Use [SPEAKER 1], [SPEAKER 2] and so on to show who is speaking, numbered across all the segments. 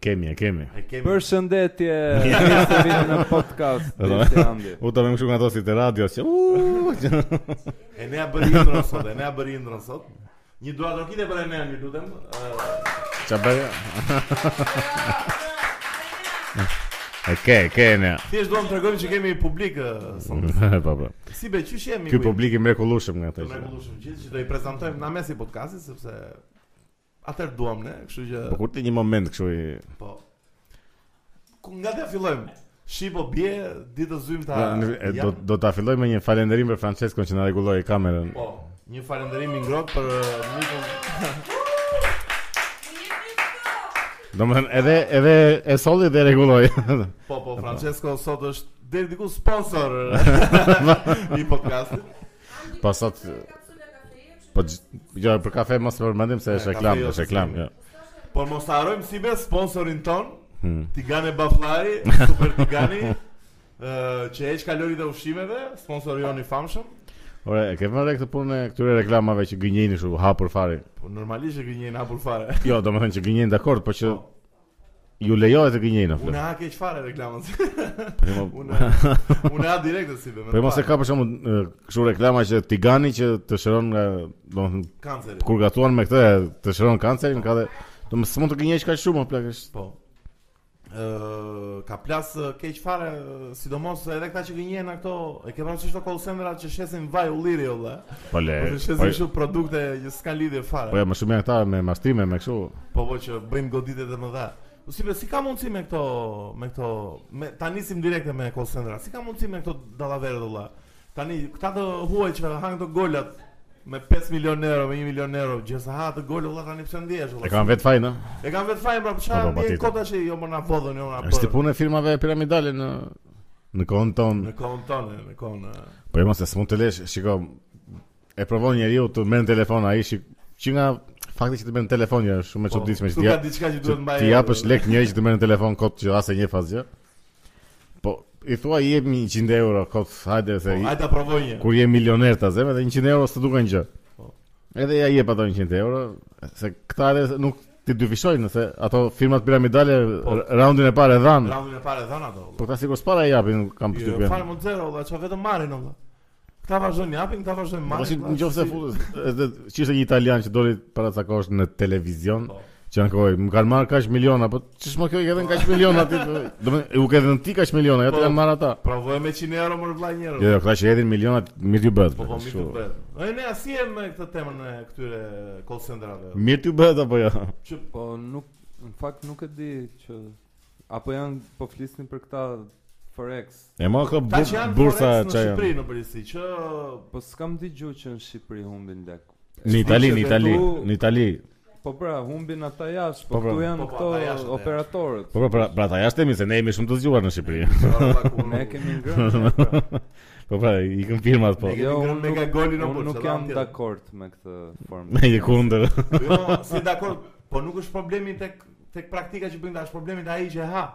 [SPEAKER 1] kemi, e kemi.
[SPEAKER 2] E kemi.
[SPEAKER 3] Përshëndetje, mirë se vini në podcast Desti Andi.
[SPEAKER 1] U të vëmë shumë nga to si të radio, që uuu, që
[SPEAKER 2] E ne a bëri indrën sot, e ne a bëri indrën sot. Një dua drokite për Enea, ju lutem. Ë,
[SPEAKER 1] që bëjë. E ke, e ke, ne.
[SPEAKER 2] Thjesht duam t'rregojmë që kemi publik ë, sot.
[SPEAKER 1] Po, po.
[SPEAKER 2] Si be, qysh jemi?
[SPEAKER 1] Ky
[SPEAKER 2] ku jemi?
[SPEAKER 1] publik i mrekullueshëm nga
[SPEAKER 2] Të
[SPEAKER 1] ato që.
[SPEAKER 2] mrekullueshëm gjithë që do i prezantojmë na mesi podcastit sepse atëherë duam ne, kështu që
[SPEAKER 1] Po kur ti një moment kështu i
[SPEAKER 2] po. Ku nga të fillojmë? Shqipo bie ditës zymta.
[SPEAKER 1] Pra, E, do
[SPEAKER 2] janë.
[SPEAKER 1] do ta filloj me një falënderim për Franceskon që na rregulloi kamerën.
[SPEAKER 2] Po, një falënderim i ngrohtë për ë, mikun.
[SPEAKER 1] Domethënë edhe edhe e solli dhe e rregulloi.
[SPEAKER 2] Po, po, Francesco sot është deri diku sponsor ë, i podcastit.
[SPEAKER 1] Po sot po gj- jo për kafe mos e përmendim se është
[SPEAKER 2] kafe
[SPEAKER 1] reklam,
[SPEAKER 2] jo,
[SPEAKER 1] është
[SPEAKER 2] se
[SPEAKER 1] reklam.
[SPEAKER 2] s'kemi.
[SPEAKER 1] jo.
[SPEAKER 2] Por mos ta harojmë si be sponsorin ton,
[SPEAKER 1] Hmm.
[SPEAKER 2] Tigane Bafllari, Super Tigani, ë që heq kalorit e ushqimeve, sponsor jon i famshëm.
[SPEAKER 1] Ore, e ke vënë re këtë punë e këtyre reklamave që gënjejnë kështu hapur fare.
[SPEAKER 2] Po normalisht e gënjen hapur fare.
[SPEAKER 1] Jo, domethënë që gënjejnë dakord, po që ju lejohet të gënjejnë aftë.
[SPEAKER 2] Unë ha keq fare reklamën.
[SPEAKER 1] Po
[SPEAKER 2] Unë unë ha direkt si be. me
[SPEAKER 1] jo, mos e
[SPEAKER 2] parë.
[SPEAKER 1] ka për shembull e, kështu reklama që Tigani që të shëron nga domethënë
[SPEAKER 2] kanceri.
[SPEAKER 1] kur gatuan me këtë të shëron kancerin, ka dhe domethënë s'mund të gënjesh kaq shumë, o plak është.
[SPEAKER 2] Po. Ë ka plas ë, keq fare, ë, sidomos edhe këta që gënjen ato, e ke parasysh ato call centerat që shesin vaj ulliri olla.
[SPEAKER 1] Po le.
[SPEAKER 2] Po shesin
[SPEAKER 1] po-
[SPEAKER 2] kështu produkte që s'kan lidhje fare.
[SPEAKER 1] Po ja, më shumë janë këta me mastrime, me kështu.
[SPEAKER 2] Po po që bëjmë goditje të mëdha. Po si be, si ka mundësi me këto me këto me ta nisim direkte me call centera. Si ka mundësi me këto dallavere valla? Tani këta të huaj që han këto golat me 5 milion euro, me 1 milion euro, gjesa ha të gol valla tani pse ndjesh
[SPEAKER 1] E
[SPEAKER 2] valla.
[SPEAKER 1] kanë vetë fajin, a?
[SPEAKER 2] E kanë vetë fajin pra për
[SPEAKER 1] Po, po,
[SPEAKER 2] çfarë ndjen
[SPEAKER 1] patjetër.
[SPEAKER 2] kota që jo më na vodhën, jo më na
[SPEAKER 1] Është
[SPEAKER 2] bën.
[SPEAKER 1] punë e firmave piramidale në në kohën tonë.
[SPEAKER 2] Në kohën tonë, në kohën. e,
[SPEAKER 1] Po jo, se s'mund të lesh, shiko, e provon njeriu të merr në telefon ai shik, që nga fakti që të merr në telefon ja, është shumë e
[SPEAKER 2] po,
[SPEAKER 1] çuditshme që
[SPEAKER 2] këtu
[SPEAKER 1] ti
[SPEAKER 2] ka
[SPEAKER 1] ja-
[SPEAKER 2] diçka që
[SPEAKER 1] që
[SPEAKER 2] duhet mbajë.
[SPEAKER 1] ti japësh lek njëri që të merr në telefon kot që as e njeh asgjë. jo? Po i thua i jep 100 euro kot, hajde se
[SPEAKER 2] Po,
[SPEAKER 1] i-
[SPEAKER 2] hajde ta provoj një.
[SPEAKER 1] kur je milioner ta zem edhe 100 euro s'të duken gjë.
[SPEAKER 2] Po.
[SPEAKER 1] Edhe ja jep ato 100 euro, se këta edhe nuk ti dyfishojnë se ato firmat piramidale
[SPEAKER 2] Po.
[SPEAKER 1] r- raundin e parë e dhanë.
[SPEAKER 2] Radhën e parë e dhënë ato. valla.
[SPEAKER 1] Po këta sikur s'para e japin, kam
[SPEAKER 2] Jo, Fare
[SPEAKER 1] përshtypjen.
[SPEAKER 2] më zero, valla, çfarë vetëm marrin valla. Këta vazhdojnë japin, këta vazhdojnë
[SPEAKER 1] Po si
[SPEAKER 2] marrin. valla,
[SPEAKER 1] në qoftë se
[SPEAKER 2] si-
[SPEAKER 1] futës, edhe që ishte një italian që doli para ca kohësh në televizion,
[SPEAKER 2] Po.
[SPEAKER 1] që janë kohë, më kanë marrë kaq miliona, po çish më kjo i ka dhënë kaq miliona aty. po, Domethënë u ka dhënë ti kaq miliona, ja
[SPEAKER 2] Po.
[SPEAKER 1] të kanë marrë ata.
[SPEAKER 2] Provoj me 100 euro më vllai njëro.
[SPEAKER 1] Jo, jo, këta që hedhin miliona, mirë t'ju bëhet.
[SPEAKER 2] Po po mirë të
[SPEAKER 1] kështu.
[SPEAKER 2] bëhet. E ne asi e me këtë temën e këtyre call centerave.
[SPEAKER 1] Mirë t'ju bëhet apo jo?
[SPEAKER 2] Që
[SPEAKER 3] Po nuk në fakt nuk e di që apo janë po flisnin për këta Forex.
[SPEAKER 1] E ma këto
[SPEAKER 2] ta që janë
[SPEAKER 1] bu- bursa
[SPEAKER 2] forex në
[SPEAKER 1] çajon.
[SPEAKER 2] Shqipëri në përgjithësi që
[SPEAKER 3] Po s'kam dëgjuar që në Shqipëri humbin lek.
[SPEAKER 1] Në Itali, në Itali,
[SPEAKER 3] Ku-
[SPEAKER 1] në Itali.
[SPEAKER 3] Po pra, humbin ata jashtë,
[SPEAKER 1] Po
[SPEAKER 3] po
[SPEAKER 1] pra.
[SPEAKER 3] këtu janë
[SPEAKER 2] Po, po, ata jashtë, ata
[SPEAKER 3] këto operatorët.
[SPEAKER 1] Po po, pra, pra ta jashtë temi se ne jemi shumë të zgjuar në Shqipëri.
[SPEAKER 3] Ne kemi ngrënë.
[SPEAKER 1] Po pra, i kanë firmat po.
[SPEAKER 2] Ne kemi ngrënë me
[SPEAKER 3] nuk-
[SPEAKER 2] ka golin apo
[SPEAKER 3] unë nuk
[SPEAKER 2] çfarë
[SPEAKER 3] jam
[SPEAKER 2] tjetër.
[SPEAKER 3] dakord me këtë formë.
[SPEAKER 1] Me një kundër.
[SPEAKER 2] Jo, si dakord, po nuk është problemi tek tek praktika që bëjnë, ta, është problemi te ai që e ha.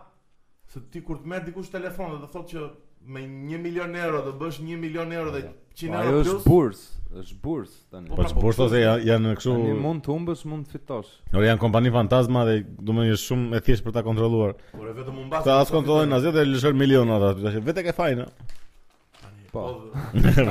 [SPEAKER 2] Se ti kur të merr dikush telefon dhe të thotë që me 1 milion euro do bësh 1 milion euro dhe 100
[SPEAKER 3] Po, Ajo
[SPEAKER 2] euro
[SPEAKER 3] është
[SPEAKER 2] plus.
[SPEAKER 3] bursë, është bursë tani.
[SPEAKER 2] Po,
[SPEAKER 1] Po bursa se janë, janë kështu,
[SPEAKER 3] Tani mund të humbësh, mund të fitosh.
[SPEAKER 1] ora janë kompani fantazma dhe domethënë është shumë e thjeshtë për ta kontrolluar.
[SPEAKER 2] Por e vetëm u mbas.
[SPEAKER 1] Këta as kontrollojnë asgjë dhe lëshojnë miliona ata. aty. Tash vetë e ke fajin. ë.
[SPEAKER 3] Po.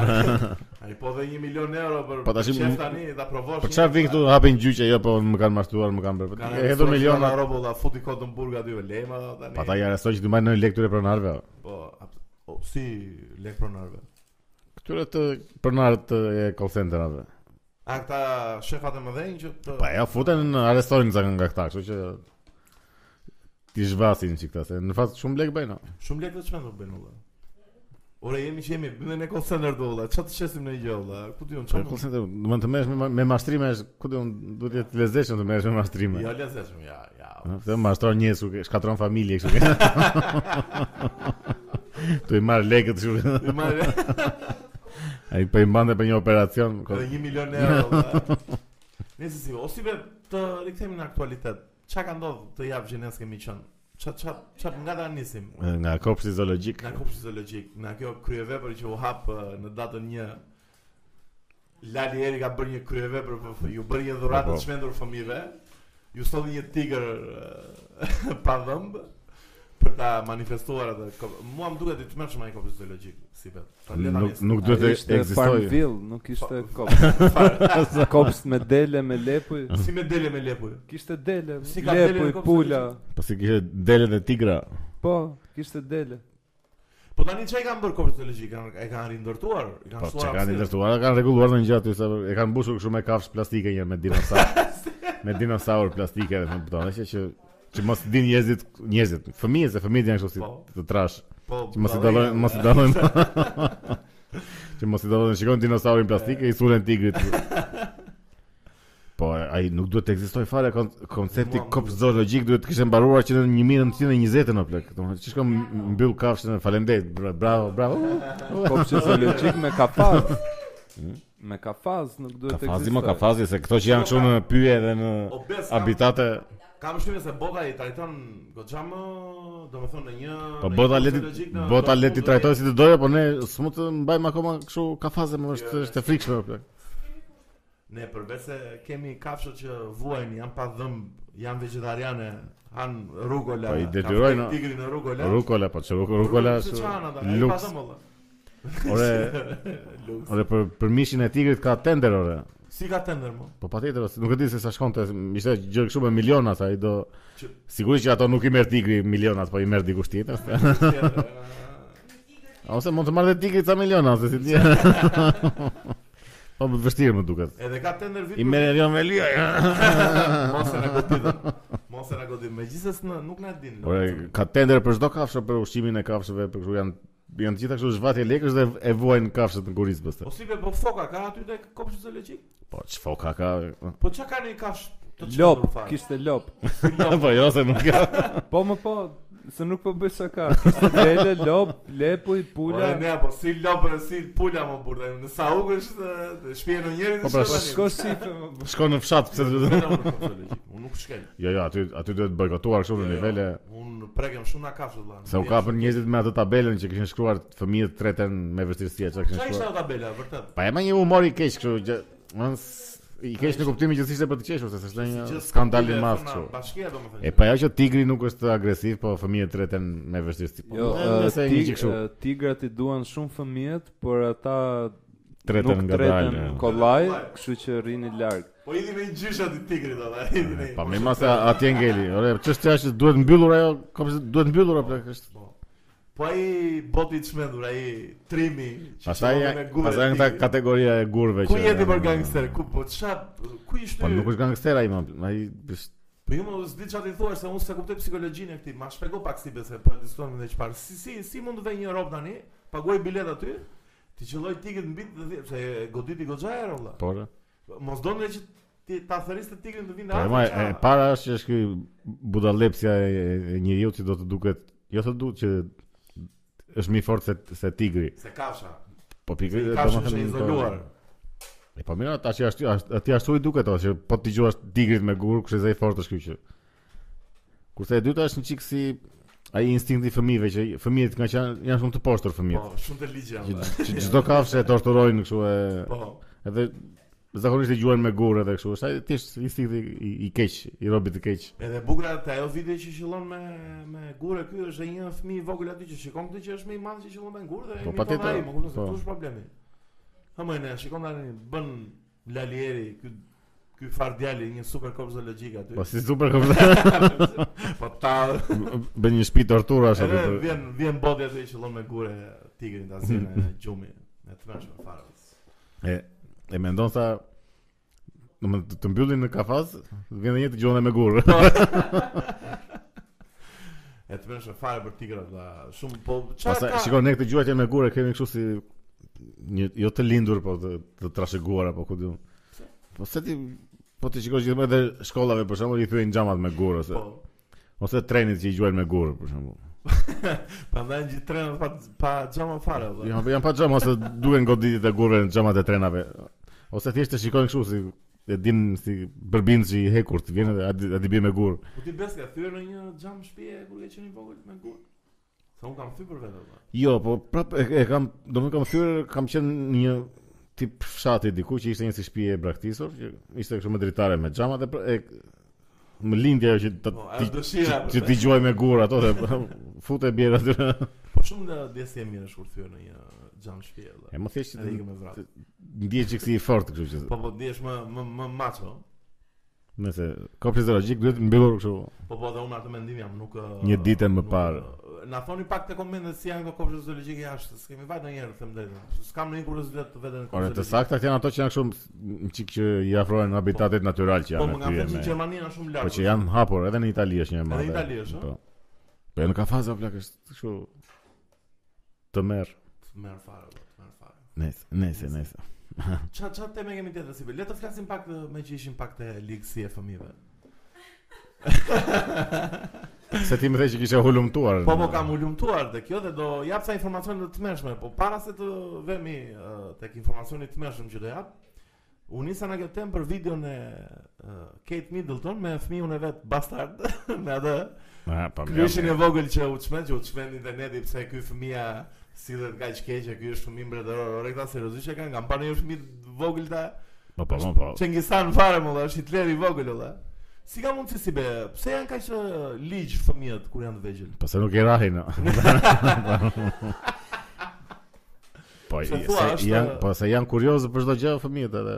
[SPEAKER 2] Ai po dhe 1 milion euro për
[SPEAKER 1] Po, tash-
[SPEAKER 2] qef tani ta provosh.
[SPEAKER 1] Po çfarë vin këtu hapin gjyqe, jo po më kanë mashtruar, më kanë bërë. Po, E hedhur miliona.
[SPEAKER 2] robo da futi kotën burg aty e lema tani.
[SPEAKER 1] Pa ta ja arrestoj që të marrin në lekture pronarve. ë.
[SPEAKER 2] Po, ap- o, si lek pronarve.
[SPEAKER 1] Këtyre të pronarët të e call centerave.
[SPEAKER 2] A këta shefat e mëdhenj që të
[SPEAKER 1] Po ja futen në arrestojnë ca nga këta, kështu që ti zhvasin që këta se në fakt shumë lek bëjnë. ë.
[SPEAKER 2] shumë lek të çmend u bën valla. Ore jemi që jemi bëndë në call center do valla. Çfarë të shesim në gjë valla? Ku ti on
[SPEAKER 1] Po call
[SPEAKER 2] çon?
[SPEAKER 1] center, do të merresh me me mashtrime, është- ku do duhet të jetë lezetshëm të merresh me mashtrime.
[SPEAKER 2] Ja lezetshëm, ja, ja.
[SPEAKER 1] Ëh, Të mashtron një kështu ke- shkatron familje kështu. Tu i marr lekët kështu.
[SPEAKER 2] I marrë
[SPEAKER 1] Ai po i mbante për një operacion.
[SPEAKER 2] edhe
[SPEAKER 1] ko-
[SPEAKER 2] 1 milion euro valla. Nëse si, ose be të rikthehemi në aktualitet. Çka ka ndodhur të javë që ne s'kemi qenë? Ç'a ç'a ç'a nga ta nisim?
[SPEAKER 1] Nga kopshti zoologjik.
[SPEAKER 2] Nga kopshti zoologjik, nga kjo kryevepër që u hap ë, në datën 1 Lali Eri ka bërë një kryevepër, për- për- ju bërë një dhuratë
[SPEAKER 1] Po, po.
[SPEAKER 2] të çmendur fëmijëve. ju solli një tigër eh, pa dhëmb për ta manifestuar atë. ko- Mua më duket i tmerrshëm ai kopës ideologjik, si vet. Ta le ta
[SPEAKER 1] Nuk,
[SPEAKER 2] njësë.
[SPEAKER 1] nuk duhet të
[SPEAKER 3] Ishte
[SPEAKER 1] ekzistojë.
[SPEAKER 3] Farmville, nuk ishte kopsht. kopsht me dele, me lepuj.
[SPEAKER 2] si me dele me lepuj.
[SPEAKER 3] Kishte dele,
[SPEAKER 2] Si ka dele në
[SPEAKER 3] lepuj,
[SPEAKER 2] kopsht,
[SPEAKER 3] pula.
[SPEAKER 1] Po si kishte delet e tigra.
[SPEAKER 3] Po, kishte dele.
[SPEAKER 2] Po tani çai kanë bërë kopës ideologjik? Kanë e kanë rindërtuar, i kanë
[SPEAKER 1] Po
[SPEAKER 2] shtuar.
[SPEAKER 1] çka kanë
[SPEAKER 2] hapësirë.
[SPEAKER 1] ndërtuar, kanë rregulluar në gjatë aty sa e kanë mbushur kështu me kafsh plastike një herë me dinosaur. me dinosaur plastike dhe më kupton, është që që mos din njerëzit, njerëzit, fëmijët se fëmijët janë kështu si
[SPEAKER 2] Po.
[SPEAKER 1] të trash.
[SPEAKER 2] Po,
[SPEAKER 1] Që mos i
[SPEAKER 2] dalloj-
[SPEAKER 1] dallojnë, mos i dallojnë. që mos i dallojnë, shikojnë dinosaurin plastik e i sulën tigrit. Po, ai nuk duhet të ekzistojë fare kon koncepti
[SPEAKER 2] Mua-
[SPEAKER 1] kopsh zoologjik duhet të kishte mbaruar që në 1920 në plak. Domethënë, që shkon mbyll kafshën, faleminderit. bra- Bravo, bravo.
[SPEAKER 3] Kopsht zoologjik me kafaz. Me kafaz nuk duhet të
[SPEAKER 1] Hmm? Kafazi, më
[SPEAKER 3] ekzistojë.
[SPEAKER 1] kafazi se këto që janë kështu në pyje dhe në
[SPEAKER 2] Obes, kam-
[SPEAKER 1] habitate,
[SPEAKER 2] Kam shtypjen se Bota i trajton goxha më, domethënë në një
[SPEAKER 1] po
[SPEAKER 2] në
[SPEAKER 1] bota
[SPEAKER 2] një
[SPEAKER 1] leti
[SPEAKER 2] ideologjik në-
[SPEAKER 1] bota
[SPEAKER 2] në-
[SPEAKER 1] leti trajtoj si të doja, po ne s'mu të mbajmë akoma kështu kafaze, më është është e frikshme o plak.
[SPEAKER 2] Ne përveç se kemi kafshët që vuajnë, janë pa dhëmb, janë vegetariane, hanë rugola.
[SPEAKER 1] Po, i detyrojnë,
[SPEAKER 2] kanë tigrin në rugola.
[SPEAKER 1] Rukola, po çu rukola,
[SPEAKER 2] se
[SPEAKER 1] është
[SPEAKER 2] çan ata, ai pa
[SPEAKER 1] luks.
[SPEAKER 2] dhëmb olla.
[SPEAKER 1] Ore,
[SPEAKER 2] Luks.
[SPEAKER 1] Ore për për mishin e tigrit ka tender ore.
[SPEAKER 2] Si ka tender më?
[SPEAKER 1] Po patjetër, ose nuk e di se sa shkonte, ishte gjë kështu me miliona sa i do.
[SPEAKER 2] Që-
[SPEAKER 1] Sigurisht që ato nuk i merr tigri milionat, po i merr dikush tjetër. Ose mund të marrë dhe tigri ca miliona, ose si ti. po vështirë më duket.
[SPEAKER 2] Edhe ka tender vit.
[SPEAKER 1] I merr Erion Velia.
[SPEAKER 2] Mos e na goditën. Mos e na goditën. Megjithëse në- nuk na din.
[SPEAKER 1] Ore ka tender për çdo kafshë, për ushqimin e kafshëve, për kështu janë janë të gjitha kështu zhvatje lekësh dhe e vuajnë kafshët në guriz
[SPEAKER 2] Po
[SPEAKER 1] pastaj.
[SPEAKER 2] si be, po foka ka aty te kopshti zoologjik?
[SPEAKER 1] Po çfoka ka.
[SPEAKER 2] Po çka kanë i kafsh të
[SPEAKER 3] Lop,
[SPEAKER 2] çmendur fare?
[SPEAKER 3] kishte lop.
[SPEAKER 1] po jo se nuk ka.
[SPEAKER 3] Po më po, se nuk po bëj shaka. Kishte dele, lop, lepuj,
[SPEAKER 2] Pula,
[SPEAKER 3] pula.
[SPEAKER 2] Po ne apo si lopë, si pula më burrë. Në Sauk është e, shpije në njërin.
[SPEAKER 1] Po,
[SPEAKER 2] në
[SPEAKER 1] pra,
[SPEAKER 2] shpije
[SPEAKER 3] Po
[SPEAKER 2] në
[SPEAKER 3] shko shife më bë.
[SPEAKER 1] Shkon në fshat pse do të.
[SPEAKER 2] Vetëm unë kam zoologjik, unë nuk shkel.
[SPEAKER 1] Jo, jo, aty aty duhet bojkotuar
[SPEAKER 2] Jo,
[SPEAKER 1] kështu në Po, nivele
[SPEAKER 2] Unë prekem shumë nga kafshët vëlla.
[SPEAKER 1] se u kapën njerëzit me atë tabelën që kishin shkruar fëmijët treten me vështirësi çka kishin
[SPEAKER 2] Çfarë ishte
[SPEAKER 1] shkruar.
[SPEAKER 2] ajo tabela vërtet?
[SPEAKER 1] Pa e më një humor i keq kështu gjë. Mans i keq në kuptimin që ishte për të qeshur se s'është
[SPEAKER 2] Gjithë
[SPEAKER 1] një skandal i
[SPEAKER 2] tabela
[SPEAKER 1] madh
[SPEAKER 2] thona
[SPEAKER 1] kështu.
[SPEAKER 2] Bashkia domethënë.
[SPEAKER 1] E pa ajo që tigri nuk është agresiv, po fëmijët treten me vështirësi. Po,
[SPEAKER 3] Jo,
[SPEAKER 1] nëse
[SPEAKER 3] eh,
[SPEAKER 1] një
[SPEAKER 3] tig-
[SPEAKER 1] gjë kështu
[SPEAKER 3] eh, tigrat i duan shumë fëmijët, por ata
[SPEAKER 1] treten
[SPEAKER 3] nuk
[SPEAKER 1] nga
[SPEAKER 3] treten
[SPEAKER 1] dalë.
[SPEAKER 3] kollaj, kështu që rrini larg.
[SPEAKER 2] Po idhi me një gjysh aty tigrit atë. Idhi me.
[SPEAKER 1] Pa më masa atje ngeli. Ore, çështja është duhet mbyllur ajo, kom se duhet mbyllur apo është.
[SPEAKER 2] Po. Po ai boti i çmendur, ai trimi. që
[SPEAKER 1] Pastaj
[SPEAKER 2] qëndron me gurë
[SPEAKER 1] pastaj
[SPEAKER 2] e
[SPEAKER 1] nga
[SPEAKER 2] tigrit.
[SPEAKER 1] kategoria e gurve
[SPEAKER 2] Ku jeti për gangster? Ku po ç'a ku ishte?
[SPEAKER 1] Po nuk është gangster ai më. Ai është
[SPEAKER 2] Po ju më s'di çfarë ti thua se unë s'e kuptoj psikologjinë e këtij. Ma shpjego pak si bese, po diskutojmë edhe çfarë. Si si si mund të vë një rob tani? Paguaj bilet aty. Ti qelloj tiket mbi të dhjetë, se goditi goxha e rolla.
[SPEAKER 1] por.
[SPEAKER 2] Mos donë që ti ta thëriste tigrin të vinë
[SPEAKER 1] Po e ma, e
[SPEAKER 2] afër.
[SPEAKER 1] para është që është ky budallepsja e, e njeriu që do të duket, jo të duket që është më i fortë se, se tigri.
[SPEAKER 2] Se kafsha.
[SPEAKER 1] Po pikë
[SPEAKER 2] Se kafsha është e izoluar.
[SPEAKER 1] E po mira, tash ashtu aty ashtu i duket o që po ti dëgjosh tigrit me gur, kush e zë i fortë është ky që. Kurse e dyta është një çik si ai instinkti i fëmijëve që fëmijët kanë qenë janë shumë të poshtur
[SPEAKER 2] Po,
[SPEAKER 1] fëmijët.
[SPEAKER 2] shumë të ligj
[SPEAKER 1] Që
[SPEAKER 2] janë.
[SPEAKER 1] që çdo kafshë e torturojnë kështu e
[SPEAKER 2] Po.
[SPEAKER 1] edhe zakonisht e gjuajnë me gur edhe kështu. Është ai thjesht instinkti i, i keq, i robit të keq.
[SPEAKER 2] Edhe bukra te ajo video që qillon me me gurë ky është e një fëmijë i vogël aty që shikon këtë që është më i madh që qillon me gurë dhe
[SPEAKER 1] Po,
[SPEAKER 2] mi
[SPEAKER 1] patjetër,
[SPEAKER 2] ai, më kupton se
[SPEAKER 1] po.
[SPEAKER 2] kush problemi. Ha më ne shikon tani bën lalieri ky ky far djali një super kopë zoologjik aty.
[SPEAKER 1] Po si super komplet.
[SPEAKER 2] po ta
[SPEAKER 1] Bën një shtëpi torturash aty.
[SPEAKER 2] edhe
[SPEAKER 1] për-
[SPEAKER 2] vjen vjen boti aty që qillon me gurë tigrin ta zinë gjumi. Me të mëshme fare.
[SPEAKER 1] E e mendon sa Në të mbyllin në kafaz, vjen dhe një të gjonë me gurë.
[SPEAKER 2] E të mëshme fare për tigrat vlla. Shumë po çfarë
[SPEAKER 1] Pastaj
[SPEAKER 2] ka?
[SPEAKER 1] shikon ne këtë gjuajtje me gurë, kemi kështu si një jo të lindur, po të, të trashëguar apo ku diun. Po se ti po ti shikosh gjithmonë edhe shkollave për shembull i thyen xhamat me gurë ose
[SPEAKER 2] Po.
[SPEAKER 1] ose trenit që i gjuajnë me gurë për shembull.
[SPEAKER 2] Prandaj gjithë trenat pa pa xhama fare vlla.
[SPEAKER 1] Jo, janë pa xham ose duhen goditit e gurëve në xhamat e trenave. Ose thjesht të shikojnë kështu si e din si bërbin që i hekur të vjen edhe a di bie me gurë.
[SPEAKER 2] Po ti bes ka thyer në një xham shtëpie kur ke qenë i vogël me gur. Sa un kam thyer për vetë valla.
[SPEAKER 1] Jo, po prap e, e kam, do më kam thyer, kam qenë në një tip fshati diku që ishte një si shtëpi e braktisur, që ishte kështu me dritare me xhama dhe pra- e më lindi ajo që ta
[SPEAKER 2] Po, ajo
[SPEAKER 1] ti
[SPEAKER 2] dëshira.
[SPEAKER 1] që ti dëgjoj me gur ato dhe fute bjerë aty.
[SPEAKER 2] Po shumë nga djesë e mirë është kur thyer në një xham shtëpi.
[SPEAKER 1] E më thjesht
[SPEAKER 2] Edhe ikë me vrap.
[SPEAKER 1] ndjej që i fort, kështu që
[SPEAKER 2] Po po ndihesh më më më macho.
[SPEAKER 1] nëse ka fiziologjik duhet të mbyllur kështu.
[SPEAKER 2] Po po dhe unë atë mendim jam nuk ë,
[SPEAKER 1] Një ditë më
[SPEAKER 2] nuk,
[SPEAKER 1] parë.
[SPEAKER 2] ë, Na thoni pak te komente si janë këto kopshë zoologjike jashtë. S'kemi vajt ndonjëherë them drejtën. S'kam ndonjë kuriozitet të veten në
[SPEAKER 1] Ora
[SPEAKER 2] kopshë.
[SPEAKER 1] të saktat janë ato që janë kështu çik që i afrohen habitatet natyral që
[SPEAKER 2] Po
[SPEAKER 1] janë
[SPEAKER 2] më nga
[SPEAKER 1] aty.
[SPEAKER 2] thënë që
[SPEAKER 1] me-
[SPEAKER 2] Gjermania është shumë
[SPEAKER 1] Po
[SPEAKER 2] larg.
[SPEAKER 1] që janë hapur edhe në Itali është një madhe.
[SPEAKER 2] Edhe në Itali është, oh,
[SPEAKER 1] Po. Po nuk ka faza plak është kështu të merr.
[SPEAKER 2] merr fare, bro, merr fare.
[SPEAKER 1] Nice, nice, nice.
[SPEAKER 2] Qa, qa teme kemi tjetër si be? Le të flasim pak të, me që ishim pak të ligë si e fëmive.
[SPEAKER 1] Se ti më the që kishe hulumtuar.
[SPEAKER 2] Po po kam u lumtuar dhe kjo dhe do jap sa informacion të tmeshme, po para se të vemi uh, tek informacioni të tmeshëm që do jap, u nisa në këtë temë për videon e uh, Kate Middleton me fëmijën e vet bastard, me atë
[SPEAKER 1] Ah, po mirë.
[SPEAKER 2] kryeshin e vogël që u çmend, që u çmend interneti pse ky fëmia sillet kaq keq, e ky është fëmijë mbretëror. Ore këta seriozisht e kanë, kanë parë një fëmijë vogël ta
[SPEAKER 1] Po po po, po.
[SPEAKER 2] Çengisan fare më dhe, është Hitler i vogël më dhe. Si ka mundësi si be, pse janë kaq ë, ligj fëmijët kur janë të vegjël?
[SPEAKER 1] Po se nuk i rahin. no. po i-
[SPEAKER 2] Se
[SPEAKER 1] se
[SPEAKER 2] thua, është-
[SPEAKER 1] janë, po se janë kurioze për çdo gjë fëmijët edhe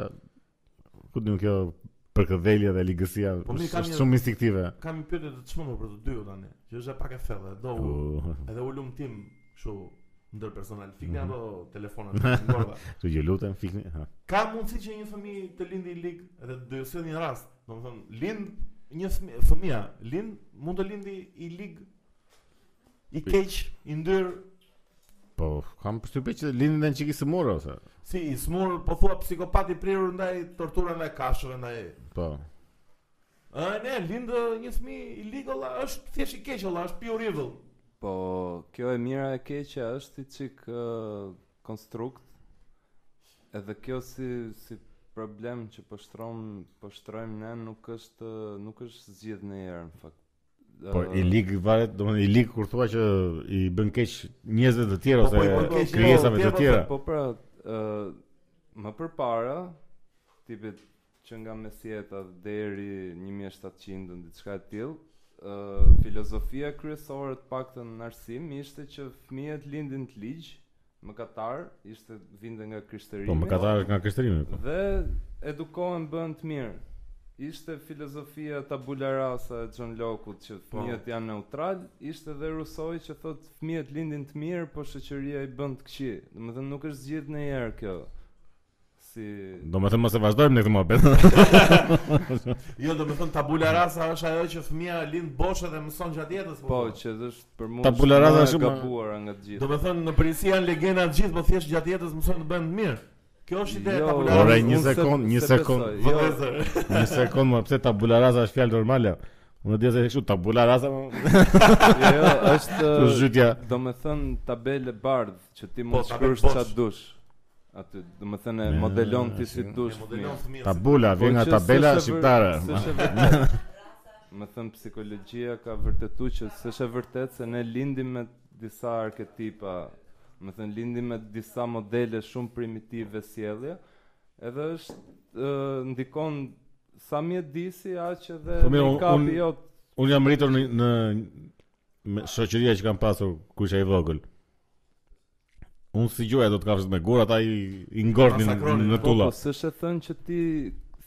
[SPEAKER 1] ku diun kjo përkëdhelja dhe ligësia
[SPEAKER 2] Po, mi,
[SPEAKER 1] është
[SPEAKER 2] kam një-
[SPEAKER 1] shumë instiktive.
[SPEAKER 2] Kam një pyetje të çmendur për të dy tani, që është e pak e thellë, do Po, u,
[SPEAKER 1] U,
[SPEAKER 2] edhe u lumtim kështu ndër personal. Fikni
[SPEAKER 1] Mhm.
[SPEAKER 2] apo telefonat që ngordha.
[SPEAKER 1] Kështu që lutem fikni. Ha.
[SPEAKER 2] Ka mundësi që një fëmijë të lindë i lig edhe do të sjellë një rast. Domethënë, lind një fëmi- fëmia, lind mund të lindi i lig i keq, i ndyr,
[SPEAKER 1] Po kam përshtypjen që lindin dhe në çiki së morë ose.
[SPEAKER 2] si i smur, po thua psikopat i prirur ndaj torturave ndaj kafshëve ndaj
[SPEAKER 1] Po.
[SPEAKER 2] Ë ne lindë një fëmijë i ligolla, është thjesht i keq olla, është pure evil.
[SPEAKER 3] Po, kjo e mira e keqja është i çik ë, konstrukt. Edhe kjo si si problem që po shtrom, po shtrojmë ne nuk është nuk është zgjidh në herë në fakt.
[SPEAKER 1] Po
[SPEAKER 3] Ë,
[SPEAKER 1] i lig varet, domethënë i lig kur thua që i bën keq njerëzve të tjerë
[SPEAKER 2] Po, po,
[SPEAKER 1] ose
[SPEAKER 2] i bën keq
[SPEAKER 1] krijesave të
[SPEAKER 2] njerëzve,
[SPEAKER 1] tjera.
[SPEAKER 3] Po pra, ë më përpara tipet që nga mesjeta deri 1700 në diçka e tillë, ë filozofia kryesore të paktën në arsim ishte që fëmijët lindin të ligj, mëkatar, ishte vinte nga krishterimi.
[SPEAKER 1] Po më ka thënë nga krishterimi. po.
[SPEAKER 3] Dhe edukohen bën të mirë. Ishte filozofia tabula rasa e John Locke-ut që
[SPEAKER 2] Po.
[SPEAKER 3] fëmijët janë neutral, ishte dhe Rousseau që thotë fëmijët lindin të mirë, po shoqëria i bën të këqij. Domethënë nuk është zgjidh në herë kjo. Si
[SPEAKER 1] Do më thënë mos e vazhdojmë në këtë mohabet.
[SPEAKER 2] Jo, do të thon tabula rasa është ajo që fëmia lind boshë dhe mëson gjatë jetës.
[SPEAKER 3] po që është për mua
[SPEAKER 1] Tabula rasa
[SPEAKER 3] më e
[SPEAKER 1] shumë-
[SPEAKER 3] gabuara nga të
[SPEAKER 2] do
[SPEAKER 3] gjitha.
[SPEAKER 2] të thon në Parisi janë legjenda të gjithë, po thjesht gjatë jetës mëson të bëhen të mirë. Kjo është ide e
[SPEAKER 3] Jo,
[SPEAKER 2] tabula
[SPEAKER 1] Ore,
[SPEAKER 2] rasa. Po,
[SPEAKER 1] një
[SPEAKER 3] unë se-
[SPEAKER 1] sekond, një
[SPEAKER 3] se
[SPEAKER 1] sekond.
[SPEAKER 3] besoj. Jo,
[SPEAKER 2] Vëllëzër.
[SPEAKER 1] Një sekond më pse tabula rasa është fjalë normale. Unë di se kështu tabula rasa më
[SPEAKER 3] jo, jo, është
[SPEAKER 1] kështu zhytja.
[SPEAKER 3] Do me thënë tabele bardh që ti
[SPEAKER 2] Po,
[SPEAKER 3] mund
[SPEAKER 2] tabel
[SPEAKER 3] shkruash
[SPEAKER 2] bosh.
[SPEAKER 3] qa dush. Aty, do me thënë e
[SPEAKER 1] Ja,
[SPEAKER 3] modelon ti si
[SPEAKER 1] si-
[SPEAKER 3] dush.
[SPEAKER 2] E modelon
[SPEAKER 3] fëmijën.
[SPEAKER 2] fëmijën.
[SPEAKER 1] Tabula
[SPEAKER 3] Po
[SPEAKER 1] vjen nga
[SPEAKER 3] që
[SPEAKER 1] tabela
[SPEAKER 3] s'është vër-
[SPEAKER 1] shqiptare.
[SPEAKER 3] s'është vërtet. Më thënë psikologjia ka vërtetu që s'është e vërtet se ne lindim me disa arketipa, më thënë lindim me disa modele shumë primitive sjellje, edhe është uh, ndikon sa mi e disi aq edhe
[SPEAKER 1] Po mirë, unë-
[SPEAKER 3] make-upi
[SPEAKER 1] unë-
[SPEAKER 3] jot.
[SPEAKER 1] Unë jam rritur në, në me shoqëria që kam pasur kur isha i vogël. Unë si gjuaja do të kafshët me gur, ata i, i ngordin
[SPEAKER 2] Masakronin,
[SPEAKER 1] në
[SPEAKER 2] po,
[SPEAKER 1] tulla.
[SPEAKER 3] Po, po, s'është e thënë që ti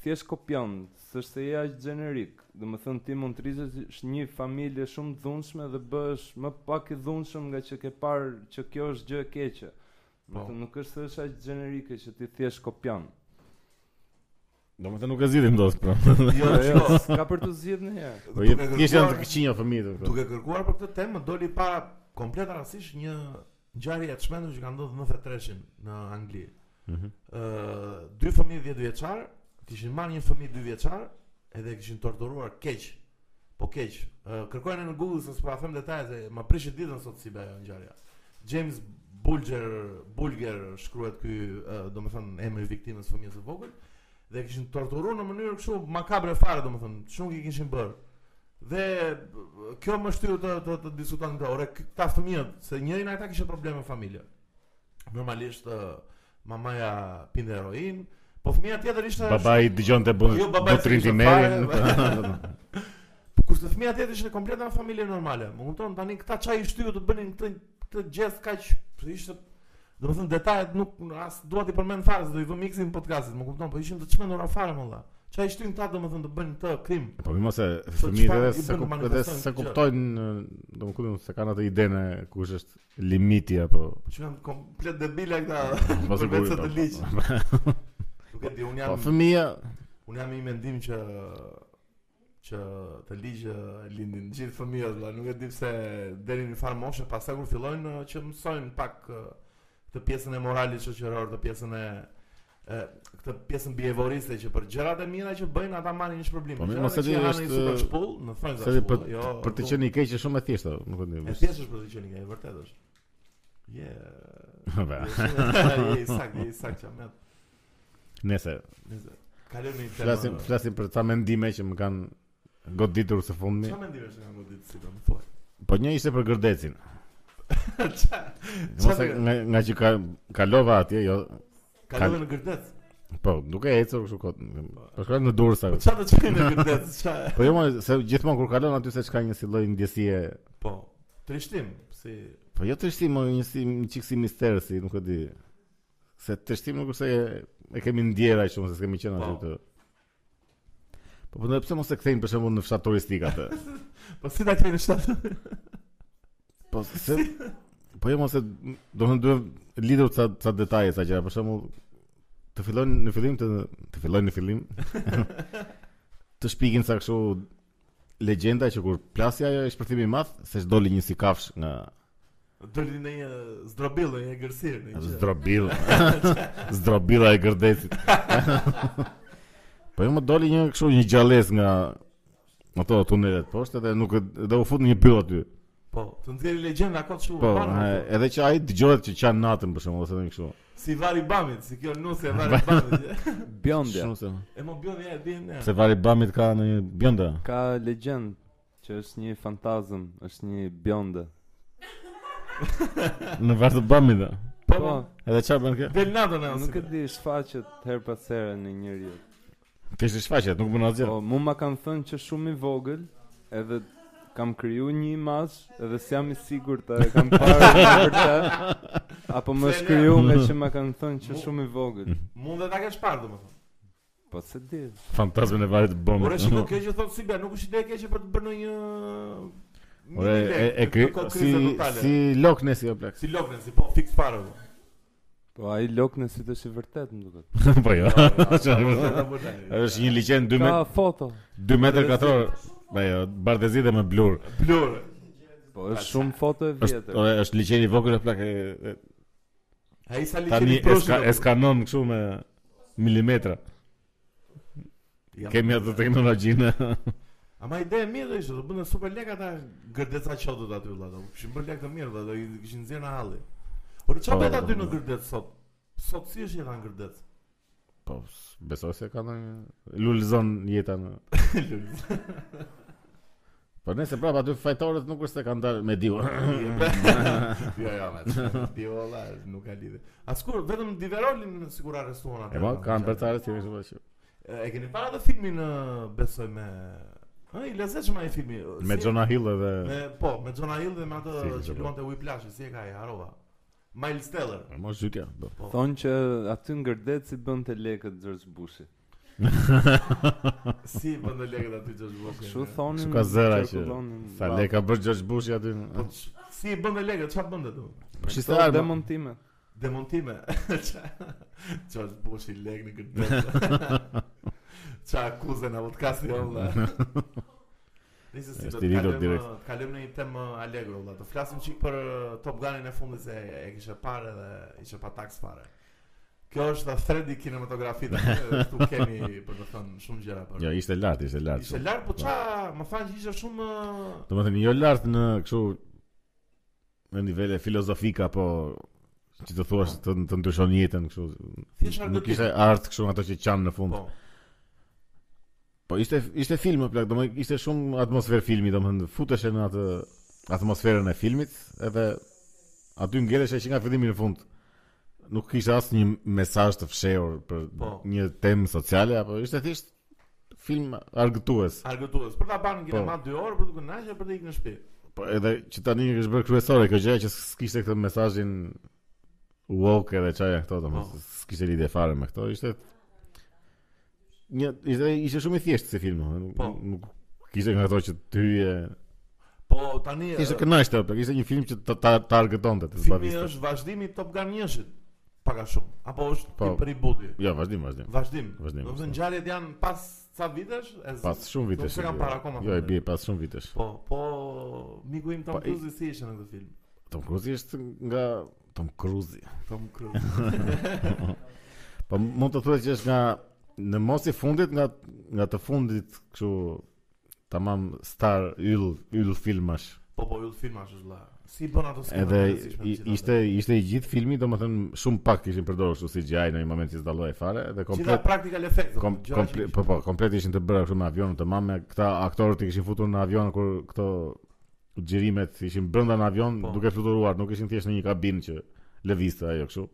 [SPEAKER 3] thjesht kopjon, s'është se je aq gjenerik. Do të thënë ti mund të rrisësh një familje shumë të dhunshme dhe bësh më pak i dhunshëm nga që ke parë që kjo është gjë e keqe. Do
[SPEAKER 2] Po.
[SPEAKER 3] të thënë nuk është se është aq gjenerike që ti thjesht kopjon.
[SPEAKER 1] Do më të nuk e zhidhim dosë, pra.
[SPEAKER 2] Jo,
[SPEAKER 3] Jo,
[SPEAKER 2] jo.
[SPEAKER 3] jo, s'ka për të zgjidhur një herë.
[SPEAKER 1] Po je
[SPEAKER 2] Duke
[SPEAKER 1] thjesht janë
[SPEAKER 2] kërkuar-
[SPEAKER 1] të këqinja fëmijët. po.
[SPEAKER 2] Duke kërkuar për këtë temë, më doli para komplet rastisht një ngjarje e çmendur që ka ndodhur në 93-shin në Angli.
[SPEAKER 1] Mhm.
[SPEAKER 2] Ë, dy fëmijë 10 vjeçar kishin marrë një fëmijë 2 vjeçar edhe e kishin torturuar keq. Po keq. Ë, kërkojnë në Google se s'po ta them detajet, se ma prishit ditën sot si be ajo ngjarja. James Bulger Bulger shkruhet ky, ë, domethënë emri i viktimës fëmijës së vogël dhe e kishin torturuar në mënyrë kështu makabre fare domethënë, çungi kishin bërë. Dhe b- kjo më shtyu të të, të diskuton këta, ore këta fëmijët, se njëri nga ata kishte probleme familje. Normalisht ë, mamaja pinte heroin, po fëmija tjetër ishte
[SPEAKER 1] Baba i dëgjon të
[SPEAKER 2] Jo,
[SPEAKER 1] bëndë
[SPEAKER 2] baba
[SPEAKER 1] të
[SPEAKER 2] s'kishte
[SPEAKER 1] rinti merin.
[SPEAKER 2] fare. Kurse fëmia tjetër ishte komplet në familje normale. Më kupton tani këta çaj i shtyu të bënin këtë këtë gjest kaq ishte domethënë detajet nuk as dua t'i përmend fare se do i vë miksin podcastit, më kupton, po ishin të çmendur afare më dha. Çaj i shtyn ta domethënë të bënin këtë krim.
[SPEAKER 1] Po më se
[SPEAKER 2] çfarë
[SPEAKER 1] fëmijët edhe
[SPEAKER 2] i bën
[SPEAKER 1] se kup- edhe
[SPEAKER 2] manifestojnë
[SPEAKER 1] se
[SPEAKER 2] këtë gjë?
[SPEAKER 1] kuptojnë, domethënë se kanë atë idenë kush është limiti apo
[SPEAKER 2] Po që janë komplet debile këta.
[SPEAKER 1] mos e
[SPEAKER 2] Për vetë
[SPEAKER 1] bujë,
[SPEAKER 2] se të
[SPEAKER 1] po.
[SPEAKER 2] liq. Nuk e di, un
[SPEAKER 1] Po
[SPEAKER 2] jam
[SPEAKER 1] fëmia
[SPEAKER 2] un jam i mendim që që të ligjë lindin të gjithë fëmijët, valla, nuk e di pse deri në një farë moshe, pastaj kur fillojnë ë, që mësojnë pak ë, këtë pjesën e moralit shoqëror, këtë pjesën e e këtë pjesën behavioriste që për gjërat e mira që bëjnë ata marrin një shpërblim.
[SPEAKER 1] Po, mirë,
[SPEAKER 2] Gjërat
[SPEAKER 1] mos e
[SPEAKER 2] që
[SPEAKER 1] di,
[SPEAKER 2] janë
[SPEAKER 1] është,
[SPEAKER 2] një super shpull, në thonjza
[SPEAKER 1] se
[SPEAKER 2] shpull,
[SPEAKER 1] për
[SPEAKER 2] jo,
[SPEAKER 1] për të
[SPEAKER 2] nuk-
[SPEAKER 1] qenë i keq është shumë e thjeshtë, nuk e di.
[SPEAKER 2] E thjesht është për të qenë i keq, vërtet është. Je.
[SPEAKER 1] Ba,
[SPEAKER 2] Je sakt, je sakt çamet.
[SPEAKER 1] Nëse
[SPEAKER 2] Nëse kalojmë në
[SPEAKER 1] flasim
[SPEAKER 2] temë.
[SPEAKER 1] flasim për ca mendime që më kanë goditur së fundmi.
[SPEAKER 2] Çfarë mendimesh nga godit si do të thuaj?
[SPEAKER 1] Po një ishte për gërdecin.
[SPEAKER 2] Çfarë?
[SPEAKER 1] Mos e
[SPEAKER 2] Çfarë?
[SPEAKER 1] nga, nga që ka kalova atje, jo,
[SPEAKER 2] Kalojmë në gërdet.
[SPEAKER 1] po, duke ecur kështu kot. Po shkoj në Durrësa.
[SPEAKER 2] Po çfarë do të bëjmë në gërdet? Çfarë?
[SPEAKER 1] Po jo, mo, se gjithmonë kur kalon aty se çka një si lloj ndjesie
[SPEAKER 2] Po, trishtim, si
[SPEAKER 1] Po jo të shtim, një si një çik si mister si, nuk e di. Se të shtim nuk është se e, e kemi ndjer aq shumë se kemi qenë aty
[SPEAKER 2] Po.
[SPEAKER 1] të. Po po pse mos e kthejnë për shembull në fshat turistik atë?
[SPEAKER 2] po si ta keni shtatë?
[SPEAKER 1] Po se po jo mos e do të duhem lidhur ca ca detaje sa gjëra, për shembull të fillojnë në fillim të të fillojnë në fillim. të shpikin sa kështu legjenda që kur plasi ajo e shpërthimi i madh se ç'doli një si kafsh nga
[SPEAKER 2] Doli në një zdrobill, në një gërsir, në një gjë.
[SPEAKER 1] Zdrobil. Zdrobila e gërdecit. po jo më doli një kështu një gjales nga ato tunelet poshtë dhe nuk e- dhe u fut në një pyll aty.
[SPEAKER 2] Po, të nxjerrë legjenda kot shumë.
[SPEAKER 1] Po,
[SPEAKER 2] banë,
[SPEAKER 1] e, edhe që ai dëgohet që qan natën për shembull ose ndonjë kështu.
[SPEAKER 2] si vari bamit, si kjo nusë e vari bamit.
[SPEAKER 3] Bjonde.
[SPEAKER 1] Shumë se.
[SPEAKER 2] E mo bjon ja e di ne.
[SPEAKER 1] Se vari bamit ka në një bjonda.
[SPEAKER 3] Ka legjend që është një fantazëm, është një bjonde.
[SPEAKER 1] Në vartë bamit. da.
[SPEAKER 2] Po,
[SPEAKER 3] Po,
[SPEAKER 1] Edhe çfarë bën kjo?
[SPEAKER 2] del natën e
[SPEAKER 3] nuk
[SPEAKER 2] asaj.
[SPEAKER 3] e di shfaqet her pas here në njeriu.
[SPEAKER 1] Kesh të shfaqet, nuk bën asgjë.
[SPEAKER 3] Po, mu ma kanë thënë që shumë i vogël, edhe kam kriju një imazh, edhe s'jam i sigurt a e kam parë e vërtet, apo më
[SPEAKER 2] Se
[SPEAKER 3] është
[SPEAKER 2] ne-
[SPEAKER 3] kriju nga që ma kanë thënë që shumë i vogël.
[SPEAKER 1] Mm.
[SPEAKER 2] Mund dhe ta kesh parë domethënë.
[SPEAKER 3] Po se di.
[SPEAKER 1] Fantazmin e varit
[SPEAKER 2] Por
[SPEAKER 1] bamit.
[SPEAKER 2] është kjo keq që thot si bja, nuk është ide e keqe për të bërë një
[SPEAKER 1] Ore, e, e, kri- si si Loch Ness jo plak.
[SPEAKER 2] si lokën si po fix fare. po.
[SPEAKER 3] Po ai lok në si të është i vërtet më duket.
[SPEAKER 1] Po jo. Është
[SPEAKER 2] Është
[SPEAKER 1] një liçen 2
[SPEAKER 3] Ka foto.
[SPEAKER 1] 2 metrë katror. Po jo, bardhëzi dhe me blur.
[SPEAKER 2] blur.
[SPEAKER 3] Po është shumë foto e
[SPEAKER 1] Është
[SPEAKER 3] vjetër.
[SPEAKER 1] ore, është liçeni i vogël e plak. e- e-
[SPEAKER 2] Ai sa liçeni
[SPEAKER 1] Tani e
[SPEAKER 2] prosh.
[SPEAKER 1] ska- e skanon kështu me milimetra. Kemi atë teknologjinë.
[SPEAKER 2] Ama ide e mirë ishte, do bënë super lek ata gërdeca qotët aty vëlla. Do kishin bërë lek të mirë, vëlla, do i kishin nxjerrë në halli. Por çfarë
[SPEAKER 1] Po,
[SPEAKER 2] bëhet aty
[SPEAKER 1] po,
[SPEAKER 2] në
[SPEAKER 1] po.
[SPEAKER 2] gërdet sot? Sot si është jeta në gërdet?
[SPEAKER 1] Po, s- besoj se ka ndonjë lulzon jeta në.
[SPEAKER 2] Jo,
[SPEAKER 1] Po nëse prapë aty fajtorët nuk është se kanë dalë me diu.
[SPEAKER 2] Jo, jo, më. Ti vëlla, nuk ka lidhje. Askur vetëm Diverolin sigur arrestuan atë.
[SPEAKER 1] E po kanë përcarës që kështu bashkë.
[SPEAKER 2] E keni parë atë filmin ë, besoj me Ë, i lezetshëm ai filmi. ë,
[SPEAKER 1] Me
[SPEAKER 2] si-
[SPEAKER 1] Jonah Hill edhe
[SPEAKER 2] Me, po, me Jonah Hill dhe me atë
[SPEAKER 1] Si, si,
[SPEAKER 2] që
[SPEAKER 1] po.
[SPEAKER 2] luante Whiplash, si e ka ai harova. Miles Teller.
[SPEAKER 1] mos zhytja. po.
[SPEAKER 3] Thonë që aty ngërdet si bënte lekët George Bushi.
[SPEAKER 2] Si i bën lekët aty George Bush.
[SPEAKER 3] Kështu thonin.
[SPEAKER 1] Kështu ka zëra që
[SPEAKER 3] qarkullonin.
[SPEAKER 1] Sa le ka bërë George Bush aty.
[SPEAKER 2] Po ç- si i bën lekët, çfarë bën atë?
[SPEAKER 1] Po
[SPEAKER 3] Kështu
[SPEAKER 1] shiste armë.
[SPEAKER 3] demontime.
[SPEAKER 2] Demontime. Qa- George Bush i lek në këtë. Ça akuzën apo të kasi olla. Nisë si do
[SPEAKER 1] Është
[SPEAKER 2] të
[SPEAKER 1] i lidhur
[SPEAKER 2] kalojmë,
[SPEAKER 1] direkt.
[SPEAKER 2] të kalojmë në një temë allegro valla. Të flasim çik për uh, Top Gunin e fundit se e e kishe parë dhe ishe pa taks fare. Kjo është the thread i kinematografisë. Ktu kemi për të thënë shumë gjëra për.
[SPEAKER 1] Jo, ishte lart, ishte lart.
[SPEAKER 2] Ishte lart, po ça, më thanë që ishte shumë uh,
[SPEAKER 1] Do më thënë, jo lartë në këshu në nivele filozofika, po që të thuash të, të ndryshon jetën kështu.
[SPEAKER 2] Thjesht
[SPEAKER 1] Nuk
[SPEAKER 2] argëtim.
[SPEAKER 1] ishte art kështu ato që qanë në fund.
[SPEAKER 2] po.
[SPEAKER 1] Po, ishte ishte film o plak, do më ishte shumë atmosferë filmi, do më thënë, futeshe në atë atmosferën e filmit, edhe aty ngeleshe që nga fillimi në fund. Nuk kishte asnjë mesazh të fshehur për
[SPEAKER 2] Po.
[SPEAKER 1] një temë sociale apo ishte thjesht film argëtues.
[SPEAKER 2] Argëtues. Për ta banë në kinema 2 orë, për të kënaqur për të ikë në shtëpi.
[SPEAKER 1] Po edhe që tani është bërë kryesore kjo gjë që s'kishte këtë mesazhin woke edhe çaja këto
[SPEAKER 2] Po.
[SPEAKER 1] domethënë s'kishte lidhje fare me këto, ishte një ishte ishte shumë i thjeshtë si film, domethënë
[SPEAKER 2] Po.
[SPEAKER 1] nuk nuk kishte nga ato që ty e
[SPEAKER 2] Po tani
[SPEAKER 1] kishte
[SPEAKER 2] eh,
[SPEAKER 1] kënaqsh apo ishte një film që ta ta- ta argëtonte, të
[SPEAKER 2] filmi
[SPEAKER 1] zbaviste.
[SPEAKER 2] është vazhdimi i Top Gun 1-shit. Pak a shumë. Apo është
[SPEAKER 1] Po.
[SPEAKER 2] tip ributi.
[SPEAKER 1] Jo, vazhdim, vazhdim.
[SPEAKER 2] Vazhdim.
[SPEAKER 1] Vazhdim,
[SPEAKER 2] Do të
[SPEAKER 1] po.
[SPEAKER 2] thënë ngjarjet janë pas sa vitesh? E z-
[SPEAKER 1] Pas shumë vitesh.
[SPEAKER 2] se kam
[SPEAKER 1] jo.
[SPEAKER 2] parë akoma
[SPEAKER 1] Jo, e
[SPEAKER 2] filmin.
[SPEAKER 1] bie pas shumë vitesh.
[SPEAKER 2] Po, po miku im Tom
[SPEAKER 1] Po, i-
[SPEAKER 2] Cruise si ishte në këtë film?
[SPEAKER 1] Tom Cruise është nga Tom Cruise.
[SPEAKER 2] Tom Cruise.
[SPEAKER 1] Po mund të thuaj që është nga në mos i fundit nga nga të fundit kështu tamam star yll yll filmash.
[SPEAKER 2] Po po, ju filmash është vëlla. Si bën ato skenat
[SPEAKER 1] Edhe
[SPEAKER 2] të rëndësishme
[SPEAKER 1] i,
[SPEAKER 2] të gjitha
[SPEAKER 1] ishte ishte i gjithë filmi, domethënë shumë pak kishin përdorur kështu si CGI në një moment që s'dalloi fare dhe
[SPEAKER 2] ato. Gjitha
[SPEAKER 1] komplet
[SPEAKER 2] practical effects. do të
[SPEAKER 1] kom,
[SPEAKER 2] thënë, gjëra që
[SPEAKER 1] komple,
[SPEAKER 2] ishin.
[SPEAKER 1] po po komplet ishin të bërë kështu me avion të mamë, këta aktorët i kishin futur në avion kur këto xhirimet ishin brenda në avion
[SPEAKER 2] Po.
[SPEAKER 1] duke fluturuar, nuk ishin thjesht në një kabinë që lëvizte ajo kështu.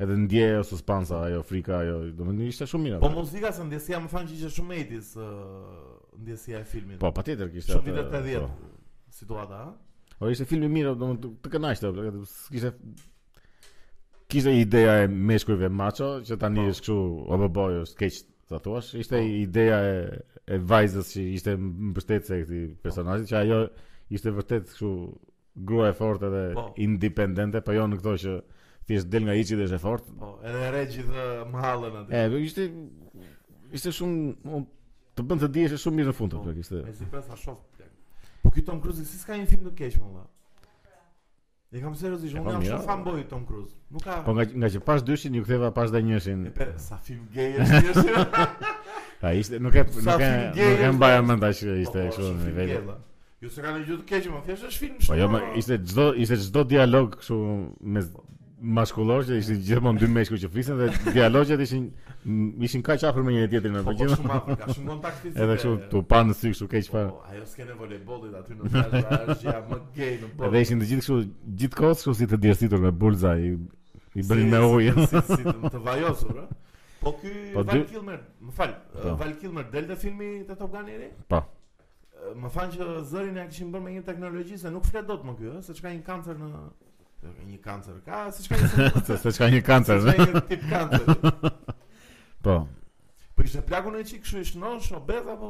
[SPEAKER 1] Edhe ndje ajo suspansa, ajo frika, ajo, domethënë ishte shumë mirë.
[SPEAKER 2] Po
[SPEAKER 1] atë.
[SPEAKER 2] muzika se ndjesia më thanë që ishte shumë 80s ë, ndjesia e filmit.
[SPEAKER 1] Po, patjetër kishte. atë-
[SPEAKER 2] Shumë vitet 80.
[SPEAKER 1] po.
[SPEAKER 2] Situata, ha?
[SPEAKER 1] Po ishte film i mirë, domethënë të- të kënaqshte, apo, kishte kishte ideja e meshkujve macho që tani
[SPEAKER 2] Po.
[SPEAKER 1] është kështu, apo boj është keq ta jo, thuash, ishte ideja e e vajzës që ishte mbështetëse e këtij personazhi, që ajo ishte vërtet kështu grua e fortë dhe
[SPEAKER 2] Po.
[SPEAKER 1] independente, po jo në këto që thjesht del nga hiçi dhe është e fortë.
[SPEAKER 2] Po, edhe re gjithë më hallën aty.
[SPEAKER 1] E, po ishte ishte shumë unë- të bën të dihesh shumë mirë në fund,
[SPEAKER 2] Po,
[SPEAKER 1] apo kishte.
[SPEAKER 2] Me si presa shof plak. Po ky Tom Cruise si s'ka një film të keq më valla. E kam seriozisht,
[SPEAKER 1] E
[SPEAKER 2] unë
[SPEAKER 1] po,
[SPEAKER 2] jam
[SPEAKER 1] mira.
[SPEAKER 2] shumë fanboy i é. Tom Cruise. Nuk ka
[SPEAKER 1] Po nga nga që pas dyshin ju ktheva pas dhe njëshin.
[SPEAKER 2] E pe, sa film gay është është.
[SPEAKER 1] A ishte, nuk e
[SPEAKER 2] Sa
[SPEAKER 1] nuk e
[SPEAKER 2] film gay
[SPEAKER 1] nuk e
[SPEAKER 2] është,
[SPEAKER 1] mbaja mend tash që
[SPEAKER 2] Po,
[SPEAKER 1] ishte
[SPEAKER 2] po,
[SPEAKER 1] kështu
[SPEAKER 2] është
[SPEAKER 1] në
[SPEAKER 2] film gay,
[SPEAKER 1] nivel.
[SPEAKER 2] valla. Ju s'ka në gjë të keq, më thjesht është film.
[SPEAKER 1] Po jo,
[SPEAKER 2] shumë,
[SPEAKER 1] më
[SPEAKER 2] valla.
[SPEAKER 1] ishte çdo ishte çdo dialog kështu me maskullor që ishin gjithmonë dy meshkuj që flisin dhe dialogjet ishin m- ishin kaq afër me njëri tjetrin
[SPEAKER 2] Po,
[SPEAKER 1] apo
[SPEAKER 2] po
[SPEAKER 1] gjithë.
[SPEAKER 2] shumë afër, ka shumë kontakt fizik.
[SPEAKER 1] Edhe
[SPEAKER 2] e-
[SPEAKER 1] kështu tu pa në sy kështu keq
[SPEAKER 2] Po,
[SPEAKER 1] fare.
[SPEAKER 2] po, ajo skene e volejbollit aty në plazh është gjëja më é gay në botë.
[SPEAKER 1] Edhe ishin të gjithë kështu gjithkohë kështu si të djersitur me bulza i i bënin
[SPEAKER 2] Si-
[SPEAKER 1] me
[SPEAKER 2] si-
[SPEAKER 1] ujë.
[SPEAKER 2] Si si të- të vajosur, ë? Po ky
[SPEAKER 1] Po,
[SPEAKER 2] Val
[SPEAKER 1] dy-
[SPEAKER 2] Kilmer, më fal,
[SPEAKER 1] Po.
[SPEAKER 2] Val Kilmer del te filmi te Top Gun i ri?
[SPEAKER 1] Po.
[SPEAKER 2] Ë, Më thanë që zërin e kishin bërë me një teknologji se nuk flet dot më ky, ë, se çka një kancer në një kancer ka, se çka një
[SPEAKER 1] Se se çka një kancer.
[SPEAKER 2] se çka një tip kancer.
[SPEAKER 1] Po.
[SPEAKER 2] Po ishte plakun e çik, kështu i shnosh, obez apo?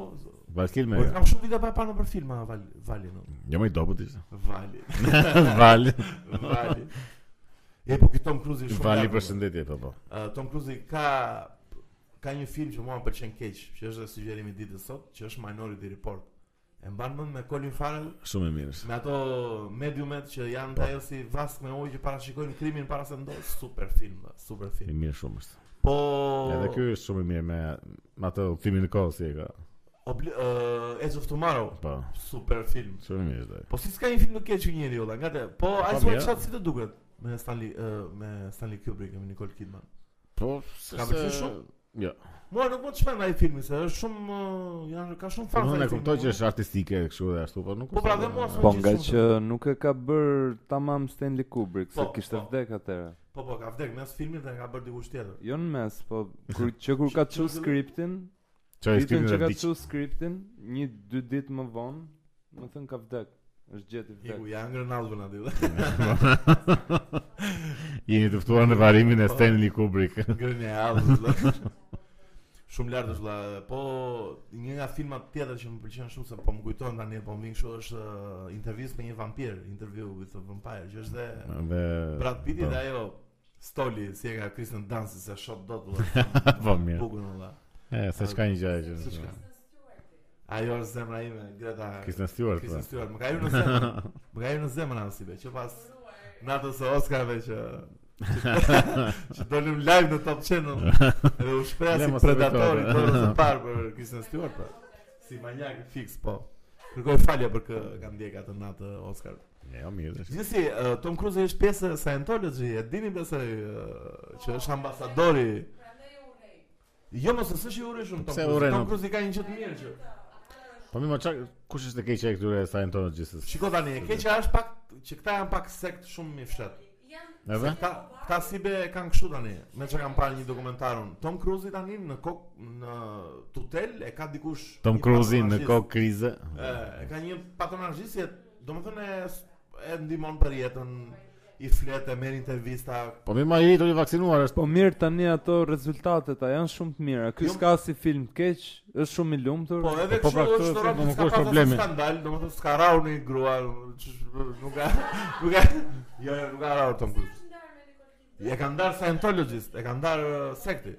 [SPEAKER 1] Valkil
[SPEAKER 2] Po
[SPEAKER 1] me.
[SPEAKER 2] kam shumë vite pa parë nëpër filma Val Valin. ë.
[SPEAKER 1] Jo më i dobët ishte.
[SPEAKER 2] Vali,
[SPEAKER 1] Val.
[SPEAKER 2] Vali. E po ky Tom Cruise i shumë.
[SPEAKER 1] Vali
[SPEAKER 2] plakun, ë.
[SPEAKER 1] përshëndetje po po.
[SPEAKER 2] Uh, Tom Cruise ka ka një film që mua më pëlqen keq, që është dhe sugjerimi i ditës sot, që është Minority Report. E mban mend me Colin Farrell,
[SPEAKER 1] Shumë e mirë. është.
[SPEAKER 2] me ato mediumet që janë të ajo si vask me ujë që parashikojnë krimin para se ndodh. Super film, bë, super
[SPEAKER 1] I
[SPEAKER 2] film.
[SPEAKER 1] mirë shumë është.
[SPEAKER 2] Po
[SPEAKER 1] Edhe ky është shumë i mirë me me atë filmin e kohës si e ka.
[SPEAKER 2] obli, uh, Edge of Tomorrow,
[SPEAKER 1] Po,
[SPEAKER 2] super film.
[SPEAKER 1] shumë i mirë është. ai.
[SPEAKER 2] Po si s'ka një film të keq që njëri olla, nga te. Po
[SPEAKER 1] Po,
[SPEAKER 2] ai
[SPEAKER 1] mirë.
[SPEAKER 2] s'u çat si të duket me Stanley uh, me Stanley Kubrick e me Nicole Kidman.
[SPEAKER 1] Po,
[SPEAKER 2] Ka pëlqyer shumë?
[SPEAKER 1] Jo.
[SPEAKER 2] Mua nuk më të shmend ai filmi se është shumë uh, janë ka shumë
[SPEAKER 1] Po
[SPEAKER 2] fans.
[SPEAKER 1] unë
[SPEAKER 2] ai
[SPEAKER 1] e kuptoj
[SPEAKER 2] filmi.
[SPEAKER 1] që është artistike kështu dhe ashtu, po nuk.
[SPEAKER 2] Po,
[SPEAKER 1] është-
[SPEAKER 2] pra, dhe mua s'm-
[SPEAKER 3] Po
[SPEAKER 2] gjithë
[SPEAKER 3] nga
[SPEAKER 2] shumë
[SPEAKER 3] që nuk e ka bër tamam Stanley Kubrick, se
[SPEAKER 2] Po,
[SPEAKER 3] kishte
[SPEAKER 2] po.
[SPEAKER 3] vdek atëherë.
[SPEAKER 2] Po po, ka vdek mes filmit dhe ka bërë dikush tjetër.
[SPEAKER 3] Jo në mes, po kur që kur ka
[SPEAKER 2] Që-
[SPEAKER 3] çu
[SPEAKER 2] që-
[SPEAKER 3] skriptin,
[SPEAKER 1] Çfarë
[SPEAKER 3] ditën
[SPEAKER 1] skriptin
[SPEAKER 3] që
[SPEAKER 1] dhe
[SPEAKER 3] ka
[SPEAKER 1] diç.
[SPEAKER 3] çu skriptin, një dy ditë më vonë, më thën ka vdek. Është gjeti vdek.
[SPEAKER 2] Iku ja ngrën albën aty.
[SPEAKER 1] Jeni të ftuar në varimin e
[SPEAKER 2] Po.
[SPEAKER 1] Stanley Kubrick.
[SPEAKER 2] Ngrën e albën. vëlla. Shumë lart është vëlla. Po një nga filmat tjetër që më pëlqen shumë se po më kujton tani po më vjen kështu është uh, intervistë me një vampir, Interview with a Vampire, që është dhe
[SPEAKER 1] Dhe
[SPEAKER 2] Brad Pitt
[SPEAKER 1] po.
[SPEAKER 2] dhe ajo Stoli si e ka Kristen Dunst se shot dot vëlla.
[SPEAKER 1] Po mirë.
[SPEAKER 2] Bukun vëlla.
[SPEAKER 1] E, se çka një gjë që.
[SPEAKER 2] Se çka. Ajo është zemra ime, Greta.
[SPEAKER 1] po. Kristen Stewart. po.
[SPEAKER 2] Kristen Stewart, më ka hyrë në zemër. Më ka hyrë në zemër Ansi be, që pas natës së Oscarve që që dolëm live në Top Channel edhe u shpreha
[SPEAKER 1] Le
[SPEAKER 2] si
[SPEAKER 1] mos e
[SPEAKER 2] predatori
[SPEAKER 1] vërtoj, po.
[SPEAKER 2] dorës së parë për Kristen Stewart po. Si manjak fix po. Kërkoj falje për kë kam ndjek atë natë Oscar.
[SPEAKER 1] Jo mirë. është.
[SPEAKER 2] Gjithsesi, eh, Tom Cruise është pjesë e Scientology, e dini besoj eh, që është ambasadori. Jo mos është i urrejshëm Tom
[SPEAKER 1] Pse
[SPEAKER 2] Cruise.
[SPEAKER 1] urren,
[SPEAKER 2] Tom
[SPEAKER 1] o?
[SPEAKER 2] Cruise i ka një gjë të mirë që
[SPEAKER 1] Po mirë, ma çka kush është e keqja e këtyre Scientologists?
[SPEAKER 2] Shiko tani, e keqja është pak që këta janë pak sekt shumë i fshat.
[SPEAKER 1] Edhe?
[SPEAKER 2] Këta, Këta si be kanë kështu tani, me që kam parë një dokumentarun. Tom Cruise tani në kok në tutel e ka dikush
[SPEAKER 1] Tom
[SPEAKER 2] një
[SPEAKER 1] Cruise në
[SPEAKER 2] patronazhist.
[SPEAKER 1] kokë krize.
[SPEAKER 2] E, e ka një patronazhist që domethënë e, e ndihmon për jetën, i flet, e merr intervista.
[SPEAKER 1] Po më ma i i vaksinuar është.
[SPEAKER 3] Po mirë tani ato rezultatet a janë shumë të mira. Ky
[SPEAKER 2] Jo-
[SPEAKER 3] s'ka si film të keq, është shumë i lumtur.
[SPEAKER 2] Po edhe
[SPEAKER 1] Po, po,
[SPEAKER 2] kështu
[SPEAKER 1] pra,
[SPEAKER 2] është
[SPEAKER 1] këtu
[SPEAKER 2] rrobë,
[SPEAKER 1] nuk është
[SPEAKER 2] s'ka pas asnjë
[SPEAKER 1] problemi.
[SPEAKER 2] Skandal, domethënë s'ka rau një grua, që- nuk ka nuk ka jo, jo, nuk ka rau Tom Cruise. E ka ndarë Scientologist, e ka ndarë uh, sekti.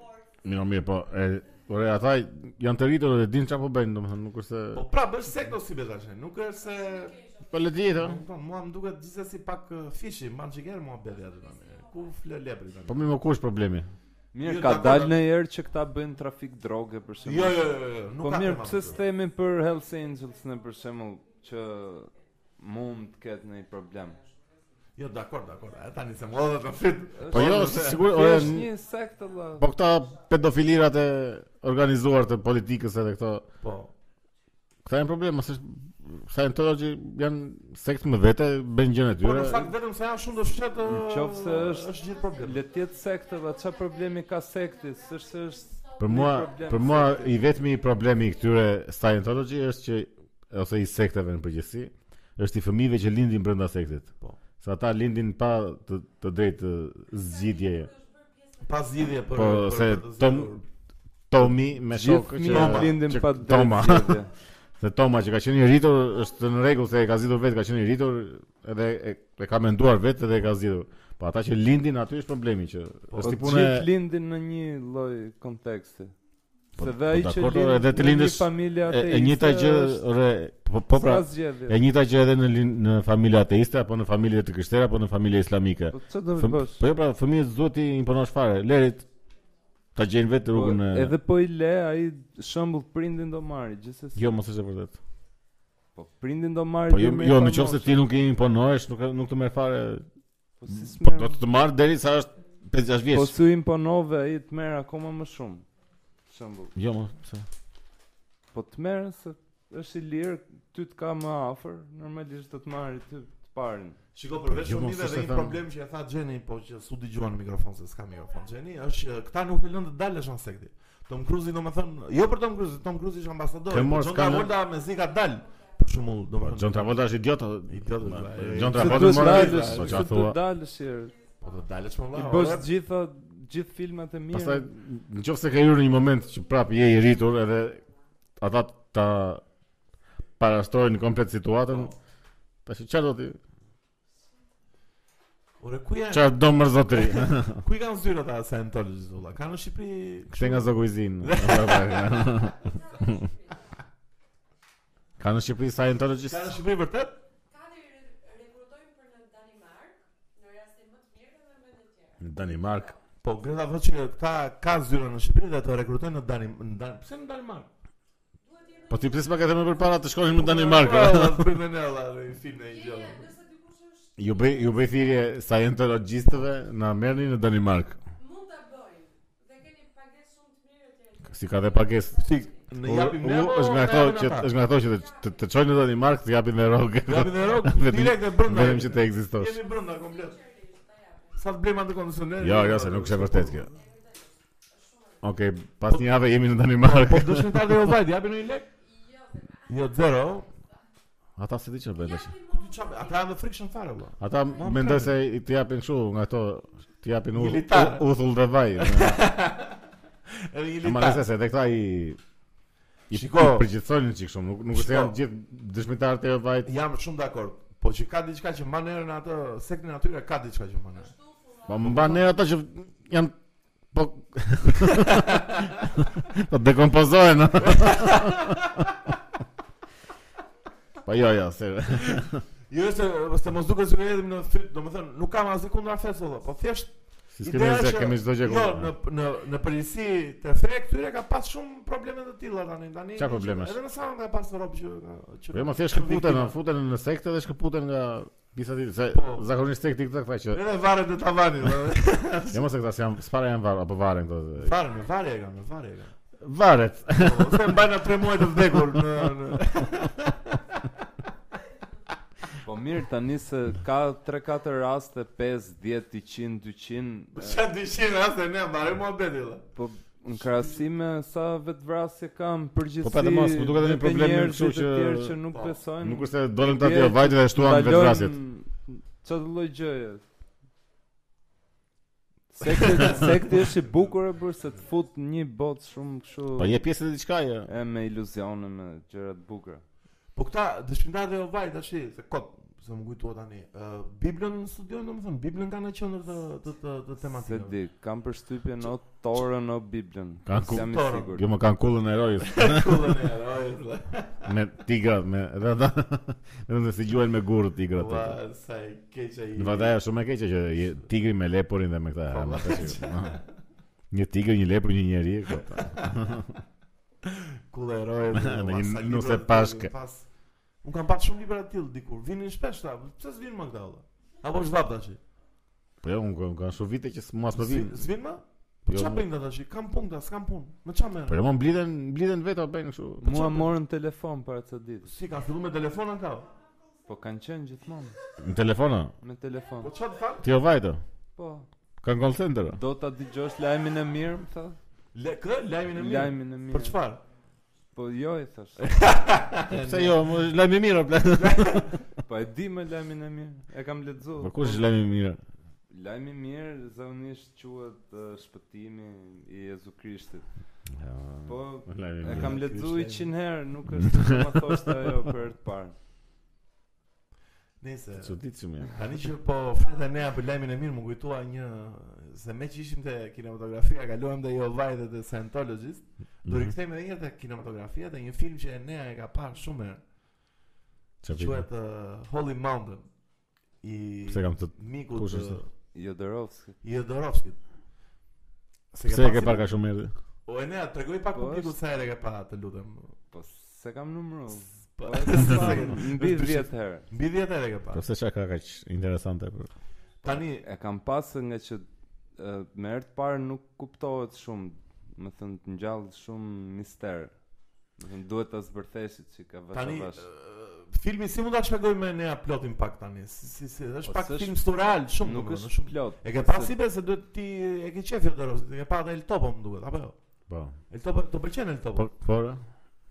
[SPEAKER 1] Mirë, mirë, po e Ore, ata janë të rritur dhe din çfarë po bëjnë, domethënë nuk është
[SPEAKER 2] Po
[SPEAKER 1] se...
[SPEAKER 2] prapë është sekt ose be tash, nuk është se
[SPEAKER 1] Po le dieta.
[SPEAKER 2] Po, mua më duket gjithsesi pak uh, fishi, mban çiker mua beti aty tani.
[SPEAKER 3] Po,
[SPEAKER 2] Ku fle lepri tani?
[SPEAKER 1] Po më më kush problemi?
[SPEAKER 3] Mirë,
[SPEAKER 2] Jo,
[SPEAKER 3] ka
[SPEAKER 2] dakor,
[SPEAKER 3] dalë
[SPEAKER 2] dakor.
[SPEAKER 3] në herë që këta bëjnë trafik droge për shembull.
[SPEAKER 2] jo, jo, jo, jo, nuk
[SPEAKER 3] Po
[SPEAKER 2] ka.
[SPEAKER 3] mirë,
[SPEAKER 2] tema
[SPEAKER 3] pse
[SPEAKER 2] me të.
[SPEAKER 3] s'themi për Hells Angels në për shembull që mund të ketë ndonjë problem.
[SPEAKER 2] Jo, dakor, dakor. E tani se mua do të fit.
[SPEAKER 1] Po jo,
[SPEAKER 2] se-
[SPEAKER 1] sigurisht,
[SPEAKER 3] Kjo
[SPEAKER 1] ore,
[SPEAKER 3] është një sekt valla.
[SPEAKER 1] po këta pedofilirat e organizuar të politikës edhe këto,
[SPEAKER 2] Po.
[SPEAKER 1] këta janë problem, mos është Scientology janë sekt me vete, bëjnë gjën e
[SPEAKER 2] Po në
[SPEAKER 1] tyre.
[SPEAKER 2] fakt vetëm se janë shumë të fshetë.
[SPEAKER 3] Në qoftë se është-
[SPEAKER 2] është gjithë problem.
[SPEAKER 3] Le të jetë sekt valla, çfarë problemi ka sekti? S'është se është
[SPEAKER 1] Për mua,
[SPEAKER 3] një problem
[SPEAKER 1] për mua
[SPEAKER 3] sekti.
[SPEAKER 1] i vetmi problemi i këtyre Scientology është që ose i sektave në përgjithësi, është i fëmijëve që lindin brenda sektit.
[SPEAKER 2] Po.
[SPEAKER 1] Se ata lindin pa të, të drejtë të zgjidhje.
[SPEAKER 2] Pa zgjidhje për
[SPEAKER 1] Po
[SPEAKER 2] për-
[SPEAKER 1] se
[SPEAKER 2] për të
[SPEAKER 1] Tom
[SPEAKER 2] zgjedhur.
[SPEAKER 1] Tomi me shokë
[SPEAKER 3] Gjithë
[SPEAKER 1] që
[SPEAKER 3] fëmijët lindin
[SPEAKER 1] që
[SPEAKER 3] pa drejtë
[SPEAKER 1] Toma,
[SPEAKER 3] zgjedhje.
[SPEAKER 1] se Toma që ka qenë i rritur është në rregull se e ka zgjedhur vetë, ka qenë i rritur edhe e, e ka menduar vetë dhe e ka zgjedhur. Po ata që lindin aty është problemi që
[SPEAKER 2] Po,
[SPEAKER 1] është
[SPEAKER 3] Po
[SPEAKER 1] i punë
[SPEAKER 3] gjithë lindin në një lloj konteksti.
[SPEAKER 1] Po-
[SPEAKER 3] Se dhe
[SPEAKER 1] po
[SPEAKER 3] ai që
[SPEAKER 1] dakor,
[SPEAKER 3] lind
[SPEAKER 1] edhe të
[SPEAKER 3] në
[SPEAKER 1] lindesh
[SPEAKER 3] një familje
[SPEAKER 1] e,
[SPEAKER 3] ateiste
[SPEAKER 1] e njëjta gjë
[SPEAKER 3] është
[SPEAKER 1] re po, po pra
[SPEAKER 3] s'ka zgjedhje.
[SPEAKER 1] E njëjta gjë edhe në lin- në familje ateiste apo në familje të krishtere apo në familje islamike.
[SPEAKER 3] Po çfarë do të
[SPEAKER 1] Fëm-
[SPEAKER 3] bësh?
[SPEAKER 1] Po jo pra fëmijët duhet i imponosh fare. Lerit ta gjejnë vetë rrugën.
[SPEAKER 3] Po,
[SPEAKER 1] e-
[SPEAKER 3] Edhe po i le ai shembull prindin do marrë gjithsesi.
[SPEAKER 1] Jo, mos është e vërtet.
[SPEAKER 3] Po prindin do marrë.
[SPEAKER 1] Po jo, jo në qoftë se ti nuk i imponohesh, nuk nuk të merr fare.
[SPEAKER 3] po si
[SPEAKER 1] Po
[SPEAKER 3] s'merr-
[SPEAKER 1] do të të marr derisa është 5-6
[SPEAKER 3] po
[SPEAKER 1] vjeç.
[SPEAKER 3] s'u imponove ai të merr akoma më shumë. Shembull.
[SPEAKER 1] Jo, mos. pse?
[SPEAKER 3] Po të merr se është i lirë, ty të ka më afër, normalisht do të marrë ty të parën.
[SPEAKER 2] Shiko
[SPEAKER 3] Po,
[SPEAKER 2] përveç
[SPEAKER 1] Jo, mos
[SPEAKER 2] shumive
[SPEAKER 1] është
[SPEAKER 2] dhe
[SPEAKER 1] e
[SPEAKER 2] një
[SPEAKER 1] thënë.
[SPEAKER 2] problem që e tha Gjeni, po që s'u dëgjuan në mikrofon se s'ka mikrofon Gjeni, është që këta nuk e lënë të dalësh në sekti. Tom Cruise domethënë, jo për Tom Cruise, Tom Cruise ishte ambasador.
[SPEAKER 1] Ke marrë
[SPEAKER 2] John
[SPEAKER 1] skandal?
[SPEAKER 2] Travolta me si ka dal. Për shembull,
[SPEAKER 1] Po
[SPEAKER 2] domethënë.
[SPEAKER 1] John Travolta është idiot. o-
[SPEAKER 2] Idiot,
[SPEAKER 1] Ma-
[SPEAKER 2] vla,
[SPEAKER 1] po,
[SPEAKER 2] e-
[SPEAKER 1] John
[SPEAKER 2] Se
[SPEAKER 1] Travolta
[SPEAKER 3] duhet
[SPEAKER 1] është moralist.
[SPEAKER 3] dalësh,
[SPEAKER 1] Po
[SPEAKER 3] se
[SPEAKER 1] çfarë thua?
[SPEAKER 3] duhet dalësh herë.
[SPEAKER 2] Po do dalësh më
[SPEAKER 3] I
[SPEAKER 2] valla.
[SPEAKER 3] bësh
[SPEAKER 2] ore.
[SPEAKER 3] gjitha gjithë filmat e mirë.
[SPEAKER 1] Pastaj nëse ka hyrë në një moment që prapë je i rritur edhe ata ta parastrojnë komplet situatën,
[SPEAKER 2] Po.
[SPEAKER 1] tash çfarë do ti?
[SPEAKER 2] Ore ku janë?
[SPEAKER 1] Çfarë do mërë zotëri?
[SPEAKER 2] Ku i kanë zyrë ata Scientology valla? Ka në Shqipëri.
[SPEAKER 1] Kështë nga Zoguizin Ka në Shqipëri Scientologist
[SPEAKER 2] Ka në Shqipëri vërtet?
[SPEAKER 1] Në Danimark
[SPEAKER 2] Po Greta thotë që këta ka zyra në Shqipëri dhe të rekrutojnë në Danim... Në Dan... Pse në Danimark?
[SPEAKER 1] Po ti pësë më ka thëmë për para të
[SPEAKER 2] Po,
[SPEAKER 1] shkonin në Danimark a?
[SPEAKER 2] Bëjmë në nëlla dhe i film e i gjallë.
[SPEAKER 1] Ju bëj ju bëj thirrje Scientologistëve na merrni në Danimark Si ka dhe pagesë
[SPEAKER 2] Si, në japim ne apo
[SPEAKER 1] është nga
[SPEAKER 2] na
[SPEAKER 1] ato
[SPEAKER 2] japin
[SPEAKER 1] që
[SPEAKER 2] ata?
[SPEAKER 1] është nga ato që të- të të çojnë në Danimark të japin dhe rrogë.
[SPEAKER 2] Japin në rrok,
[SPEAKER 1] Vetëm-
[SPEAKER 2] direkt e brënda.
[SPEAKER 1] Vetëm që të ekzistosh.
[SPEAKER 2] Jemi brënda komplet. Sa të blejmë atë kondicioner.
[SPEAKER 1] Jo, jo, se nuk është e vërtetë kjo. Okej, pas një javë jemi në Danimark.
[SPEAKER 2] Po dëshmitar dhe Obajt, japin në një lek? Jo, zero.
[SPEAKER 1] Ata se di çfarë bëjnë tash.
[SPEAKER 2] Qa- Ata janë në friction fare, valla.
[SPEAKER 1] Ata
[SPEAKER 2] Ma
[SPEAKER 1] mendoj
[SPEAKER 2] mkatër.
[SPEAKER 1] se i të japin kështu nga ato të japin u-
[SPEAKER 2] Militare.
[SPEAKER 1] u- uthull dhe vaj.
[SPEAKER 2] Edhe një
[SPEAKER 1] Ama
[SPEAKER 2] litar.
[SPEAKER 1] nëse se edhe këta i i
[SPEAKER 2] Shiko.
[SPEAKER 1] i përgjithsojnë çik shumë, nuk nuk është
[SPEAKER 2] Shiko.
[SPEAKER 1] janë gjithë dëshmitarët e vajt.
[SPEAKER 2] Jam shumë dakord. Po që ka diçka që mban erën atë sektin atyre ka diçka që mban erën.
[SPEAKER 1] Po më mban ne ata që janë po po dekompozohen. Po jo, jo, se
[SPEAKER 2] Jo se se mos duket se jemi në fyt, domethënë nuk kam asgjë kundra fesë valla, po thjesht
[SPEAKER 1] si kemi
[SPEAKER 2] ideja
[SPEAKER 1] zë,
[SPEAKER 2] që-
[SPEAKER 1] kemi çdo gjë.
[SPEAKER 2] Jo,
[SPEAKER 1] kundra.
[SPEAKER 2] në në në përgjithësi të fe këtyre ka pas shumë probleme të tilla tani, tani.
[SPEAKER 1] Qa problemesh?
[SPEAKER 2] Edhe në sa ka pas rob që që.
[SPEAKER 1] Po jo, më thjesht
[SPEAKER 2] që
[SPEAKER 1] shkëputen,
[SPEAKER 2] viktima.
[SPEAKER 1] futen në sekte dhe shkëputen nga disa ditë. Se
[SPEAKER 2] Po.
[SPEAKER 1] zakonisht sekti këta këta që
[SPEAKER 2] Edhe varet të tavanit. valla.
[SPEAKER 1] Jo mos e këta se janë s'para janë varë, apo varen këto. se-
[SPEAKER 2] Fare, me fare e kam, me fare e kam.
[SPEAKER 1] Varet.
[SPEAKER 2] Po, se mbajnë atë 3 muaj të vdekur në në
[SPEAKER 3] Po mirë tani se ka 3-4 raste 5, 10, 100, 200 e,
[SPEAKER 2] Qa 200 raste ne, bare mua beti dhe.
[SPEAKER 3] Po në krahasim me sa vetvrasje kam përgjithësi.
[SPEAKER 1] Po, pa, dhe mos, po, duket edhe një
[SPEAKER 3] me
[SPEAKER 1] problem
[SPEAKER 3] njerëzit
[SPEAKER 1] kështu
[SPEAKER 3] e
[SPEAKER 1] që-
[SPEAKER 3] tjerë që nuk
[SPEAKER 2] Po,
[SPEAKER 3] besojnë.
[SPEAKER 1] Nuk është se dolën ta
[SPEAKER 3] Dje-
[SPEAKER 1] të vajtë dhe shtuan
[SPEAKER 3] ndalojnë
[SPEAKER 1] vetvrasit.
[SPEAKER 3] Çfarë do lloj gjëje? Sekti, sekti është i bukur e bërë se të fut një botë shumë kështu
[SPEAKER 1] Po je pjesë e diçka je.
[SPEAKER 3] e me iluzione me gjëra të bukura.
[SPEAKER 2] Po këta dëshmitarët e Ovajt tash, se kot, se më kujtuat tani. Ë Biblën studiojnë domethënë, Biblën kanë në qendër të të të, të
[SPEAKER 3] Se
[SPEAKER 2] tematikave.
[SPEAKER 3] di, kam përshtypjen o Torën o Biblën.
[SPEAKER 1] Ka
[SPEAKER 3] nuk jam i
[SPEAKER 2] Torën.
[SPEAKER 3] sigurt.
[SPEAKER 1] Jo më kanë kullën e rojës
[SPEAKER 2] Kullën e erojit.
[SPEAKER 1] me tigrat, me rada. Edhe nëse gjuajnë me gurë tigrat.
[SPEAKER 2] Ua, sa e keq ai.
[SPEAKER 1] Në vada është shumë e keqe që je tigri me lepurin dhe me këta.
[SPEAKER 2] Po,
[SPEAKER 1] e, me
[SPEAKER 2] valla.
[SPEAKER 1] këta që- aha. Një tigër, një lepër, një njeri, këta.
[SPEAKER 2] Kullën e erojit.
[SPEAKER 1] Në
[SPEAKER 2] ua,
[SPEAKER 1] një
[SPEAKER 2] sa
[SPEAKER 1] nuse
[SPEAKER 2] libra të-
[SPEAKER 1] pashke.
[SPEAKER 2] pas- Unë kam parë shumë libra të tillë dikur. Vinin shpesh ta. Pse s'vin më këta valla? Apo është vap tash?
[SPEAKER 1] Po jo, unë kam- kam shumë vite që s'mas më vjen.
[SPEAKER 2] S'vin më? Po
[SPEAKER 1] Jo,
[SPEAKER 2] çfarë
[SPEAKER 1] mu-
[SPEAKER 2] bën këta tash? Kam punë, s'kam punë. Me çfarë
[SPEAKER 1] Po
[SPEAKER 2] merr?
[SPEAKER 1] jo, më mblidhen, mblidhen vetë apo kështu.
[SPEAKER 2] Po
[SPEAKER 3] Mua
[SPEAKER 2] çfarë-
[SPEAKER 3] morën telefon para të ditë.
[SPEAKER 2] Si ka filluar me telefonën ka?
[SPEAKER 3] Po kanë qenë gjithmonë
[SPEAKER 1] Në telefona.
[SPEAKER 3] me telefon.
[SPEAKER 2] Po çfarë të fal?
[SPEAKER 1] Ti o vajtë.
[SPEAKER 3] Po,
[SPEAKER 1] Kanë call center. o.
[SPEAKER 3] do ta dëgjosh lajmin e mirë, më tha.
[SPEAKER 2] Le kë lajmin e mirë.
[SPEAKER 3] Lajmin e mirë.
[SPEAKER 2] Për çfarë?
[SPEAKER 3] Po jo i thash.
[SPEAKER 1] Pse jo, më- lajmi mirë o plak.
[SPEAKER 3] Po e di më lajmin e mirë. E kam lexuar.
[SPEAKER 1] Po kush është lajmi mirë?
[SPEAKER 3] Lajmi i mirë zakonisht quhet uh, shpëtimi i Jezu Krishtit. Po
[SPEAKER 1] Lajmi
[SPEAKER 3] e
[SPEAKER 1] mirë.
[SPEAKER 3] kam
[SPEAKER 2] Jezu
[SPEAKER 3] lexuar
[SPEAKER 2] Krishti.
[SPEAKER 3] 100 herë, nuk është se më thoshte ajo për herë të parë.
[SPEAKER 2] Nëse
[SPEAKER 1] Çuditshëm je.
[SPEAKER 2] Tani që po flete nea për lajmin e mirë më kujtua një se me që ishim te kinematografia kaluam te Jehovah dhe te Scientologist,
[SPEAKER 1] Mhm.
[SPEAKER 2] do rikthehemi edhe një herë te kinematografia te një film që nea e ka parë shumë herë.
[SPEAKER 1] Çfarë?
[SPEAKER 2] Quhet uh, Holy Mountain i
[SPEAKER 1] Pse kam të
[SPEAKER 2] miku
[SPEAKER 1] Kush
[SPEAKER 2] të
[SPEAKER 1] është?
[SPEAKER 3] Jodorowsky.
[SPEAKER 2] Jedorovskit.
[SPEAKER 1] Pse e ke parë ka shumë herë?
[SPEAKER 2] O e nea tregoj pak
[SPEAKER 3] Po
[SPEAKER 2] publikut
[SPEAKER 3] është-
[SPEAKER 2] sa herë e ke parë, të lutem.
[SPEAKER 3] Po se kam numëruar.
[SPEAKER 2] Po,
[SPEAKER 3] Po e kam
[SPEAKER 2] se
[SPEAKER 3] parë
[SPEAKER 2] ke-
[SPEAKER 3] mbi 10 herë.
[SPEAKER 2] Mbi 10 herë e ke
[SPEAKER 1] Po
[SPEAKER 2] parë.
[SPEAKER 1] pse çka ka kaq interesante për?
[SPEAKER 2] Tani
[SPEAKER 3] E kam pasë nga që e, me herë të parë nuk kuptohet shumë, më thënë të ngjallë shumë mister. Më thënë duhet ta zbërthesit që ka vash
[SPEAKER 2] Tani
[SPEAKER 3] vash.
[SPEAKER 2] ë, filmi si mund ta shpjegoj me nea plotin pak tani? Si si, si është
[SPEAKER 3] Po,
[SPEAKER 2] pak
[SPEAKER 3] s'është-
[SPEAKER 2] film stural shumë
[SPEAKER 3] Nuk
[SPEAKER 2] domethënë,
[SPEAKER 3] është plot.
[SPEAKER 2] E ke
[SPEAKER 3] se-
[SPEAKER 2] parë si se duhet ti e ke qef Jodorov, e ke parë El Topo më duket, apo jo?
[SPEAKER 1] Po.
[SPEAKER 2] El Topo të pëlqen El
[SPEAKER 1] Po
[SPEAKER 2] Topo.
[SPEAKER 1] po.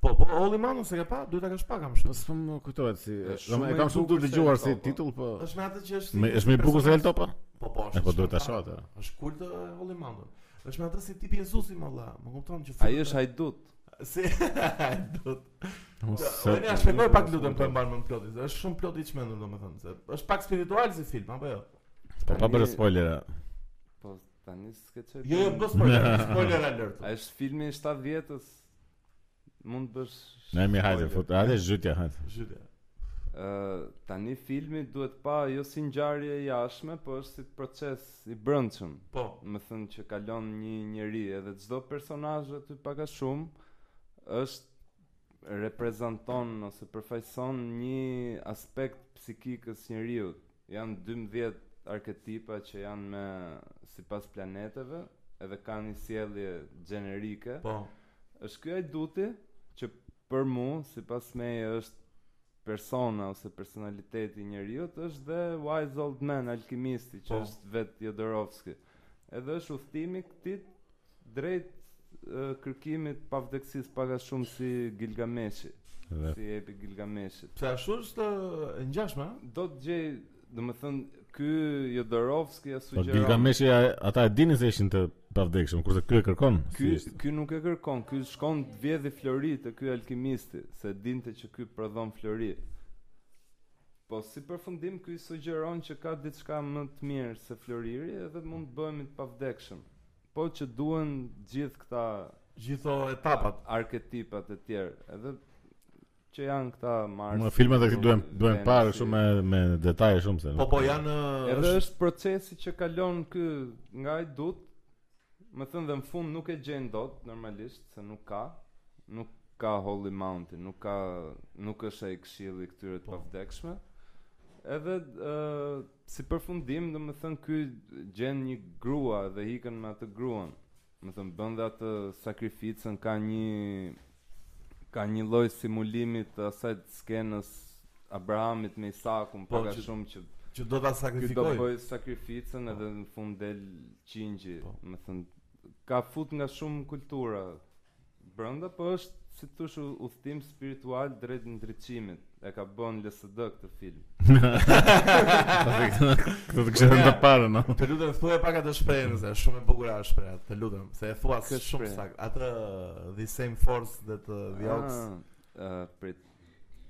[SPEAKER 2] Po, po Holly Manu se ke parë, duhet ta kesh pak kam
[SPEAKER 1] Po
[SPEAKER 2] shumë.
[SPEAKER 1] s'po më kujtohet si.
[SPEAKER 3] Është
[SPEAKER 1] Do më
[SPEAKER 3] shumë
[SPEAKER 1] e
[SPEAKER 3] e
[SPEAKER 1] kam shumë të
[SPEAKER 3] bukur se
[SPEAKER 1] dëgjuar
[SPEAKER 3] El
[SPEAKER 1] si
[SPEAKER 3] Topo.
[SPEAKER 1] titull, po.
[SPEAKER 2] Është me atë që është
[SPEAKER 1] Me- Është më i bukur se El Topa?
[SPEAKER 2] Po, po,
[SPEAKER 1] E
[SPEAKER 2] është.
[SPEAKER 1] po duhet ta
[SPEAKER 2] shumë
[SPEAKER 1] shoh atë.
[SPEAKER 2] fare. Është kult e Holly Manu. Është me atë si tipi Jezusi më valla, më kupton që
[SPEAKER 3] Ai është hajdut.
[SPEAKER 2] si do të.
[SPEAKER 1] Mos
[SPEAKER 2] Po ne as shpjegoj pak lutem po e
[SPEAKER 1] po.
[SPEAKER 2] mban më plotit. Është shumë plot i çmendur domethënë se është pak spiritual si film apo jo?
[SPEAKER 1] Po pa bërë
[SPEAKER 3] Tani-
[SPEAKER 1] spoilera.
[SPEAKER 3] Po tani s'ke çoj.
[SPEAKER 2] Jo, jo, bë spoiler, spoiler alert.
[SPEAKER 3] Ai është filmi i 7 vjetës. Mund bësh.
[SPEAKER 1] Ne mi hajde
[SPEAKER 3] spoiler.
[SPEAKER 1] fut. Hajde zhytja hajde.
[SPEAKER 2] Zhytja.
[SPEAKER 3] Ë, tani filmi duhet pa jo si ngjarje jashtme, po është si proces i brendshëm.
[SPEAKER 2] Po,
[SPEAKER 3] Më thënë që kalon një njeri edhe çdo personazh aty pak a shumë është reprezenton ose përfaqëson një aspekt psikikës njeriu. Janë 12 arketipa që janë me sipas planeteve, edhe kanë një sjellje gjenerike.
[SPEAKER 2] po.
[SPEAKER 3] Është ky ai duti që për mua, sipas meje është persona ose personaliteti i njeriu, është dhe Wise Old Man alkimisti që
[SPEAKER 2] Po.
[SPEAKER 3] është vetë Jodorowsky. Edhe është udhtimi i këtij drejt e, kërkimit pavdekësisë pak a shumë si Gilgameshi,
[SPEAKER 1] Dhe
[SPEAKER 3] si epi Gilgameshit.
[SPEAKER 2] Pse ashtu është e ngjashme? ha?
[SPEAKER 3] Do të gjej, domethënë, ky Jodorowsky ja
[SPEAKER 1] Po
[SPEAKER 3] sugjeron
[SPEAKER 1] Gilgameshi a- ata e dinin se ishin të pavdekshëm, kurse ky e kërkon.
[SPEAKER 3] Ky
[SPEAKER 1] si ishte.
[SPEAKER 3] ky nuk e kërkon, ky shkon të vjedhë flori te ky alkimisti, se dinte që ky prodhon flori. Po si përfundim ky sugjeron që ka diçka më të mirë se floriri edhe mund të bëhemi të pavdekshëm. Po që duhen gjithë këta
[SPEAKER 2] Gjitho etapat.
[SPEAKER 3] arketipat e tjerë, edhe që janë këta Mars.
[SPEAKER 1] Më filmat e këtij duhen duhen
[SPEAKER 3] Venusi.
[SPEAKER 1] parë shumë me me detaje shumë se.
[SPEAKER 2] Po po janë
[SPEAKER 3] Edhe është procesi që kalon ky nga ai dut, më thënë dhe në fund nuk e gjen dot normalisht se nuk ka, nuk ka Holy Mountain, nuk ka nuk është ai këshilli i këtyre të
[SPEAKER 2] Po.
[SPEAKER 3] pavdekshme. Edhe ë si përfundim, do të thënë ky gjen një grua dhe ikën me atë gruan. Do të thënë bën dhe atë sakrificën ka një ka një lloj simulimi të asaj skenës Abrahamit me Isakun,
[SPEAKER 2] Po,
[SPEAKER 3] po,
[SPEAKER 2] që-
[SPEAKER 3] shumë që
[SPEAKER 2] që do ta
[SPEAKER 3] ky do
[SPEAKER 2] sakrifikoj.
[SPEAKER 3] bëj sakrificën edhe në fund del qingji,
[SPEAKER 2] Po.
[SPEAKER 3] më thënë ka fut nga shumë kultura brenda, po është si të thush u- udhtim spiritual drejt ndriçimit. E ka bën LSD këtë film.
[SPEAKER 1] Këtë të kështë të parë, no? Po,
[SPEAKER 2] Të lutem thuaj pak atë shprehjen, se është shumë e bukur ajo shprehja. Të lutem, se e thua
[SPEAKER 3] Kë
[SPEAKER 2] shumë
[SPEAKER 3] shprehje?
[SPEAKER 2] sakt. Atë the same force that uh, the ox.
[SPEAKER 3] Ah, ë, prit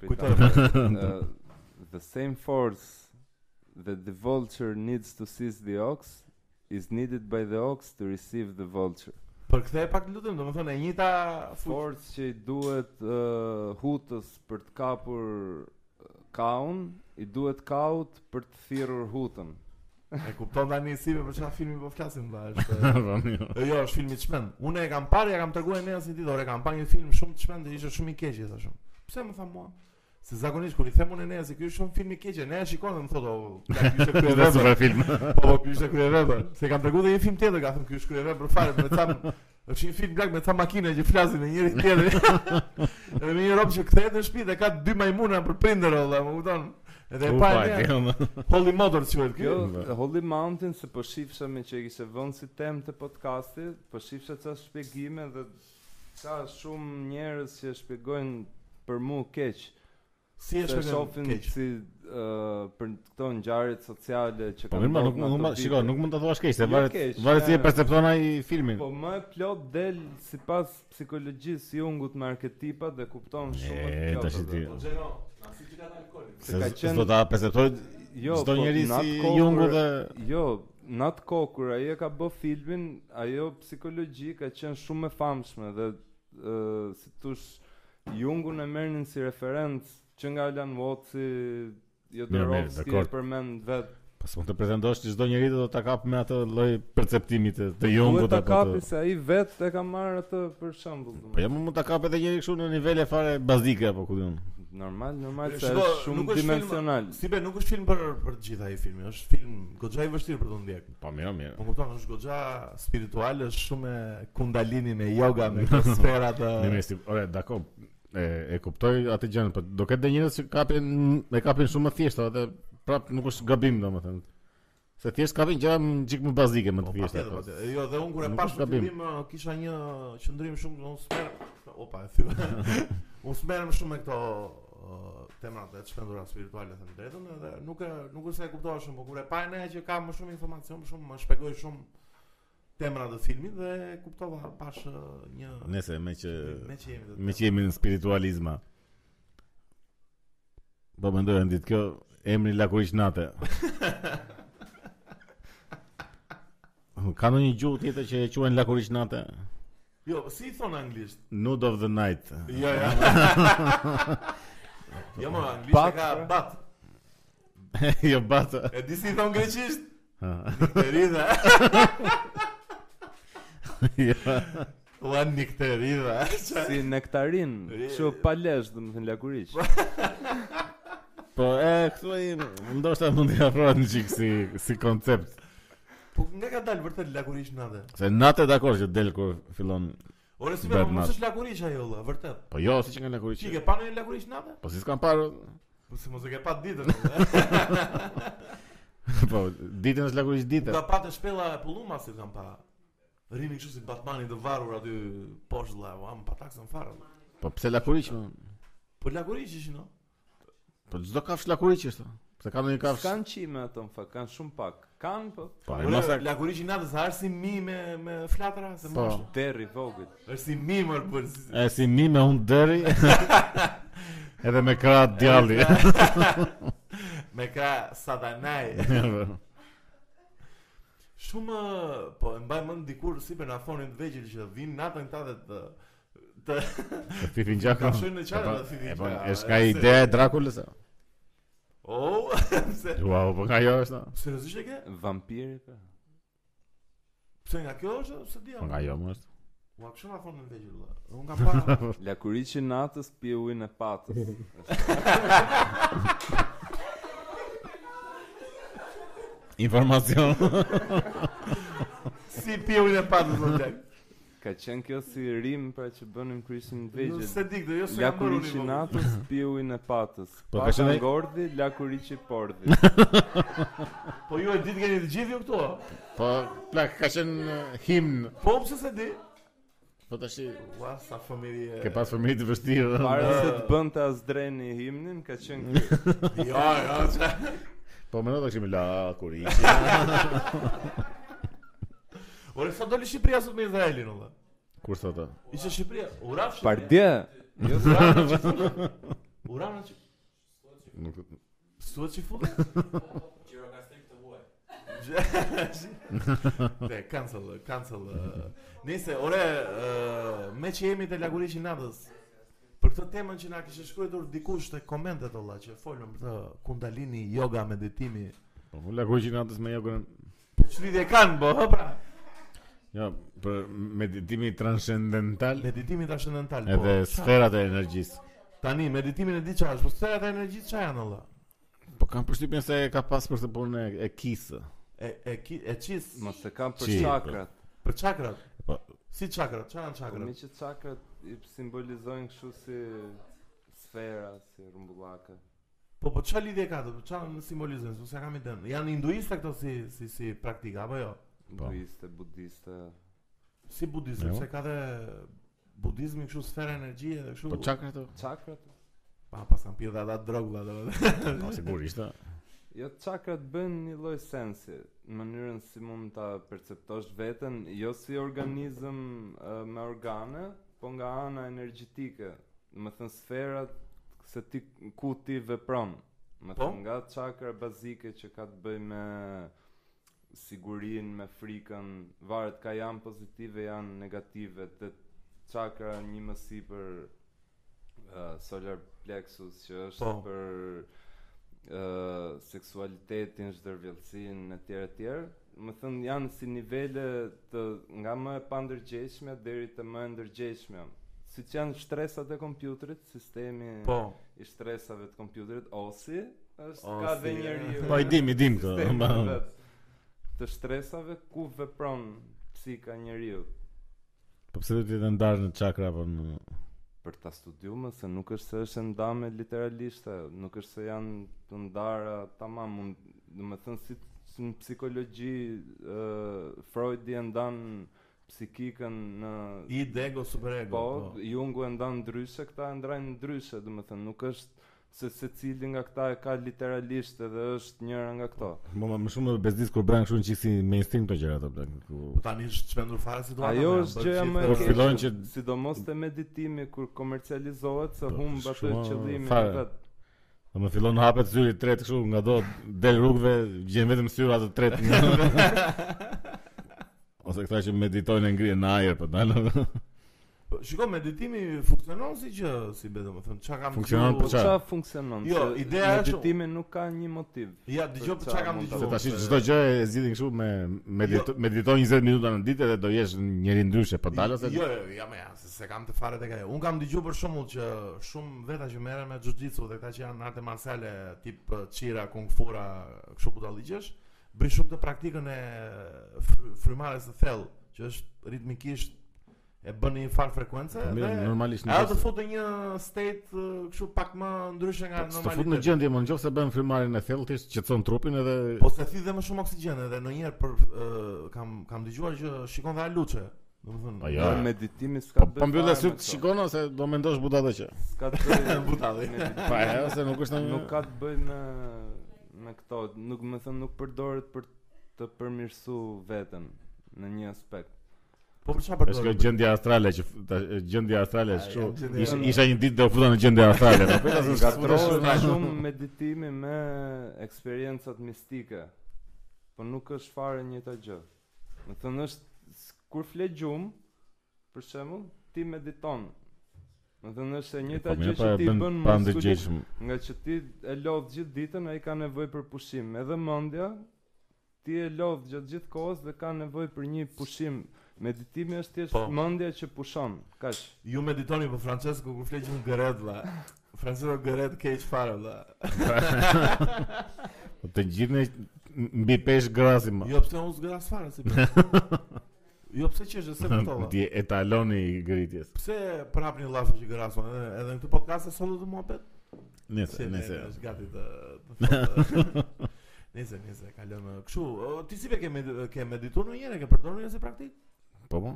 [SPEAKER 3] prit.
[SPEAKER 2] Kujto.
[SPEAKER 3] Uh, the same force that the vulture needs to seize the ox is needed by the ox to receive the vulture.
[SPEAKER 2] Për kthej po, pak lutem, domethënë e njëjta fuqi.
[SPEAKER 3] Forcë që i duhet uh, hutës për të kapur uh, kaun, i duhet kaut për të thirrur hutën.
[SPEAKER 2] E kupton tani si për çfarë filmi po flasim valla. është-
[SPEAKER 1] Po, mirë.
[SPEAKER 2] E, Jo, është film i çmend. Unë e kam parë, ja kam treguar ne asnjë ditë, ore kam parë një film shumë të çmend, dhe ishte shumë i keq, i thashëm. Pse më tha mua? Se zakonisht kur i them unë ne se ky është shumë film i keq, ne e shikon dhe më thotë, "O, ka ky është
[SPEAKER 1] Këtë
[SPEAKER 2] kryevepër."
[SPEAKER 1] super film.
[SPEAKER 2] Po, po, ky është kryevepër. Se kam treguar dhe një film tjetër, ka thënë ky është kryevepër fare, me ca është një film blak me ca makina që flasin me njëri tjetrin. Edhe me një rob që kthehet në shtëpi dhe ka dy majmuna për prindër, olla, më kupton? Edhe e
[SPEAKER 1] U,
[SPEAKER 2] pa
[SPEAKER 1] pa, jo.
[SPEAKER 2] e ne,
[SPEAKER 1] kjo, no.
[SPEAKER 2] Holy Motor quhet ky.
[SPEAKER 3] Kjo
[SPEAKER 1] Ba.
[SPEAKER 3] Holy Mountain se po shifsha me që i kishe vënë si temë të podcastit, po shifsha ca shpjegime dhe ka shumë njerëz që shpjegojnë për mu keq.
[SPEAKER 2] Si e
[SPEAKER 3] Se
[SPEAKER 2] shpjegon?
[SPEAKER 3] shohin
[SPEAKER 2] keq?
[SPEAKER 3] si ë, për këto ngjarjet sociale që
[SPEAKER 1] Po mirë, ma, nuk,
[SPEAKER 3] ndodhur
[SPEAKER 1] nuk,
[SPEAKER 3] në
[SPEAKER 1] ma-
[SPEAKER 3] ato
[SPEAKER 1] shiko,
[SPEAKER 3] vite.
[SPEAKER 1] nuk mund ta thuash keq, se
[SPEAKER 3] Jo
[SPEAKER 1] varet
[SPEAKER 3] keq,
[SPEAKER 1] varet si e
[SPEAKER 3] e.
[SPEAKER 1] percepton ai filmin.
[SPEAKER 3] Po më e plot del sipas psikologjisë si ungut me arketipat dhe kupton shumë më
[SPEAKER 1] E,
[SPEAKER 3] të
[SPEAKER 1] tash
[SPEAKER 3] plotë.
[SPEAKER 1] ti.
[SPEAKER 3] dhe-
[SPEAKER 2] Xheno, asi që ka alkool.
[SPEAKER 1] Se
[SPEAKER 3] ka
[SPEAKER 1] s-
[SPEAKER 3] qenë-
[SPEAKER 1] s'do ta perceptoj çdo
[SPEAKER 3] po,
[SPEAKER 1] njeri
[SPEAKER 3] Nat
[SPEAKER 1] si
[SPEAKER 3] Kokur-
[SPEAKER 1] Jungu dhe
[SPEAKER 3] Jo, Nat Kokur, ajo e ka bë filmin, ajo psikologji ka qenë shumë e famshme dhe ë si tush Jungun e merrnin si referencë që nga Alan Watts, Jodorowsky e
[SPEAKER 1] dakord.
[SPEAKER 3] përmend vetë
[SPEAKER 1] po s'mund të pretendosh që çdo njeri do ta kap me atë lloj perceptimi të, të
[SPEAKER 3] Po, Duhet
[SPEAKER 1] Jungut
[SPEAKER 3] ta
[SPEAKER 1] apo
[SPEAKER 3] kapi
[SPEAKER 1] të
[SPEAKER 3] se ai vetë e ka marrë atë për shembull.
[SPEAKER 1] Po jo mund ta kap edhe njëri kështu në nivele fare bazike apo ku diun.
[SPEAKER 3] Normal, normal se
[SPEAKER 2] Shiko,
[SPEAKER 3] është
[SPEAKER 2] nuk
[SPEAKER 3] shumë
[SPEAKER 2] është film-
[SPEAKER 3] dimensional.
[SPEAKER 2] Si be, nuk është film për për të gjitha ai filmi, është film goxha i vështirë për të ndjek.
[SPEAKER 1] Po mirë, mirë.
[SPEAKER 2] Po kupton, është goxha spiritual, është shumë e kundalini me yoga, me këto sfera të
[SPEAKER 1] Ne mesti, ore, dakor. E, e kuptoj atë gjën, po do ketë dhe njerëz që kapin e kapin shumë më thjeshtë, atë prap nuk është gabim domethënë. Se thjesht kapin gjëra më gjik më bazike, më
[SPEAKER 2] Po,
[SPEAKER 1] të thjeshta.
[SPEAKER 2] patjetër,
[SPEAKER 1] po.
[SPEAKER 2] patjetër. Jo, dhe unë kur e
[SPEAKER 1] Nuk
[SPEAKER 2] pash
[SPEAKER 1] është
[SPEAKER 2] në
[SPEAKER 1] gabim.
[SPEAKER 2] fillim uh, kisha një qëndrim shumë unë smer. Opa, e thyva. unë smerem shumë me këto uh, temat e çmendura spirituale të drejtën edhe nuk e nuk është se e kuptova shumë, por kur e pa ne që ka më shumë informacion, më shumë më shpjegoi shumë temra të filmit dhe kuptova pash uh, një
[SPEAKER 1] Nëse me që
[SPEAKER 2] me që jemi të
[SPEAKER 1] me që jemi në spiritualizma. Po mendoj ndit kjo emri lakuriç nate. Ka ndonjë gjuhë tjetër që e quajnë lakuriç nate?
[SPEAKER 2] Jo, si i thon anglisht?
[SPEAKER 1] Nude of the night.
[SPEAKER 2] Jo, jo. jo, më anglisht e
[SPEAKER 3] Bat,
[SPEAKER 2] ka
[SPEAKER 3] pra.
[SPEAKER 2] bat.
[SPEAKER 1] jo bata.
[SPEAKER 2] E di si i thon greqisht?
[SPEAKER 1] Ha,
[SPEAKER 2] Nikterida.
[SPEAKER 1] jo.
[SPEAKER 2] Ua nikterida.
[SPEAKER 3] Si nektarin,
[SPEAKER 2] Ri-
[SPEAKER 3] kështu pa lesh, domethënë lakuriç.
[SPEAKER 1] po e këtu ai ndoshta mund të afrohet një çik si si koncept.
[SPEAKER 2] Po nga ka dalë vërtet lakurish natë.
[SPEAKER 1] Se nate dakor që del kur fillon.
[SPEAKER 2] Ore si më
[SPEAKER 1] Bad
[SPEAKER 2] mos
[SPEAKER 1] nut.
[SPEAKER 2] është lakurish ajo valla, vërtet.
[SPEAKER 1] Po jo, si që kanë lakuriç.
[SPEAKER 2] Çike, pa në lakurish natë?
[SPEAKER 1] Po si s'kan parë.
[SPEAKER 2] Po se mos e ke pa ditën. valla.
[SPEAKER 1] po ditën është lakuriç ditë.
[SPEAKER 2] Nga patë shpella e pulluma si kam pa. Rini kështu si Batmani të varur aty poshtë valla, ua, më pa taksën fare. valla.
[SPEAKER 1] Po pse lakuriç? mo?
[SPEAKER 2] Po lakurish ishin, no?
[SPEAKER 1] Po çdo kafsh lakuriç është. Pse ka ndonjë kafsh?
[SPEAKER 3] Kan qime ato në fakt, kanë shumë pak. Kan po
[SPEAKER 1] Po ai mos
[SPEAKER 2] Ore, lakurish natë sa arsi mi me me flatra, se
[SPEAKER 1] Po.
[SPEAKER 2] më është.
[SPEAKER 3] deri vogël.
[SPEAKER 2] Është si mi më bën. si-
[SPEAKER 1] e si mi me unë deri. Edhe me krah djalli.
[SPEAKER 2] Me ka satanaj. Shumë po e mbaj mend dikur si për na thonin të vegjël që vin natën këta dhe të të
[SPEAKER 1] Fifin Gjakon.
[SPEAKER 2] Kafshojnë në qarë dhe fifin
[SPEAKER 1] Po
[SPEAKER 2] gjakon.
[SPEAKER 1] është ka ide e Drakulës?
[SPEAKER 2] oh pse
[SPEAKER 1] Wow, po ka jo është.
[SPEAKER 2] seriozisht e ke?
[SPEAKER 3] Vampiri po.
[SPEAKER 2] Pse nga kjo është se di.
[SPEAKER 1] Po nga jo më është.
[SPEAKER 2] Ua kështu na thonin të vegjël. vëlla. Unë kam parë.
[SPEAKER 3] Lakuriçi natës pi ujin e patës.
[SPEAKER 1] Informacion.
[SPEAKER 2] si piu në patë do të.
[SPEAKER 3] Ka qenë kjo si rim pra që bënim kryqëzim vegjël.
[SPEAKER 2] Se dik do jo se kam bërë
[SPEAKER 3] Lakuri
[SPEAKER 2] unë. i
[SPEAKER 3] i
[SPEAKER 2] vogël.
[SPEAKER 3] natës, piu i në patës.
[SPEAKER 1] Po,
[SPEAKER 3] Po
[SPEAKER 1] ka
[SPEAKER 3] ka
[SPEAKER 1] qenë ai-
[SPEAKER 3] ngordhi, lakuri që pordhi.
[SPEAKER 2] Po ju e ditë keni të gjithë ju këto. a?
[SPEAKER 1] Po, plak, ka qenë eh, himn.
[SPEAKER 2] Po pse se di?
[SPEAKER 1] Po tash i-
[SPEAKER 2] Ua sa familje.
[SPEAKER 1] ke pas fëmijë të vështirë.
[SPEAKER 3] Para se të bënte as dreni himnin, ka qenë kjo.
[SPEAKER 2] Jo, jo. qa-
[SPEAKER 1] Po më ndoqë me la kur i.
[SPEAKER 2] Ore sa doli Shqipëria sot me Izraelin olla.
[SPEAKER 1] Kur sa ta.
[SPEAKER 2] Ishte Shqipëria. Ura Shqipëria.
[SPEAKER 3] Pardje,
[SPEAKER 2] Jo, ura në që- Ura në që
[SPEAKER 1] Nuk
[SPEAKER 2] Stuhet që futë? Gjirokastrik të huaj. Te, cancel, cancel. eh. Nise, ore, eh, me që jemi të lagurisht i natës, për këtë temën që na kishte shkruar dikush te komentet olla që folëm për të kundalini yoga meditimi.
[SPEAKER 1] po më la kur i natës me jogën.
[SPEAKER 2] Çlidhje kanë, bo, hë, pra.
[SPEAKER 1] Ja, Jo, për meditimin transcendental
[SPEAKER 2] Meditimi transcendental. po,
[SPEAKER 1] edhe
[SPEAKER 2] qa?
[SPEAKER 1] sferat e energjisë.
[SPEAKER 2] Tani meditimin e di çfarë, është, po sferat e energjisë çfarë janë olla?
[SPEAKER 1] Po kam përshtypjen se ka pas për të punë e- e kisë.
[SPEAKER 2] E e ki, e çis
[SPEAKER 3] mos e kam për
[SPEAKER 1] Qi, po.
[SPEAKER 3] çakrat.
[SPEAKER 2] për çakrat.
[SPEAKER 1] Po.
[SPEAKER 2] Si çakrat, çfarë janë
[SPEAKER 3] Po me
[SPEAKER 2] çakrat?
[SPEAKER 3] që çakrat i simbolizojnë kështu si sfera, si rrumbullaka.
[SPEAKER 2] Po po çfarë lidhje ka ato? Çfarë simbolizën? Nuk s'e kam idenë. Janë hinduiste këto si si si praktika apo jo?
[SPEAKER 1] Po.
[SPEAKER 3] Hinduiste, budiste.
[SPEAKER 2] Si budizmi,
[SPEAKER 1] Jo.
[SPEAKER 2] se ka dhe budizmi kështu sfera energjie dhe kështu.
[SPEAKER 1] Po çakra to?
[SPEAKER 3] Çakrat?
[SPEAKER 2] Pa pas kanë pirë dhe ata drogulla domethënë.
[SPEAKER 1] Po sigurisht. a.
[SPEAKER 3] Jo, çakrat bëjnë një lloj sensi, në mënyrën si mund ta perceptosh veten, jo si organizëm ë, me organe, po nga ana energjetike. Do të thënë sferat se ti ku ti vepron. Do të
[SPEAKER 2] Po?
[SPEAKER 3] thënë nga çakra bazike që ka të bëjë me sigurinë, me frikën, varet ka janë pozitive, janë negative, të çakra një më sipër ë, solar plexus që është
[SPEAKER 2] Po.
[SPEAKER 3] për ë, seksualitetin, zhdërvjellësin, etj etj. Më thënë janë si nivele të nga më e pandërgjeshme deri të më e ndërgjeshme. Si që janë shtresat e kompjuterit, sistemi
[SPEAKER 2] Po.
[SPEAKER 3] i shtresave të kompjuterit, osi, është
[SPEAKER 2] Osi,
[SPEAKER 3] ka dhe
[SPEAKER 2] ja.
[SPEAKER 3] njeriu.
[SPEAKER 1] Po i dim, i dim këto.
[SPEAKER 3] sistemi
[SPEAKER 1] ma.
[SPEAKER 3] vet Të shtresave ku vepron psika e njeriu.
[SPEAKER 1] Po pse duhet të jetë ndarë në çakra apo në
[SPEAKER 3] për ta studiuar se nuk është se është ndame literalisht, e, nuk është se janë të ndara tamam, mund, do të thënë si, si në psikologji ë Freud i e ndan psikikën në
[SPEAKER 2] Id, ego, superego.
[SPEAKER 3] po, Jungu e ndan ndryshe, këta e ndrajnë ndryshe, do të thënë nuk është se se cili nga këta e ka literalisht edhe është njëra nga këto.
[SPEAKER 1] Më më- më shumë më bezdis kur bën kështu në çiksi mainstream këto gjëra ato blen.
[SPEAKER 2] Po tani është çmendur fare situata.
[SPEAKER 3] Ajo
[SPEAKER 2] më,
[SPEAKER 3] është
[SPEAKER 1] Kur Po,
[SPEAKER 2] bërë gjithë po të-
[SPEAKER 3] gjëja më e keqe,
[SPEAKER 1] fillojnë që-
[SPEAKER 3] sidomos te meditimi kur komercializohet se
[SPEAKER 1] Po,
[SPEAKER 3] humb atë
[SPEAKER 1] shkruan
[SPEAKER 3] qëllimin
[SPEAKER 1] fare.
[SPEAKER 3] e vet.
[SPEAKER 1] Do më fillon hapet zyri i tretë kështu nga do del rrugëve, gjen vetëm syra të tretë. Ose këta që meditojnë e ngrihen në ajër po dalën.
[SPEAKER 2] Po, Shiko, meditimi funksionon si gjë, si be domethënë, çka kam
[SPEAKER 1] Funksionon
[SPEAKER 2] dëgjuar-
[SPEAKER 1] Po
[SPEAKER 3] Po
[SPEAKER 1] qa?
[SPEAKER 3] qa funksionon?
[SPEAKER 2] Jo,
[SPEAKER 3] Se
[SPEAKER 2] ideja është-
[SPEAKER 3] Meditimi nuk ka një motiv.
[SPEAKER 2] Ja, dëgjoj
[SPEAKER 3] Për
[SPEAKER 2] çka kam
[SPEAKER 3] mund ta-
[SPEAKER 2] dëgjuar.
[SPEAKER 1] Se tash çdo gjë e zgjidhin kështu me medito, mediton 20 minuta në ditë dhe do jesh njëri ndryshe, po dalë se
[SPEAKER 2] Jo, jo, ja më ja, se, se kam të fare tek ajo. Un kam dëgjuar për shembull që shumë veta që merren me jiu-jitsu dhe këta që janë arte marciale tip eh, qira, kung fura, kështu budalliqesh, bëjnë shumë të praktikën e fry- frymarrjes së thellë, që është ritmikisht e bën në një farë frekuencë
[SPEAKER 1] Po, mirë,
[SPEAKER 2] dhe
[SPEAKER 1] normalisht nuk
[SPEAKER 2] ajo të
[SPEAKER 1] është-
[SPEAKER 2] fut në një state eh, kështu pak më ndryshe nga
[SPEAKER 1] Të fut Po, në
[SPEAKER 2] normaliteti.
[SPEAKER 1] gjendje më nëse bën frymarrjen e thellë, thjesht qetson trupin edhe
[SPEAKER 2] Po se thithë më shumë oksigjen edhe ndonjëherë për eh, kam kam dëgjuar që shikon dhe aluçe. Domethënë,
[SPEAKER 1] Po,
[SPEAKER 3] Ja.
[SPEAKER 1] jo.
[SPEAKER 3] Meditimi s'ka
[SPEAKER 1] po
[SPEAKER 3] bëj.
[SPEAKER 1] po mbyll
[SPEAKER 3] fare
[SPEAKER 1] sy
[SPEAKER 3] me këto.
[SPEAKER 1] shikon ose do mendosh buta dhe që.
[SPEAKER 3] S'ka të bëj.
[SPEAKER 2] Butalli.
[SPEAKER 3] meditimi
[SPEAKER 1] Po e, ose nuk është ndonjë.
[SPEAKER 3] Nuk ka të bëj me me këto, nuk më thënë nuk përdoret për të përmirësu veten në një aspekt.
[SPEAKER 2] Po për çfarë
[SPEAKER 1] Është kjo
[SPEAKER 2] përdoret?
[SPEAKER 1] gjendja astrale që ta- gjendja astrale
[SPEAKER 2] A,
[SPEAKER 1] është kështu.
[SPEAKER 2] jam gjendja-
[SPEAKER 1] Isha- Isha një ditë do u futa në gjendje astrale. Po peta se
[SPEAKER 3] Gatrohet shumë meditimi me eksperiencat mistike. Po nuk është fare njëta gjë. Do të thënë është s- kur fle gjum, për shembull, ti mediton. Do të thënë është e
[SPEAKER 1] Po
[SPEAKER 3] njëjta gjë që ti bën
[SPEAKER 1] pa
[SPEAKER 3] muskulit,
[SPEAKER 1] ndërgjeshëm.
[SPEAKER 3] nga që ti e lodh gjithë ditën, ai ka nevojë për pushim. Edhe mendja ti e lodh gjatë gjithë kohës dhe ka nevojë për një pushim. Meditimi është thjesht
[SPEAKER 2] Po.
[SPEAKER 3] mendja që pushon. Kaq.
[SPEAKER 2] Ju meditoni për Francesco kur flet gjithë gëret vlla. Francesco gëret keq fare vlla.
[SPEAKER 1] Po të gjithë në mbi pesh grasim.
[SPEAKER 2] Jo pse unë zgras fare si. Jo pse që është se kuptova.
[SPEAKER 1] Ti etaloni i gritjes.
[SPEAKER 2] Pse prap një llafe që gërason edhe edhe në këtë podcast e solo të muhabet?
[SPEAKER 1] Nëse,
[SPEAKER 2] Se ne
[SPEAKER 1] nëse.
[SPEAKER 2] është gati të, të thotë. Nëse, nëse, kalojmë kështu. O, Ti si pe ke med- ke medituar në njëre, ke përdorur njëse praktik?
[SPEAKER 1] Po po.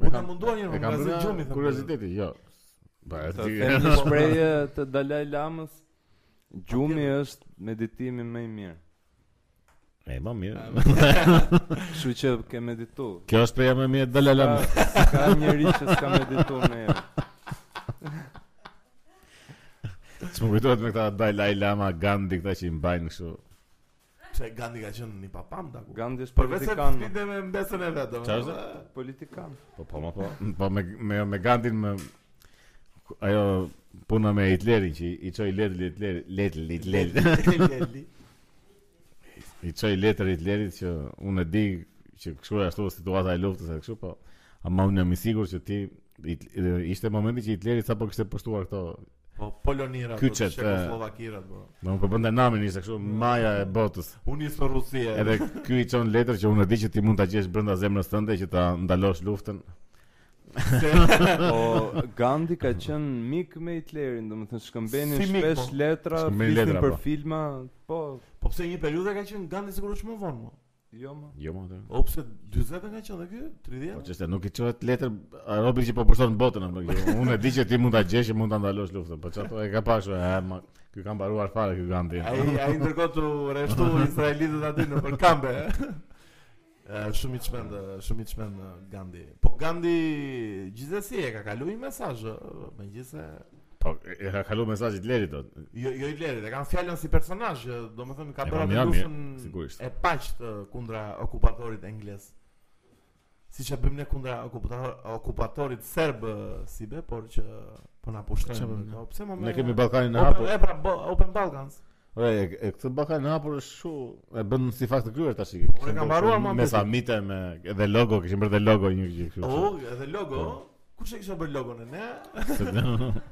[SPEAKER 2] Unë kam munduar një herë,
[SPEAKER 1] E kam
[SPEAKER 2] nga zë gjumi,
[SPEAKER 1] bërë
[SPEAKER 2] thëmë.
[SPEAKER 1] kurioziteti, jo. Ba,
[SPEAKER 3] Të po,
[SPEAKER 1] ti.
[SPEAKER 3] them një shprehje të Dalai Lamës, gjumi është meditimi më i mirë.
[SPEAKER 1] E, më mirë.
[SPEAKER 3] Kështu që ke meditu.
[SPEAKER 1] Kjo është preja më mirë Dalai
[SPEAKER 3] Ka,
[SPEAKER 1] Lama.
[SPEAKER 3] ka njëri që s'ka medituar më herë.
[SPEAKER 1] S'më kujtohet me këta Dalai Lama, Gandhi, këta që i mbajnë kështu.
[SPEAKER 2] Se Gandhi ka qenë një papam taku.
[SPEAKER 3] Gandhi është
[SPEAKER 2] Përveç se
[SPEAKER 3] politikan. mo.
[SPEAKER 2] flitën me mbesën e vet,
[SPEAKER 1] Qa
[SPEAKER 2] domethënë.
[SPEAKER 1] është?
[SPEAKER 3] Politikan.
[SPEAKER 1] Po po ma po. Po me me me Gandhin me ajo puna me Hitlerin që i- i çoi letër Hitlerit, letër Hitlerit.
[SPEAKER 2] Leli.
[SPEAKER 1] I çoj letër Hitlerit që unë e di që kështu e ashtu situata e luftës e kështu, po ama unë jam i sigurt që ti Hit- ishte momenti që Hitleri sapo kishte postuar këto.
[SPEAKER 2] Po Polonira, po
[SPEAKER 1] Kyçet, e-
[SPEAKER 2] Çekoslovakirat, po.
[SPEAKER 1] Do të përmendë namin ishte kështu maja e botës.
[SPEAKER 2] Unë isë për Rusia.
[SPEAKER 1] Edhe ky i çon letër që unë e di që ti mund ta gjesh brenda zemrës tënde që ta ndalosh luftën.
[SPEAKER 3] Po Gandhi ka qenë mik me Hitlerin, domethënë shkëmbenin
[SPEAKER 2] Si mik,
[SPEAKER 3] shpesh
[SPEAKER 2] po.
[SPEAKER 3] letra,
[SPEAKER 1] Shkëmbenin
[SPEAKER 3] flisin
[SPEAKER 1] letra,
[SPEAKER 3] për
[SPEAKER 1] po.
[SPEAKER 3] filma, po
[SPEAKER 2] Po pse një periudhë ka qenë Gandhi sigurisht më vonë, mo.
[SPEAKER 3] jo më.
[SPEAKER 1] Jo më atë.
[SPEAKER 2] O pse 40 ka qenë dhe ky?
[SPEAKER 1] Po
[SPEAKER 2] 30?
[SPEAKER 1] çështë nuk i çohet letër a, Robi që po pushton botën apo kjo. Unë e di që ti mund ta gjesh që mund ta ndalosh luftën, po çato e ka pasur, e ma ky ka mbaruar fare ky Gandhi.
[SPEAKER 2] Ai ai ndërkohë tu rreshtu israelitët aty në për kambe. Ë, shumë i çmend, ë, shumë i çmend ë, Gandhi. Po Gandhi gjithsesi e ka kaluar një mesazh, ë, megjithse
[SPEAKER 1] Po e ka kaluar mesazhin Lerit do.
[SPEAKER 2] jo jo Hitlerit, e kanë fjalën si personazh, ë, domethënë ka
[SPEAKER 1] E, po,
[SPEAKER 2] bërë atë
[SPEAKER 1] mirë, mirë, sigurisht.
[SPEAKER 2] luftën e paqt ë, kundra okupatorit anglez. Siç e bëjmë ne kundra okupator- okupatorit serb ë, si be, por që po na
[SPEAKER 1] Çfarë
[SPEAKER 2] pushtojnë.
[SPEAKER 1] bëjmë ne?
[SPEAKER 2] Po, Pse më
[SPEAKER 1] Ne
[SPEAKER 2] merr-
[SPEAKER 1] kemi Ballkanin e hapur.
[SPEAKER 2] Open, e pra bo- Open Balkans.
[SPEAKER 1] Ore, e, e këtë baka në hapur është shu, e bën si fakt të kryer tash.
[SPEAKER 2] e kam mbaruar, ma
[SPEAKER 1] me
[SPEAKER 2] mbeti.
[SPEAKER 1] samite me dhe logo, kishin bërë dhe logo një gjë kështu.
[SPEAKER 2] Oh, edhe
[SPEAKER 1] Po.
[SPEAKER 2] logo. Kush e kisha bërë logon e ne?
[SPEAKER 1] Se-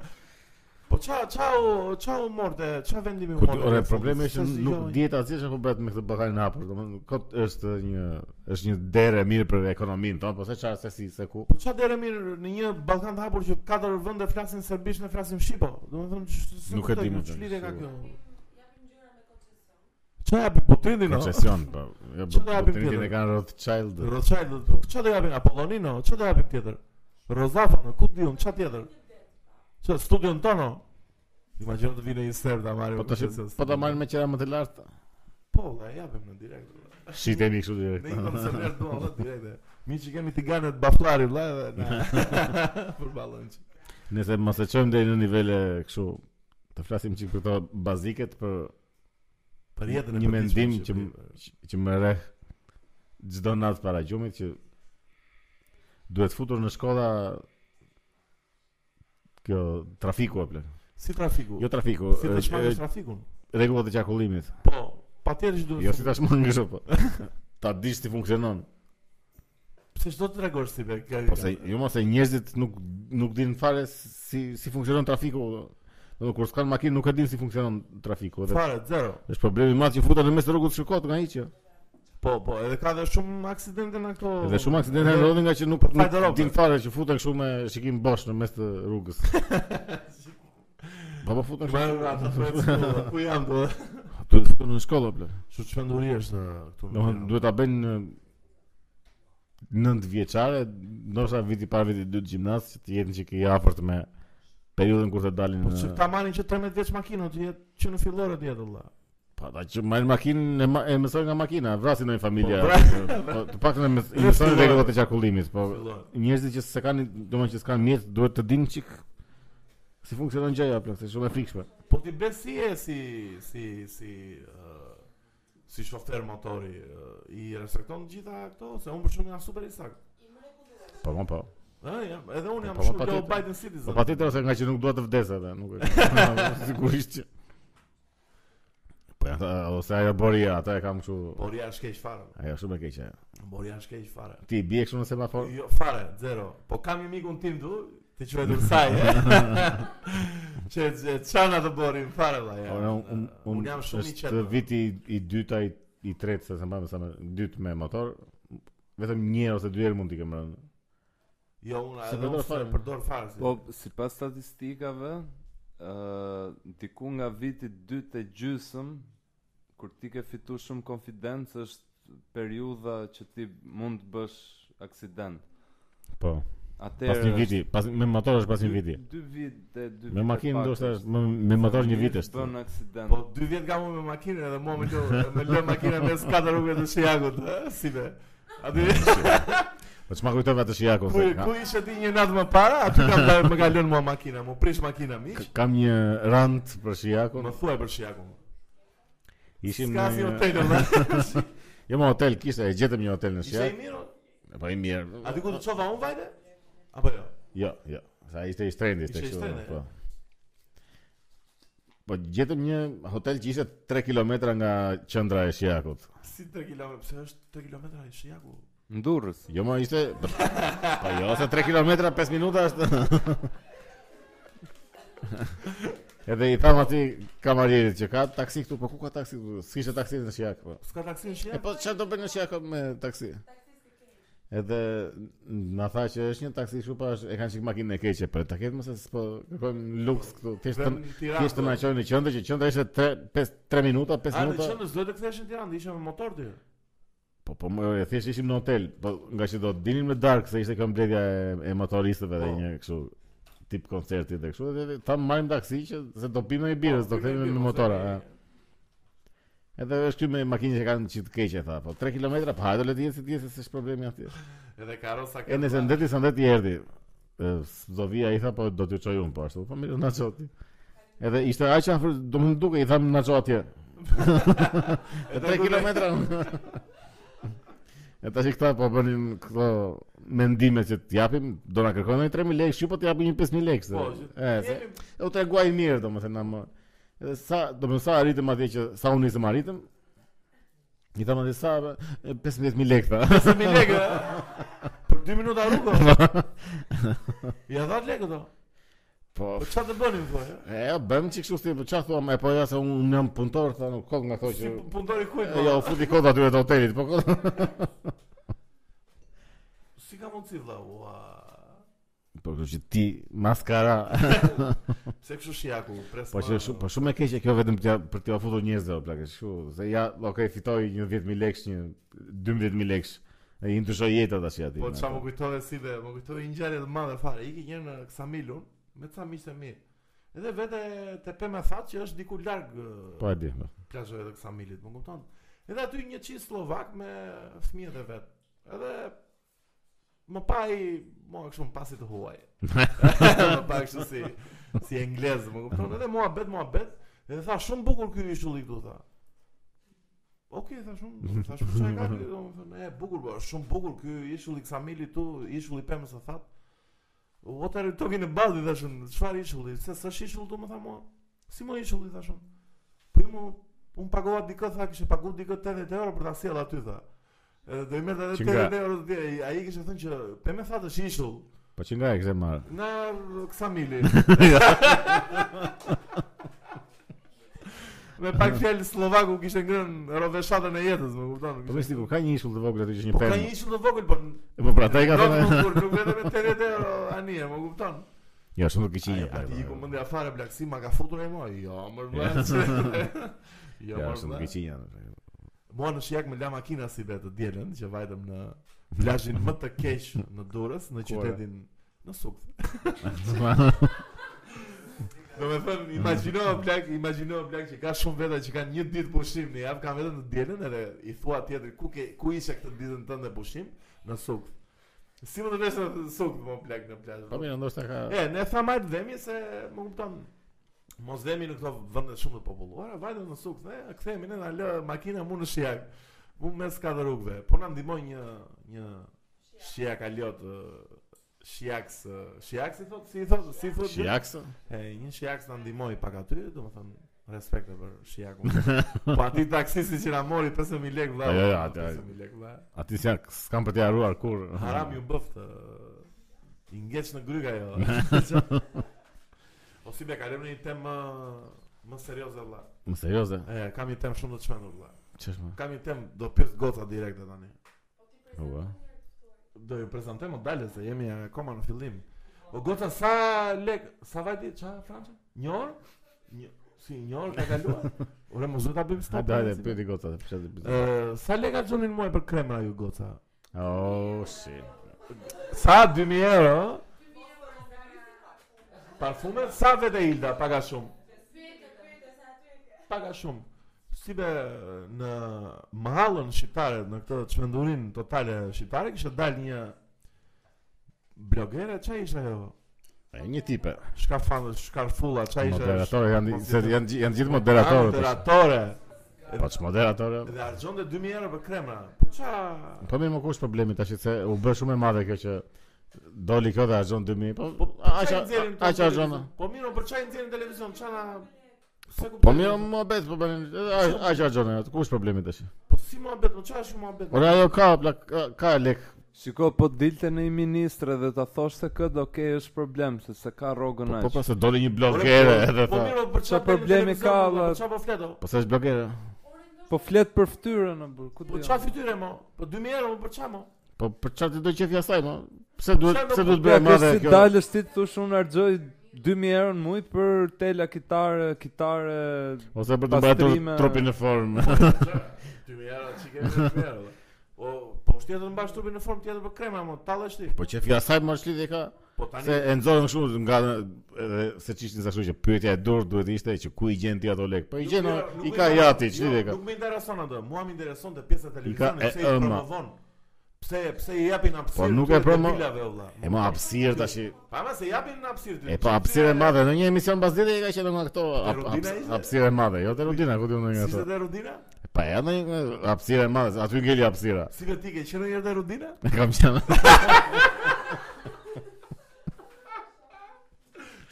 [SPEAKER 2] Po ça ça u ça u morte, ça vendimi u
[SPEAKER 1] Ku-
[SPEAKER 2] morte.
[SPEAKER 1] Po, Ore,
[SPEAKER 2] Sa-
[SPEAKER 1] problemi është
[SPEAKER 2] sa
[SPEAKER 1] që
[SPEAKER 2] si
[SPEAKER 1] nuk
[SPEAKER 2] gjoj?
[SPEAKER 1] dihet asgjë apo bëhet me këtë bakanin e hapur, domethënë kot është një është një derë e mirë për ekonominë tonë, po se çfarë se si se ku.
[SPEAKER 2] Po ça dere mirë në një Ballkan të hapur që katër vende flasin serbisht ne flasim shqipo. Domethënë ç- s-
[SPEAKER 1] Nuk e
[SPEAKER 2] kuptoj,
[SPEAKER 1] di, më
[SPEAKER 2] ç-
[SPEAKER 1] thënë,
[SPEAKER 2] lidhje ka
[SPEAKER 1] si-
[SPEAKER 2] kjo. Ça japi Putrinin? o?
[SPEAKER 1] Koncesion, po. Jo,
[SPEAKER 2] Çfarë
[SPEAKER 1] po,
[SPEAKER 2] japim
[SPEAKER 1] po, Trinitin
[SPEAKER 2] tjetër?
[SPEAKER 1] e kanë Rothschild.
[SPEAKER 2] Rothschild, po ça do japin Apollonino? Ça do japin tjetër? Rozafën, ku diun ça tjetër? Ça studion tono? Imagjino të vinë një serb ta marrin.
[SPEAKER 1] Po tash po ta marrin me qira më të lartë.
[SPEAKER 2] Po, la japim në direkt.
[SPEAKER 1] Shitemi kështu
[SPEAKER 2] Ne i kam
[SPEAKER 1] direkt.
[SPEAKER 2] se merë dua dhe direkte Mi që kemi tiganet baflari vla dhe na Për balon që
[SPEAKER 1] Nëse mos e çojmë deri në nivele kështu të flasim çik për këto baziket për
[SPEAKER 2] Për jetën e
[SPEAKER 1] një
[SPEAKER 2] përditshme
[SPEAKER 1] mendim
[SPEAKER 2] në
[SPEAKER 1] që m-
[SPEAKER 2] Shqipëri.
[SPEAKER 1] që më rreh çdo natë para gjumit që duhet futur në shkolla kjo trafiku apo.
[SPEAKER 2] Si trafiku
[SPEAKER 1] Jo trafiku,
[SPEAKER 2] Si të shmangësh trafikun
[SPEAKER 1] rregullat e qarkullimit.
[SPEAKER 2] Po, pa tjetër që duhet
[SPEAKER 1] Jo si tashmë ngësho po. Ta dish si funksionon.
[SPEAKER 2] Pse çdo të tregosh si be kjo-
[SPEAKER 1] Po se jo mos e njerëzit nuk nuk din fare si si funksionon trafiku. Do kur s'kan makinë nuk e din si funksionon trafiku edhe
[SPEAKER 2] Fare, zero
[SPEAKER 1] është problemi i madh që futen në mes të rrugës shkot nga jo. hiqja.
[SPEAKER 2] Po, po, edhe ka dhe shumë aksidente në këto
[SPEAKER 1] Edhe shumë aksidente
[SPEAKER 2] Edhe-
[SPEAKER 1] ndodhin nga që nuk,
[SPEAKER 2] Fajt e
[SPEAKER 1] nuk
[SPEAKER 2] rrobëve.
[SPEAKER 1] din fare që futen kështu me shikim bosh në mes të rrugës. Po po futen
[SPEAKER 2] Ma
[SPEAKER 1] kështu.
[SPEAKER 2] ratë, po e cikullë, ku jam po? do
[SPEAKER 1] Duhet futen në shkollë ble.
[SPEAKER 2] Shu të shpenduri është në këtu në
[SPEAKER 1] Domethënë duhet ta bëjnë nënt vjeçare, ndoshta viti para vitit dytë gjimnaz që të jetin që i afërt me periudhën kur të dalin.
[SPEAKER 2] Po
[SPEAKER 1] në-
[SPEAKER 2] që ta marrin që 13 vjeç makinën të jetë që në fillore të jetë valla.
[SPEAKER 1] Po ata që marrin makinën e, ma, e mësojnë nga makina, vrasin ndonjë familje.
[SPEAKER 2] Po,
[SPEAKER 1] Po, të paktën e mës- i mësojnë
[SPEAKER 2] Fillojnë.
[SPEAKER 1] rregullat e qarkullimit, po
[SPEAKER 2] Fillojnë.
[SPEAKER 1] njerëzit që s'e kanë, domethënë që s'kan mjet, duhet të dinë çik si funksionon gjëja plot, është shumë e frikshme.
[SPEAKER 2] Po ti bes si e si si si ë, si shofer motori ë, i respekton të gjitha këto se unë për shkak jam super i sakt.
[SPEAKER 1] Po, po, po.
[SPEAKER 2] Ë, jam, edhe unë jam
[SPEAKER 1] Po, po,
[SPEAKER 2] shumë low
[SPEAKER 1] patjetër.
[SPEAKER 2] Biden
[SPEAKER 1] Po
[SPEAKER 2] citizen.
[SPEAKER 1] patjetër ose nga që nuk dua të vdes atë, nuk e sigurisht që. Po ata ose ajo boria, ata e kam kështu.
[SPEAKER 2] Por ja është keq fare.
[SPEAKER 1] Ajo shumë e keqe.
[SPEAKER 2] Por ja është keq fare.
[SPEAKER 1] Ti i bie kështu në semafor?
[SPEAKER 2] Jo fare, zero. Po kam një mikun tim tu, ti quhet Ursaj. Çe çana të borim fare valla. Ja.
[SPEAKER 1] Ora, Po, un, un,
[SPEAKER 2] Unë jam shumë i
[SPEAKER 1] është
[SPEAKER 2] qetë.
[SPEAKER 1] viti i dytë ai i tretë se s'e mbaj më sa më dytë me motor vetëm një herë ose dy herë mund t'i kem rënë.
[SPEAKER 2] Jo, unë
[SPEAKER 1] Se
[SPEAKER 2] edhe
[SPEAKER 1] përdor
[SPEAKER 2] unë se
[SPEAKER 1] fare.
[SPEAKER 2] përdor fare. si.
[SPEAKER 3] Po, si pas statistikave, uh, diku nga viti 2 të gjysëm, kur ti ke fitu shumë konfidencë, është periudha që ti mund të bësh aksident.
[SPEAKER 1] Po.
[SPEAKER 3] Atëherë
[SPEAKER 1] Pas një viti, pas me motor është pas një viti.
[SPEAKER 3] Dy vite, dy
[SPEAKER 1] Me
[SPEAKER 3] vite
[SPEAKER 1] makinë
[SPEAKER 3] pak
[SPEAKER 1] ndoshta
[SPEAKER 3] është.
[SPEAKER 1] është më- me motor një vit
[SPEAKER 3] Njëri
[SPEAKER 1] është.
[SPEAKER 3] Bën aksident.
[SPEAKER 2] Po dy vjet kam unë me makinën edhe mua me lë me lë makinën mes katër rrugëve të Shijakut, ë, si be. Aty
[SPEAKER 1] Po çma kujtove atë shijakun.
[SPEAKER 2] ku
[SPEAKER 1] se ka-
[SPEAKER 2] ku ishe ti një natë më para, aty kam dalë më ka lënë mua makina, më prish makina miq.
[SPEAKER 1] k- Kam një rant për shijakun.
[SPEAKER 2] Më thuaj për Shijakun.
[SPEAKER 1] Ishim
[SPEAKER 2] Ska si
[SPEAKER 1] në
[SPEAKER 2] hotel. valla.
[SPEAKER 1] Jo, më hotel kishte, e gjetëm një hotel në
[SPEAKER 2] Ishte i
[SPEAKER 1] Shqipëri.
[SPEAKER 2] mirë?
[SPEAKER 1] Po i mirë.
[SPEAKER 2] Aty ku të çova unë vajte? Apo jo?
[SPEAKER 1] Jo, jo. Sa ishte i shtrenjtë ishte
[SPEAKER 2] Ishte i
[SPEAKER 1] kështu.
[SPEAKER 2] shtrenjtë,
[SPEAKER 1] Po.
[SPEAKER 2] e.
[SPEAKER 1] Po gjetëm një hotel që ishte 3 kilometra nga qendra e Shijakut.
[SPEAKER 2] Si 3 kilometra, pse është 3 kilometra i Shijaku?
[SPEAKER 3] Ndurrës.
[SPEAKER 1] Jo, më ishte Po jo, se 3 kilometra 5 minuta është. Edhe i tham aty kamarierit që ka taksi këtu, po ku ka taksi këtu? S'kishte taksi në Shijak, po.
[SPEAKER 2] S'ka taksi në
[SPEAKER 1] E
[SPEAKER 2] Shijak?
[SPEAKER 1] po çfarë do bën në Shijak me taksi? Edhe na tha që është një taksi kështu pa e kanë çik makinën e keqe, po ta ketë mos se s'po kërkojmë luks këtu. Thjesht
[SPEAKER 2] Vetëm
[SPEAKER 1] të-
[SPEAKER 2] në Tiranë,
[SPEAKER 1] thjesht të
[SPEAKER 2] po.
[SPEAKER 1] na qojnë në qendër, që qendra ishte 3 5 3 minuta, 5
[SPEAKER 2] A në
[SPEAKER 1] minuta.
[SPEAKER 2] qendër s'do të kthesh në Tiranë, ishe me motor ti.
[SPEAKER 1] Po po më e thjesht ishim në hotel, po nga që do të dinin me dark se ishte kjo mbledhja e, e motoristëve dhe
[SPEAKER 2] Po.
[SPEAKER 1] një kështu tip koncerti dhe kështu dhe tham marrim taksi që se do pimë një birës, do
[SPEAKER 2] Po,
[SPEAKER 1] kthehemi
[SPEAKER 2] birë,
[SPEAKER 1] me
[SPEAKER 2] mos
[SPEAKER 1] motora.
[SPEAKER 2] e-
[SPEAKER 1] e. Edhe është ky me makinën që kanë çit keqe tha, po 3 kilometra pa hajde le të jetë si të jetë se s'është problemi atje.
[SPEAKER 2] Edhe karosa pra.
[SPEAKER 1] E nëse ndeti sa ndeti erdhi. E, Do vija i tha po do t'ju çoj unë po ashtu, po mirë na çoti. Edhe ishte aq afër, domethënë duke i tham na çoj atje. E 3 kilometra. E tash i këta po bënin këto mendime që t'japim, do na kërkojnë 3000 lekë, shqy po t'japim një 5000 lekë. se-
[SPEAKER 2] Po, që-
[SPEAKER 1] e, se,
[SPEAKER 2] jemi-
[SPEAKER 1] u treguaj mirë domethënë na më. Edhe sa, domethënë sa arritëm atje që sa unë nisëm arritëm. I thamë atje sa e, 15000 lekë tha.
[SPEAKER 2] Se mi lekë e? Për 2 minuta rrugë Ja dhat lekë do
[SPEAKER 1] Po,
[SPEAKER 2] Po çfarë të bënim po e?
[SPEAKER 1] E, jo, bëm që kështu si, po çfarë thua, e po ja se unë jam punëtor, tha, nuk kod nga thonë Po, që...
[SPEAKER 2] Si pu- punëtori kujt
[SPEAKER 1] E,
[SPEAKER 2] po?
[SPEAKER 1] jo, futi kod atyre të hotelit, po kod...
[SPEAKER 2] Si ka mundësi vëlla? Ua.
[SPEAKER 1] Po kështu që ti, maskara...
[SPEAKER 2] Pse kështu shiaku? Pres.
[SPEAKER 1] Po
[SPEAKER 2] ma-
[SPEAKER 1] që shumë, po shumë e keqe kjo vetëm t'ja, për t'ja futur njerëzve, o plakë, kështu, se ja, okej, fitoj një 10.000 lekësh, një 12.000 lekësh, e i ndryshoj jeta tash aty.
[SPEAKER 2] Po
[SPEAKER 1] na,
[SPEAKER 2] çfarë më kujtove si be, më kujtove një ngjarje të madhe fare. Iki një herë në Ksamilun me ca miqtë e mi. Edhe vete te Pema that që është diku larg e,
[SPEAKER 1] Po e di, po.
[SPEAKER 2] plazhove të Ksamilit, më kupton? Edhe aty një çift slovak me fëmijët e vet. Edhe më pa i mua kështu më pasi të huaj. më pa kështu si si anglez, më kupton? Edhe mua bet, mua bet. Edhe tha shumë bukur ky ishulli këtu tha. Okej, tha shumë, tha shumë çaj ka këtu, domethënë, e bukur, po, shumë bukur ky ishulli i Ksamilit tu, ishulli i Pemës së that. What are you talking about? i Thashun, çfarë ishulli? Se s'është ishull tu, më tha mua. Si më ishulli thashun? Po ju më un pagova dikë tha kishe pagu dikë 80 euro për ta sjell aty tha. Edhe do i merrte
[SPEAKER 1] Që
[SPEAKER 2] edhe
[SPEAKER 1] nga-
[SPEAKER 2] 80 euro ti ai kishte thënë që pe me tha të ishull
[SPEAKER 1] Po që nga e kështë e marë.
[SPEAKER 2] nga Ksamili. me pak fjalë slovaku kishte ngrënë roveshatën e jetës, më kupton?
[SPEAKER 1] Po me stiku, ka një ishull të vogël aty që një
[SPEAKER 2] Po ka një
[SPEAKER 1] pemë.
[SPEAKER 2] ishull të vogël, po
[SPEAKER 1] Po pra, ta i ka
[SPEAKER 2] Nuk-
[SPEAKER 1] thënë...
[SPEAKER 2] nuk- Nuk vetëm me 80 euro anije, më kupton?
[SPEAKER 1] Jo, shumë të këqinja,
[SPEAKER 2] Ai aty i ku mendja fare blaksi ma ka futur ai mua. Jo, më vjen. Jo,
[SPEAKER 1] Jo,
[SPEAKER 2] më
[SPEAKER 1] shumë të
[SPEAKER 2] vjen.
[SPEAKER 1] këqinja.
[SPEAKER 2] Mua në shijak me la makina si vetë djelën që vajtëm në plazhin më të keq në Durrës, në
[SPEAKER 1] Ku era?
[SPEAKER 2] qytetin në Sukth. Do me thënë, imagjino plak, imagjino plak që ka shumë veta që kanë një ditë pushim në javë, kanë vetëm të djelën edhe i thua tjetër ku ke ku ishe këtë ditën tënde pushim në Sukth. Si më të vesh në Sukth më plak në plazh.
[SPEAKER 1] Po mirë, ndoshta ka...
[SPEAKER 2] E, ne tha majt dhëmi se më kupton. Mos dhëmi në këto vende shumë të populluara, vajtëm në suk, ne kthehemi ne na lë makina mu në shijak. Mu mes ka rrugëve. Po na ndihmoi një një shijak aliot ë, shijaks, ë, shijaks uh, i thot, si i thot, si i thot.
[SPEAKER 1] Shijaksa?
[SPEAKER 2] E, një shijaks na ndihmoi pak aty, domethënë respekte për shijakun. po aty taksisti që na mori 5000 lekë vëlla.
[SPEAKER 1] Jo, jo, jo, atë-
[SPEAKER 2] 5000 lekë vëlla.
[SPEAKER 1] Ati si janë, s'kam për t'ja arruar kur.
[SPEAKER 2] Haram ju bëft ë, I ngeç në gryk ajo O si be kalem në një temë më, më serioze vëlla.
[SPEAKER 1] Më serioze,
[SPEAKER 2] E, kam një temë shumë të çmendur vëlla.
[SPEAKER 1] ç'është më?
[SPEAKER 2] Kam një temë do pyet goca direkte tani
[SPEAKER 1] Ua.
[SPEAKER 2] do ju prezantojmë dalë se jemi akoma në fillim. O goca sa lek, sa vajti ça Franca? Një orë? Një si një orë ka kaluar? Ore mos do ta bëjmë stop.
[SPEAKER 1] Hajde, hajde, pyeti goca të pse të
[SPEAKER 2] Ë, sa leka çonin mua për kremra ju goca?
[SPEAKER 1] Oh, si.
[SPEAKER 2] Sa 2000 euro? ë? Parfume sa vete Hilda, paga shumë. Paga shumë. Si be në mahallën shqiptare, në këtë çmendurin totale shqiptare kishte dalë një blogere, çfarë ishte ajo?
[SPEAKER 1] E një tipe.
[SPEAKER 2] Shkafandë, shkarfulla, çfarë ishte?
[SPEAKER 1] Moderatorë janë se janë gji- janë gjithë
[SPEAKER 2] Ah,
[SPEAKER 1] moderatorët. tash.
[SPEAKER 2] Moderatore.
[SPEAKER 1] Po ç'moderatorë.
[SPEAKER 2] Dhe argjonte 2000 euro për kremra. Po ç'a?
[SPEAKER 1] Po mirë, më kush problemi tash se u bë shumë e madhe kjo që doli kjo dhe harxhon 2000. Po
[SPEAKER 2] Po
[SPEAKER 1] aq
[SPEAKER 2] çaj
[SPEAKER 1] aq-
[SPEAKER 2] nxjerrin
[SPEAKER 1] aq
[SPEAKER 2] në
[SPEAKER 1] harxhon.
[SPEAKER 2] televizion? Po mirë, po çaj nxjerrin në televizion, ç'a na Se kuptoj.
[SPEAKER 1] Po mirë, më bet po bën. aq- Aq harxhon. Kush problemi tash?
[SPEAKER 2] po si muhabet, po ç'a është muhabet?
[SPEAKER 1] Ora ajo ka plak- ka- ka lek.
[SPEAKER 3] Shiko, po dilte në i ministre dhe ta thosh se këtë okej është problem, se se ka rrogën
[SPEAKER 1] Po
[SPEAKER 3] aq.
[SPEAKER 1] po
[SPEAKER 3] Po,
[SPEAKER 1] pas se doli një blogere edhe
[SPEAKER 2] Po
[SPEAKER 1] tha.
[SPEAKER 2] mirë, po për
[SPEAKER 3] Ç'a
[SPEAKER 2] çfarë
[SPEAKER 3] problemi ka, valla?
[SPEAKER 2] Çfarë po flet? o?
[SPEAKER 1] Po s'është blogere.
[SPEAKER 3] Po flet për fytyrën, o burr, ku
[SPEAKER 2] Po
[SPEAKER 3] do?
[SPEAKER 2] çfarë fytyre mo? Po 2000 euro mo për çfarë mo?
[SPEAKER 1] Po për çfarë ti do qefi asaj më? po? Pse duhet
[SPEAKER 2] Pse do
[SPEAKER 1] pse
[SPEAKER 2] po
[SPEAKER 1] duhet
[SPEAKER 3] Ja,
[SPEAKER 1] bëhet
[SPEAKER 3] kjo
[SPEAKER 1] madhe
[SPEAKER 3] si
[SPEAKER 1] kjo?
[SPEAKER 3] dalësh ti të thosh unë arxoj 2000 euro në muaj për tela kitare, kitare.
[SPEAKER 1] Ose për të mbajtur
[SPEAKER 3] pastrime-
[SPEAKER 1] trupin në formë.
[SPEAKER 2] 2000 euro, çike 2000 euro. O, po shtjetër të mbash trupin në formë tjetër për krema mo, tallesh ti.
[SPEAKER 1] Po qefi asaj më është lidhje ka
[SPEAKER 2] Po tani
[SPEAKER 1] se e nxorën shumë nga edhe se ç'ishin sa kështu që pyetja e dur duhet ishte që ku i gjen ti ato lek. Po i
[SPEAKER 2] Nuk
[SPEAKER 1] gjen o,
[SPEAKER 2] më- nuk
[SPEAKER 1] i
[SPEAKER 2] më
[SPEAKER 1] ka
[SPEAKER 2] interes-
[SPEAKER 1] jati,
[SPEAKER 2] jo,
[SPEAKER 1] ç'lidhje ka.
[SPEAKER 2] Nuk më intereson atë. Mua më intereson te pjesa e televizionit
[SPEAKER 1] e
[SPEAKER 2] pse i
[SPEAKER 1] ëma.
[SPEAKER 2] promovon. Pse pse i japin hapësirë?
[SPEAKER 1] Po nuk e
[SPEAKER 2] këtyre
[SPEAKER 1] promo-
[SPEAKER 2] debilave, valla.
[SPEAKER 1] E më hapësirë tash. i-
[SPEAKER 2] Pa ma se japin në hapësirë ty.
[SPEAKER 1] E po hapësirë e madhe në një emision pas ditës e ka qenë nga këto hap-
[SPEAKER 2] Rudina
[SPEAKER 1] haps-
[SPEAKER 2] ishte?
[SPEAKER 1] hapësirë e madhe, jo te rutina ku ti unë nga
[SPEAKER 2] Si
[SPEAKER 1] ato.
[SPEAKER 2] se dhe Rudina?
[SPEAKER 1] Po ja në një hapësirë e madhe, aty ngeli hapësira.
[SPEAKER 2] Si ve ti ke qenë një herë dhe Rudina?
[SPEAKER 1] E kam qenë.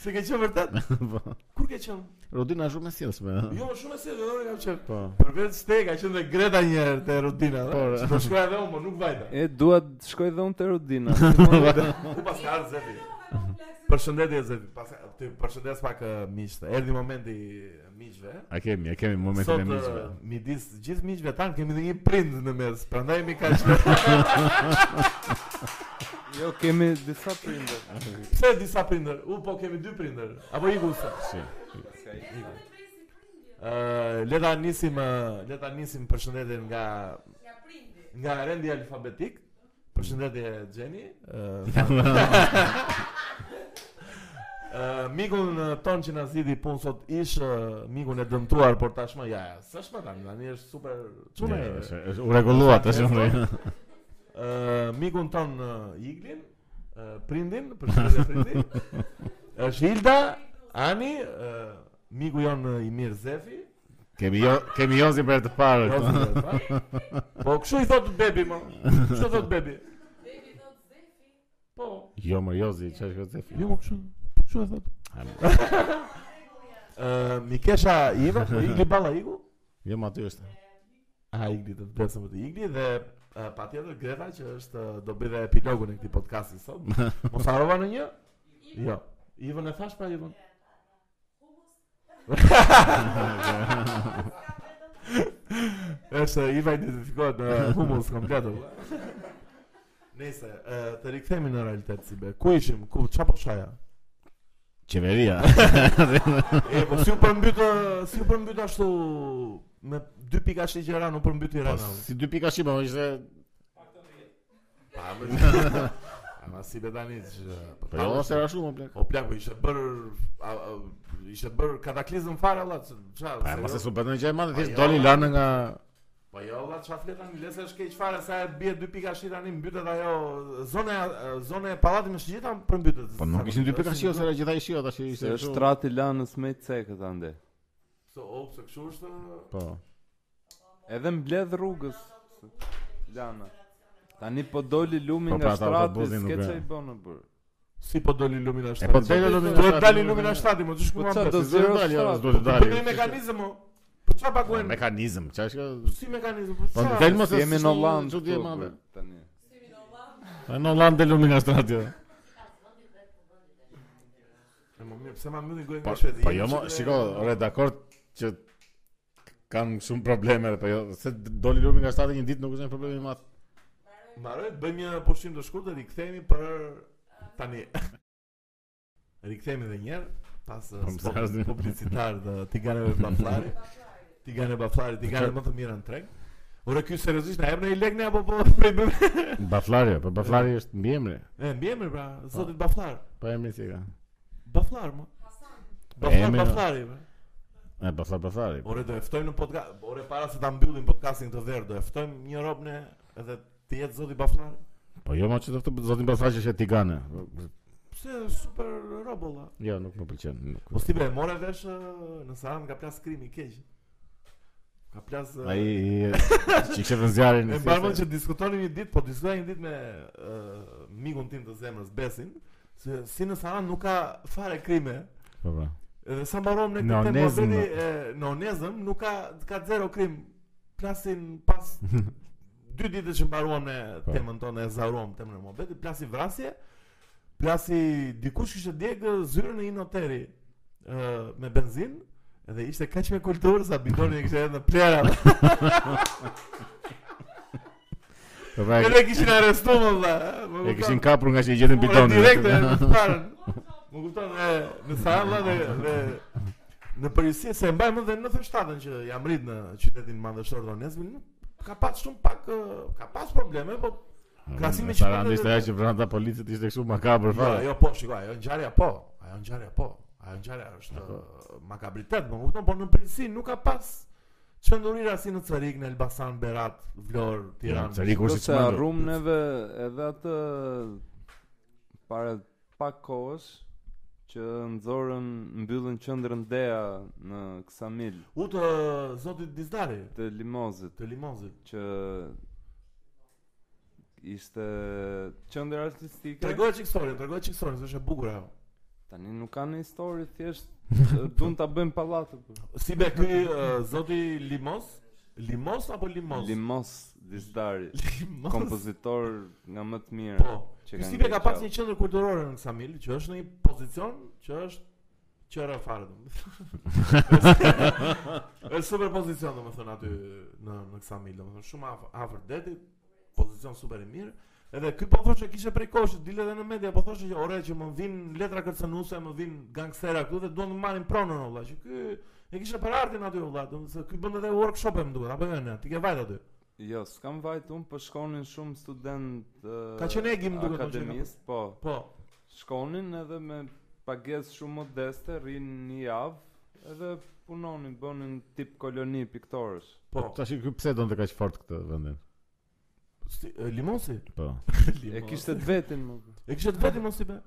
[SPEAKER 2] Se ke qenë vërtet?
[SPEAKER 1] po.
[SPEAKER 2] Kur ke qenë?
[SPEAKER 1] Rutina është shumë e sjellshme. ha.
[SPEAKER 2] Jo, më shumë e se dhe kam qenë.
[SPEAKER 1] Po.
[SPEAKER 2] Përveç te ka qenë dhe Greta një herë te Rudina.
[SPEAKER 1] Por,
[SPEAKER 2] dhe?
[SPEAKER 1] e.
[SPEAKER 2] Po shkoja edhe unë, po nuk vajta.
[SPEAKER 3] E dua të shkoj dhe unë te Rudina. Gjithmonë-
[SPEAKER 2] Ku pas ka ardhë Zefi?
[SPEAKER 4] Po,
[SPEAKER 2] Përshëndetje Zefi. Pas ti përshëndes pak eh, miqtë. Erdhi momenti eh, miqve.
[SPEAKER 1] A kemi, a kemi momentin
[SPEAKER 2] Sot
[SPEAKER 1] e
[SPEAKER 2] eh,
[SPEAKER 1] miqve.
[SPEAKER 2] midis gjithë miqve tan kemi dhe një prind në mes. Prandaj mi ka qenë.
[SPEAKER 3] Jo, kemi disa prindër.
[SPEAKER 2] Pse disa prindër? U po kemi dy prindër. Apo iku sa?
[SPEAKER 1] Si.
[SPEAKER 2] Ë, Uh, le ta nisim ë, le ta nisim përshëndetjen nga nga rendi alfabetik. Përshëndetje Uh, Xheni. Ë mikun ë, ton që na zgjidhi punë sot ish ë, mikun e dëmtuar por tashmë ja, ja, s'është më tani, tani është super çuna.
[SPEAKER 1] Ja,
[SPEAKER 2] e-
[SPEAKER 1] është- është- U rregullua
[SPEAKER 2] po
[SPEAKER 1] tash unë.
[SPEAKER 2] Ë mikun ton ë, Iglin, ë, prindin, përshëndetje prindin. Është Hilda, Ani, ë, miku jon ë, i mirë Zefi.
[SPEAKER 1] Kemi jo, kemi Jozin për të parë.
[SPEAKER 2] Rozi dhe pa. Po kështu i thot bebi më. Kështu thot bebi. Po.
[SPEAKER 1] Jo, më Jozi, çfarë është kjo?
[SPEAKER 2] Jo më kështu. Kështu e thot. Ë Mikesha Iva, po Igli Balla Igu.
[SPEAKER 1] Jo, më aty është.
[SPEAKER 2] A Igli të vdesëm të Igli dhe ë, patjetër Greta që është ë, do bëj dhe epilogun e këtij podcasti sot. Mos harrova në një? Jo. Ivën e thash pra Ivën. Është Iva identifikohet në humus komplet. valla. Nëse ë, të rikthehemi në realitet si be. Ku ishim? Ku çfarë po shaja?
[SPEAKER 1] Qeveria.
[SPEAKER 2] E po si u përmbyt ë, si u përmbyt ashtu me dy pika shigjera u përmbyt
[SPEAKER 1] Po,
[SPEAKER 2] Tirana.
[SPEAKER 1] si dy pika shipa, më ishte
[SPEAKER 2] Pa më. Ama si be tani që-
[SPEAKER 1] Po jo, ose era shumë plak.
[SPEAKER 2] O plak, po ishte bër a, a, ishte bër kataklizëm fare valla, çfarë?
[SPEAKER 1] Pa,
[SPEAKER 2] se
[SPEAKER 1] mos
[SPEAKER 2] jo-
[SPEAKER 1] e supernoj gjë e madhe, thjesht
[SPEAKER 2] jo.
[SPEAKER 1] doli lanë nga
[SPEAKER 2] Po jo, valla, çfarë flet tani? Lesa është keq fare sa e bie dy pika shi tani mbytet ajo zona zona e pallatit me shigjeta përmbytet.
[SPEAKER 1] Po nuk ishin dy pika shi ose era gjithaj shi, tash
[SPEAKER 3] Se
[SPEAKER 1] ishte
[SPEAKER 3] është trati lanës më i cekët ande.
[SPEAKER 2] So, o, pse kështu është?
[SPEAKER 1] Po.
[SPEAKER 3] Edhe mbledh rrugës lana. Tani po doli lumi
[SPEAKER 1] Po, pra,
[SPEAKER 3] nga
[SPEAKER 1] ata
[SPEAKER 3] shtrati,
[SPEAKER 1] autobusin nuk
[SPEAKER 3] s'ke
[SPEAKER 1] e-
[SPEAKER 3] çaj bën në burr.
[SPEAKER 2] Si po doli lumina
[SPEAKER 1] E
[SPEAKER 2] shtati?
[SPEAKER 1] po deli lumina
[SPEAKER 2] Duhet
[SPEAKER 1] shtati,
[SPEAKER 2] dali
[SPEAKER 1] lumina-
[SPEAKER 2] lumina shtati, më çish ku
[SPEAKER 3] Po
[SPEAKER 2] më
[SPEAKER 3] çfarë do
[SPEAKER 2] bëhet.
[SPEAKER 1] Si do të
[SPEAKER 3] zero
[SPEAKER 1] dali,
[SPEAKER 3] shtat.
[SPEAKER 1] as do
[SPEAKER 2] Po
[SPEAKER 1] të dali.
[SPEAKER 2] bëni mekanizëm. o. Po çfarë paguajnë?
[SPEAKER 1] Mekanizëm, çfarë është kjo?
[SPEAKER 2] Si mekanizëm? Po
[SPEAKER 1] Po
[SPEAKER 2] çfarë?
[SPEAKER 1] del mos e
[SPEAKER 3] Jemi në Holland.
[SPEAKER 1] çudi e
[SPEAKER 3] këtu,
[SPEAKER 1] madhe.
[SPEAKER 3] burr, Tani.
[SPEAKER 1] Po në Holland del lumina shtrati. o.
[SPEAKER 2] E, mo, mirë, Pse ma mbylli gojën
[SPEAKER 1] Po
[SPEAKER 2] nga shpejti?
[SPEAKER 1] po jo, mo, shiko, ore dakord që kanë shumë probleme, po jo, se doli lumi nga shtati një ditë nuk është një problem i madh.
[SPEAKER 2] Mbaroj, bëjmë një pushim të shkurtër, rikthehemi për tani. rikthehemi edhe një herë pas uh,
[SPEAKER 1] Po,
[SPEAKER 2] spot
[SPEAKER 1] mësarzni.
[SPEAKER 2] publicitar të tiganeve baflari. Tigane baflari, tigane më të mira në treg. Ore ky seriozisht na jep në i lek ne apo po prej bëmë?
[SPEAKER 1] Baflari, po Baflari është mbiemri.
[SPEAKER 2] E mbiemër pra, zotit baflar.
[SPEAKER 1] Po emri si e ka.
[SPEAKER 2] Baflar më.
[SPEAKER 1] Emri,
[SPEAKER 2] Baflar,
[SPEAKER 1] no.
[SPEAKER 2] baflari. bra.
[SPEAKER 1] E Baflar Baflari.
[SPEAKER 2] Ore do e ftojmë në podcast, ore para se ta mbyllim podcastin këtë verë, do e ftojmë një rob ne edhe të jetë zoti baflari.
[SPEAKER 1] Po jo më që të thotë zotin Baflari që është e tigane.
[SPEAKER 2] Pse super rob olla.
[SPEAKER 1] Jo, nuk më pëlqen. nuk-
[SPEAKER 2] Po si bre, more vesh ë, në Saran ka plas krimi keq. Ka plas ë,
[SPEAKER 1] Ai i- që kishte vënë zjarrin.
[SPEAKER 2] E
[SPEAKER 1] si
[SPEAKER 2] mbarë
[SPEAKER 1] ishte.
[SPEAKER 2] që diskutonim një ditë, po diskutoj një ditë me ë, mikun tim të zemrës Besin, se si në Saran nuk ka fare krime.
[SPEAKER 1] Po po.
[SPEAKER 2] Edhe sa mbarom ne këtë temë
[SPEAKER 1] Neonezëm.
[SPEAKER 2] muhabeti, e, neonezëm nuk ka ka zero krim. Plasin pas dy ditë që mbaruam ne
[SPEAKER 1] Po.
[SPEAKER 2] temën tonë e zauruam temën e muhabetit, plasi vrasje, plasi dikush kishte djegë zyrën e një noteri ë me benzinë edhe ishte kaq me kulturë sa bidoni e kishte edhe në plera.
[SPEAKER 1] Po pra, e-
[SPEAKER 2] Edhe kishin arrestuar valla.
[SPEAKER 1] e kishin kapur nga që i gjetën Po, bidonin.
[SPEAKER 2] Direkt e në parën. Më kupton e në Sarandë dhe dhe në përgjithësi se e mbajmë edhe në 97-ën që jam rrit në qytetin madhështor të Donetskut, nuk ka pas shumë pak ë, ka pas probleme, po Krasimi
[SPEAKER 1] Krasimi
[SPEAKER 2] që
[SPEAKER 1] që kanë
[SPEAKER 2] kanë-
[SPEAKER 1] pra, ishte ajo që vranta policët ishte kështu makabër
[SPEAKER 2] jo,
[SPEAKER 1] fare.
[SPEAKER 2] jo po, shikoj, ajo ngjarja po, ajo ngjarja po, ajo ngjarja është ë, makabritet, më kupton, po në përgjithësi nuk ka pas çmendurira si në Cerik, në Elbasan, Berat, Vlorë, Tiranë.
[SPEAKER 1] Ceri kur
[SPEAKER 3] Do
[SPEAKER 1] si
[SPEAKER 3] se arrum neve edhe atë para pak kohësh që nxorën mbyllën qendrën Dea në Ksamil
[SPEAKER 2] U të zotit Dizdari,
[SPEAKER 3] të Limozit
[SPEAKER 2] të Limozit.
[SPEAKER 3] që ishte qendër artistike.
[SPEAKER 2] Tregoj çik historinë, tregoj çik historinë, se është e bukur ajo.
[SPEAKER 3] Tani nuk kanë histori thjesht eh, duan ta bëjmë pallatë. po.
[SPEAKER 2] Si be ky ë, zoti euh, Limos? Limos apo Limos?
[SPEAKER 3] Limos Dizdari,
[SPEAKER 2] Limos.
[SPEAKER 3] kompozitor nga më të mirë.
[SPEAKER 2] Po. Ky si be ka pas një qendër kulturore në Ksamil, që është në një pozicion që është qëra fare domethënë. është super pozicion domethënë aty në në Ksamil, domethënë shumë afër afër detit, pozicion super i mirë. Edhe ky po thoshte kishte prej kohësh, dile edhe në media, po thoshte që ore që më vin letra kërcënuese, më vin gangstera këtu dhe duan të marrin pronën olla, që ky e kishte për artin aty olla, domethënë se ky bën edhe workshop e më duhet, apo jo ne, ti ke vajt aty.
[SPEAKER 3] Jo, s'kam vajt unë, po shkonin shumë student eh,
[SPEAKER 2] Ka qenë Egi, më duket, po, që ka-
[SPEAKER 3] Akademist, po.
[SPEAKER 2] Po,
[SPEAKER 3] Shkonin edhe me pagesë shumë modeste, rinë një javë edhe punonin, bënin tip koloni piktorësh.
[SPEAKER 2] po.
[SPEAKER 1] Tash ky pse donte kaq fort këtë vendin?
[SPEAKER 2] Si, e, Limosi?
[SPEAKER 1] Po.
[SPEAKER 3] E kishte të vetin më.
[SPEAKER 2] E kishte të vetëm mos i be.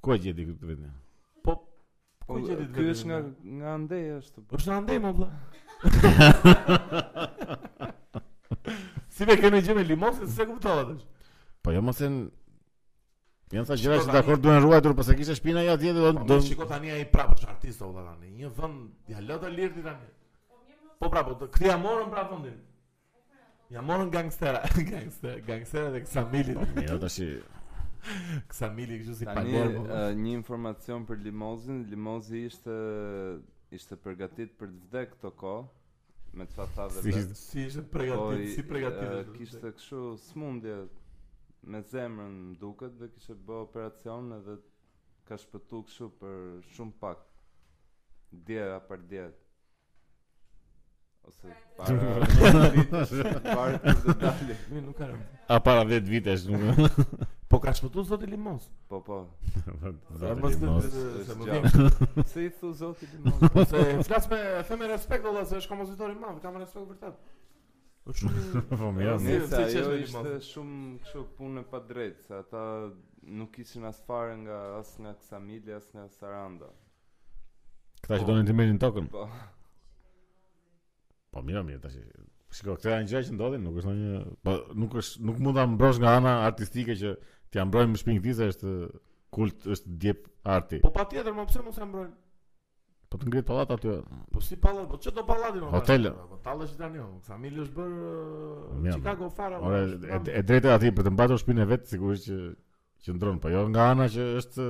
[SPEAKER 1] Ku e gjeti këtë vendin?
[SPEAKER 2] Po,
[SPEAKER 3] Po,
[SPEAKER 2] Ku i gjeti të
[SPEAKER 3] ky
[SPEAKER 2] vetin,
[SPEAKER 3] është nga
[SPEAKER 2] më?
[SPEAKER 3] nga Andeja ashtu. po.
[SPEAKER 2] është në andej më vëlla. si me kemi gjë me limosin, se kuptova tash.
[SPEAKER 1] Po jo mos janë janë sa gjëra
[SPEAKER 2] Shiko
[SPEAKER 1] që
[SPEAKER 2] tani-
[SPEAKER 1] dakor duhen ruajtur, po se kishte shpina ja atje do
[SPEAKER 2] Do
[SPEAKER 1] do
[SPEAKER 2] Po, shiko tani ai prapë është artist vëlla tani. Një vend ja lë të lirti tani. Po prapë, do- këtë ja morën prapë vendin. Ja morën gangstera, gangstera, gangstera dhe Ksamili.
[SPEAKER 1] Jo tash i-
[SPEAKER 2] Ksamili kështu si
[SPEAKER 3] Tani
[SPEAKER 2] pagor. po.
[SPEAKER 3] eh, një informacion për Limozin, Limozi ishte ishte përgatit për të vdekë këto kohë me të fatave.
[SPEAKER 1] Si
[SPEAKER 3] vetë.
[SPEAKER 1] ishte-
[SPEAKER 2] Si ishte
[SPEAKER 3] Po,
[SPEAKER 2] pregatit,
[SPEAKER 3] i-
[SPEAKER 2] si
[SPEAKER 3] eh,
[SPEAKER 2] pregatit.
[SPEAKER 3] Kishte kështu smundje me zemrën më duket dhe kishte bë operacion edhe ka shpëtu kështu për shumë pak. Dje për dje. Ose para para të të dali.
[SPEAKER 2] Mi nuk ka. rëndë.
[SPEAKER 1] a para 10 vitesh nuk.
[SPEAKER 2] Po ka shpëtuar zoti Limos.
[SPEAKER 3] Po po.
[SPEAKER 1] Zoti
[SPEAKER 2] Mos-
[SPEAKER 1] mos.
[SPEAKER 2] se më
[SPEAKER 3] Është
[SPEAKER 2] vjen
[SPEAKER 3] gjallë. Pse i thu zoti limon?
[SPEAKER 2] Po se flas me them me respekt valla se është kompozitor i madh, kam respekt vërtet. Është shumë i-
[SPEAKER 1] Po mirë.
[SPEAKER 2] Si-
[SPEAKER 3] Nëse
[SPEAKER 2] si qesh
[SPEAKER 3] ajo
[SPEAKER 2] me
[SPEAKER 3] ishte
[SPEAKER 2] limon?
[SPEAKER 3] shumë kështu punë pa drejtë, se ata nuk ishin as fare nga as nga Ksamili as nga Saranda.
[SPEAKER 1] Këta që donin të merrin tokën.
[SPEAKER 3] Po.
[SPEAKER 1] Po mirë, mirë tash. i- Shiko, këta janë gjëra që ndodhin, nuk është ndonjë, po nuk është nuk mund ta mbrosh nga ana artistike që t'ia mbrojmë në shpinë këtij se është kult, është djep arti.
[SPEAKER 2] Po patjetër, më pse mos e mbrojnë?
[SPEAKER 1] Po të ngrihet pallat aty.
[SPEAKER 2] Po si pallat, po ç'do do pallati më?
[SPEAKER 1] Hotele.
[SPEAKER 2] Po tallash tani, o, familja është bër
[SPEAKER 1] Mirë,
[SPEAKER 2] eh, Chicago fara.
[SPEAKER 1] Ora
[SPEAKER 2] o,
[SPEAKER 1] e,
[SPEAKER 2] është
[SPEAKER 1] e drejta aty për të mbajtur shpinën e vet sigurisht që që ndron, po jo nga ana që është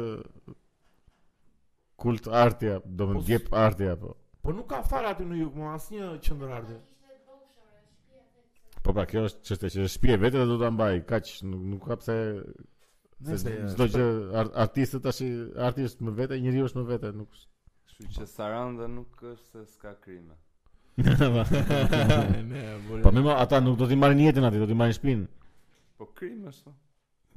[SPEAKER 1] kult artja, do më
[SPEAKER 2] Po s-
[SPEAKER 1] djep artja po.
[SPEAKER 2] Po nuk ka fara aty në jug, më asnjë qendër arti.
[SPEAKER 1] Po Po pra kjo është çështje që shpije vetë dhe do ta mbaj, kaq nuk nuk ka pse se çdo gjë ar- artistët tash artist më vete, njeriu është më vete, nuk është.
[SPEAKER 3] Kështu që Saranda nuk është se s'ka krime.
[SPEAKER 2] Ne,
[SPEAKER 1] Po më ata nuk do t'i marrin jetën aty, do t'i marrin shtëpinë.
[SPEAKER 3] Po krime është.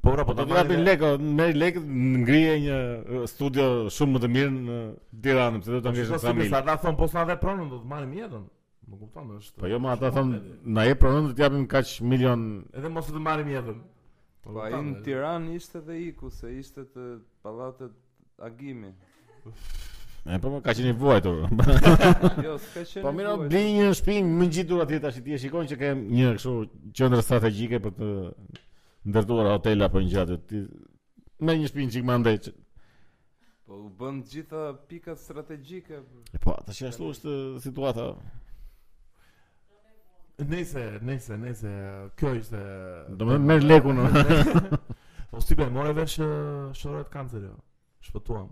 [SPEAKER 2] po pra, po
[SPEAKER 1] Po do t'i japin lekë, merr lekë, ngrije një e, studio shumë më të mirë në Tiranë, pse do ta ngjesh në
[SPEAKER 2] Sa
[SPEAKER 1] familje.
[SPEAKER 2] ata thon po s'na dhe pronën do të marrim jetën. Më kupton është.
[SPEAKER 1] Po jo, ma ata thon na jep pronon do t'japim kaq milion.
[SPEAKER 2] Edhe mos të marrim jetën.
[SPEAKER 3] Po ai në Tiranë ishte dhe iku se ishte të pallatet Agimi.
[SPEAKER 1] E po po, ka qenë i vuajtur.
[SPEAKER 3] Jo, s'ka qenë.
[SPEAKER 1] Po mira,
[SPEAKER 3] vuajt.
[SPEAKER 1] bli një shtëpi më ngjitur atje tash ti e shikon që kem një kështu qendër strategjike për të ndërtuar hotel apo një gjatë. Ti me një shtëpi çik më andej. që-
[SPEAKER 3] Po u bën gjitha pikat strategjike.
[SPEAKER 1] E Po, tash ashtu është e, situata.
[SPEAKER 2] Nëse, nëse, nëse kjo ishte
[SPEAKER 1] Domethënë merr lekun.
[SPEAKER 2] Po si be, morë vesh ë, shoret kanceri. o. Shpëtuam.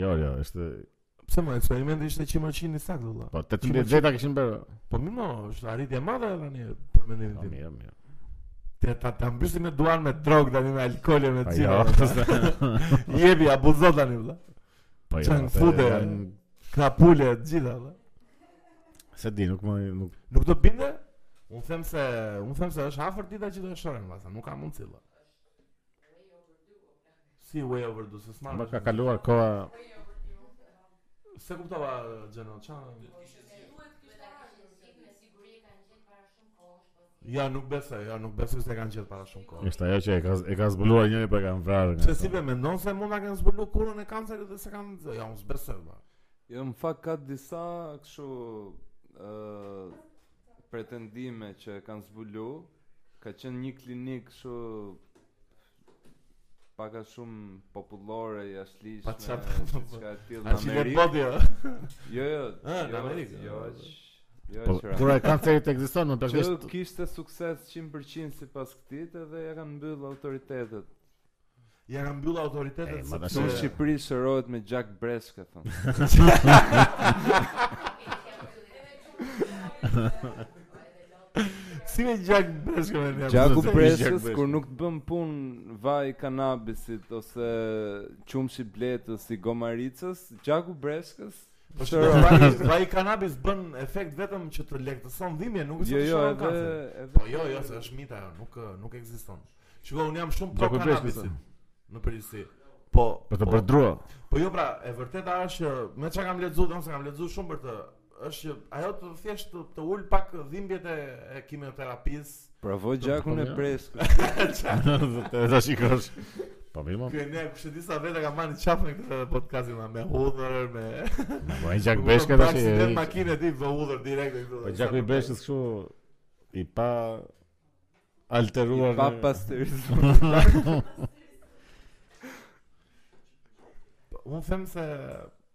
[SPEAKER 1] Jo, jo, është
[SPEAKER 2] Pse më eksperimenti ishte 100% i saktë valla.
[SPEAKER 1] po 18 veta kishin bërë.
[SPEAKER 2] Po mirë, mo, është arritje e madhe tani për mendimin
[SPEAKER 1] Po
[SPEAKER 2] tim.
[SPEAKER 1] mirë, mirë.
[SPEAKER 2] Te ta ta mbysim me duan me drogë tani me alkoole me
[SPEAKER 1] Po
[SPEAKER 2] gjëra.
[SPEAKER 1] jo.
[SPEAKER 2] Jepi abuzo tani valla.
[SPEAKER 1] Po jo.
[SPEAKER 2] Çan
[SPEAKER 1] atë
[SPEAKER 2] fute.
[SPEAKER 1] janë-
[SPEAKER 2] Krapule të gjitha valla.
[SPEAKER 1] Se di, nuk më nuk
[SPEAKER 2] Nuk do binde? Unë them se, unë them se është afër dita që do e shohim valla, nuk ka mundësi valla. Si way overdue, se s'ma.
[SPEAKER 1] më ka kaluar koha.
[SPEAKER 2] Se kuptova Xhenon, çan. Ja, nuk besoj, ja, nuk besoj se kanë gjetë para shumë kohë.
[SPEAKER 1] Është ajo që e ka e ka zbuluar njëri për kanë vrarë. nga
[SPEAKER 2] Se si
[SPEAKER 1] ato.
[SPEAKER 2] be mendon se mund ta kanë zbulu kurën e kancerit dhe se kanë ja, unë s'besoj valla.
[SPEAKER 3] Jo, në fakt ka disa kështu ë pretendime që e kanë zbulu. Ka qenë një klinik kështu paka shumë popullore jashtëligjshme.
[SPEAKER 2] Pa çat-
[SPEAKER 3] diçka e tillë
[SPEAKER 2] A
[SPEAKER 3] në
[SPEAKER 2] si le
[SPEAKER 3] Amerikë.
[SPEAKER 2] bodi? ë?
[SPEAKER 3] Jo, jo.
[SPEAKER 2] Ah, në
[SPEAKER 3] jo,
[SPEAKER 2] Amerikë.
[SPEAKER 3] Jo, aq- jo,
[SPEAKER 1] Po,
[SPEAKER 3] aq rrallë.
[SPEAKER 1] kura e kancerit ekziston, më
[SPEAKER 3] Që
[SPEAKER 1] plakësisht.
[SPEAKER 3] kishte sukses 100% si pas këtit edhe ja kanë mbyllë autoritetet.
[SPEAKER 2] Ja kanë mbyllë autoritetet
[SPEAKER 1] E, ma
[SPEAKER 2] sepse-
[SPEAKER 3] Që në Shqipëri shërohet me Jack Breshka, thonë.
[SPEAKER 2] Si me Jack Breshka me një
[SPEAKER 3] Gjaku
[SPEAKER 1] pse i Jack
[SPEAKER 3] Breshkës
[SPEAKER 1] Breshka?
[SPEAKER 3] kur nuk të bën punë vaj kanabisit ose qumshi bletës i gomaricës, Gjaku Breshkës
[SPEAKER 2] Po
[SPEAKER 3] shërohet.
[SPEAKER 2] shëron Vaj kanabis bën efekt vetëm që të lehtëson dhimbjen, nuk është
[SPEAKER 3] Jo,
[SPEAKER 2] se
[SPEAKER 3] jo,
[SPEAKER 2] shëron
[SPEAKER 3] edhe
[SPEAKER 2] kancerin.
[SPEAKER 3] edhe
[SPEAKER 2] Po jo, jo, se është mita ajo, nuk ë, nuk ekziston. Shiko, unë jam shumë pro
[SPEAKER 1] Gjaku Breshkës,
[SPEAKER 2] kanabisit në përgjithësi. Po,
[SPEAKER 1] Për të
[SPEAKER 2] po-
[SPEAKER 1] përdrua.
[SPEAKER 2] Po jo pra, e vërteta është që me çka kam lexuar, domethënë kam lexuar shumë për të është që ajo të thjesht të, të ul pak dhimbjet e, e kimioterapisë.
[SPEAKER 3] Bravo Gjakun e
[SPEAKER 2] jo.
[SPEAKER 1] Po, ja.
[SPEAKER 3] Breshkës.
[SPEAKER 1] Të ta shikosh. Po mirë, mo,
[SPEAKER 2] Ky ne kush e di sa vete ka marrë çaf në këtë podcastin me hudhër, me
[SPEAKER 1] po ai Jack Breshka tash.
[SPEAKER 2] si
[SPEAKER 1] e-
[SPEAKER 2] makinë ti vë hudhër direkt këtu.
[SPEAKER 1] Po Gjaku i Breshkës kështu i pa alteruar.
[SPEAKER 3] Pa
[SPEAKER 1] në-
[SPEAKER 3] pasterizëm.
[SPEAKER 2] Unë them se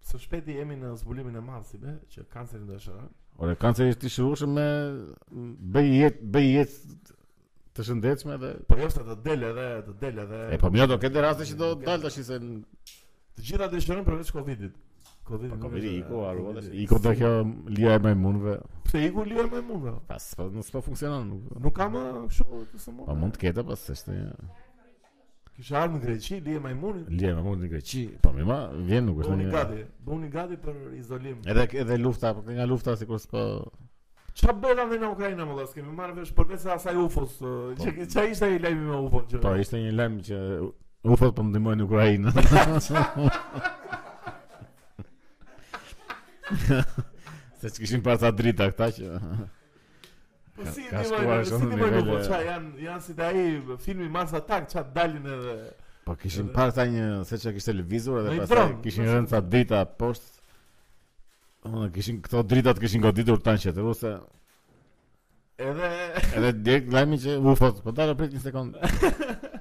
[SPEAKER 2] së shpejti jemi në zbulimin e madh si be, që kanceri do shëron.
[SPEAKER 1] Ore kanceri është i shërueshëm me bëj jetë bëj jetë të shëndetshme dhe
[SPEAKER 2] Po jo se të del edhe, të del edhe.
[SPEAKER 1] E po mirë do këtë raste që do dal tash se n-
[SPEAKER 2] Të gjitha do shëron përveç Covidit. Covidi
[SPEAKER 1] po
[SPEAKER 2] nuk
[SPEAKER 1] komedi
[SPEAKER 2] është-
[SPEAKER 1] iku arruat tash.
[SPEAKER 2] Covidi.
[SPEAKER 1] Iku do kjo lija e majmunëve.
[SPEAKER 2] Pse iku lirë me mua? bro?
[SPEAKER 1] Pas po nuk po funksionon. nuk-
[SPEAKER 2] Nuk kam ë, kështu të sëmon.
[SPEAKER 1] Po mund të ketë pas është një
[SPEAKER 2] Kisha ardhur në Greqi, lije majmunit.
[SPEAKER 1] lija e majmunëve në Greqi. Po më ma vjen nuk është
[SPEAKER 2] Bëuni
[SPEAKER 1] një.
[SPEAKER 2] gati, bëuni gati për izolim.
[SPEAKER 1] Edhe edhe lufta, po nga lufta sikur s'po
[SPEAKER 2] Çfarë bëra dhe në Ukrainë më vëllai, kemi marrë vesh përveç se asaj UFOs. ë,
[SPEAKER 1] Po.
[SPEAKER 2] që- Çfarë ishte ai lajmi me UFO? që-
[SPEAKER 1] Po ishte një lajm që ufot po ndihmojnë Ukrainën. Se që kishin pas drita këta që
[SPEAKER 2] Po
[SPEAKER 1] ka-
[SPEAKER 2] si
[SPEAKER 1] ka
[SPEAKER 2] ti
[SPEAKER 1] shkuar
[SPEAKER 2] më si
[SPEAKER 1] shumë
[SPEAKER 2] ti
[SPEAKER 1] në
[SPEAKER 2] më UFO?
[SPEAKER 1] nivele-
[SPEAKER 2] Çfarë janë janë si të ai filmi Mars Attack, çfarë dalin edhe
[SPEAKER 1] Po kishin parë ta një se që kishte lëvizur
[SPEAKER 2] Në
[SPEAKER 1] edhe
[SPEAKER 2] një
[SPEAKER 1] pastaj
[SPEAKER 2] dron,
[SPEAKER 1] kishin
[SPEAKER 2] në
[SPEAKER 1] rënë ca drita poshtë. Unë kishin këto dritat kishin goditur tan që ruse.
[SPEAKER 2] edhe
[SPEAKER 1] Edhe direkt lajmi që ufot, po dalë prit një sekond.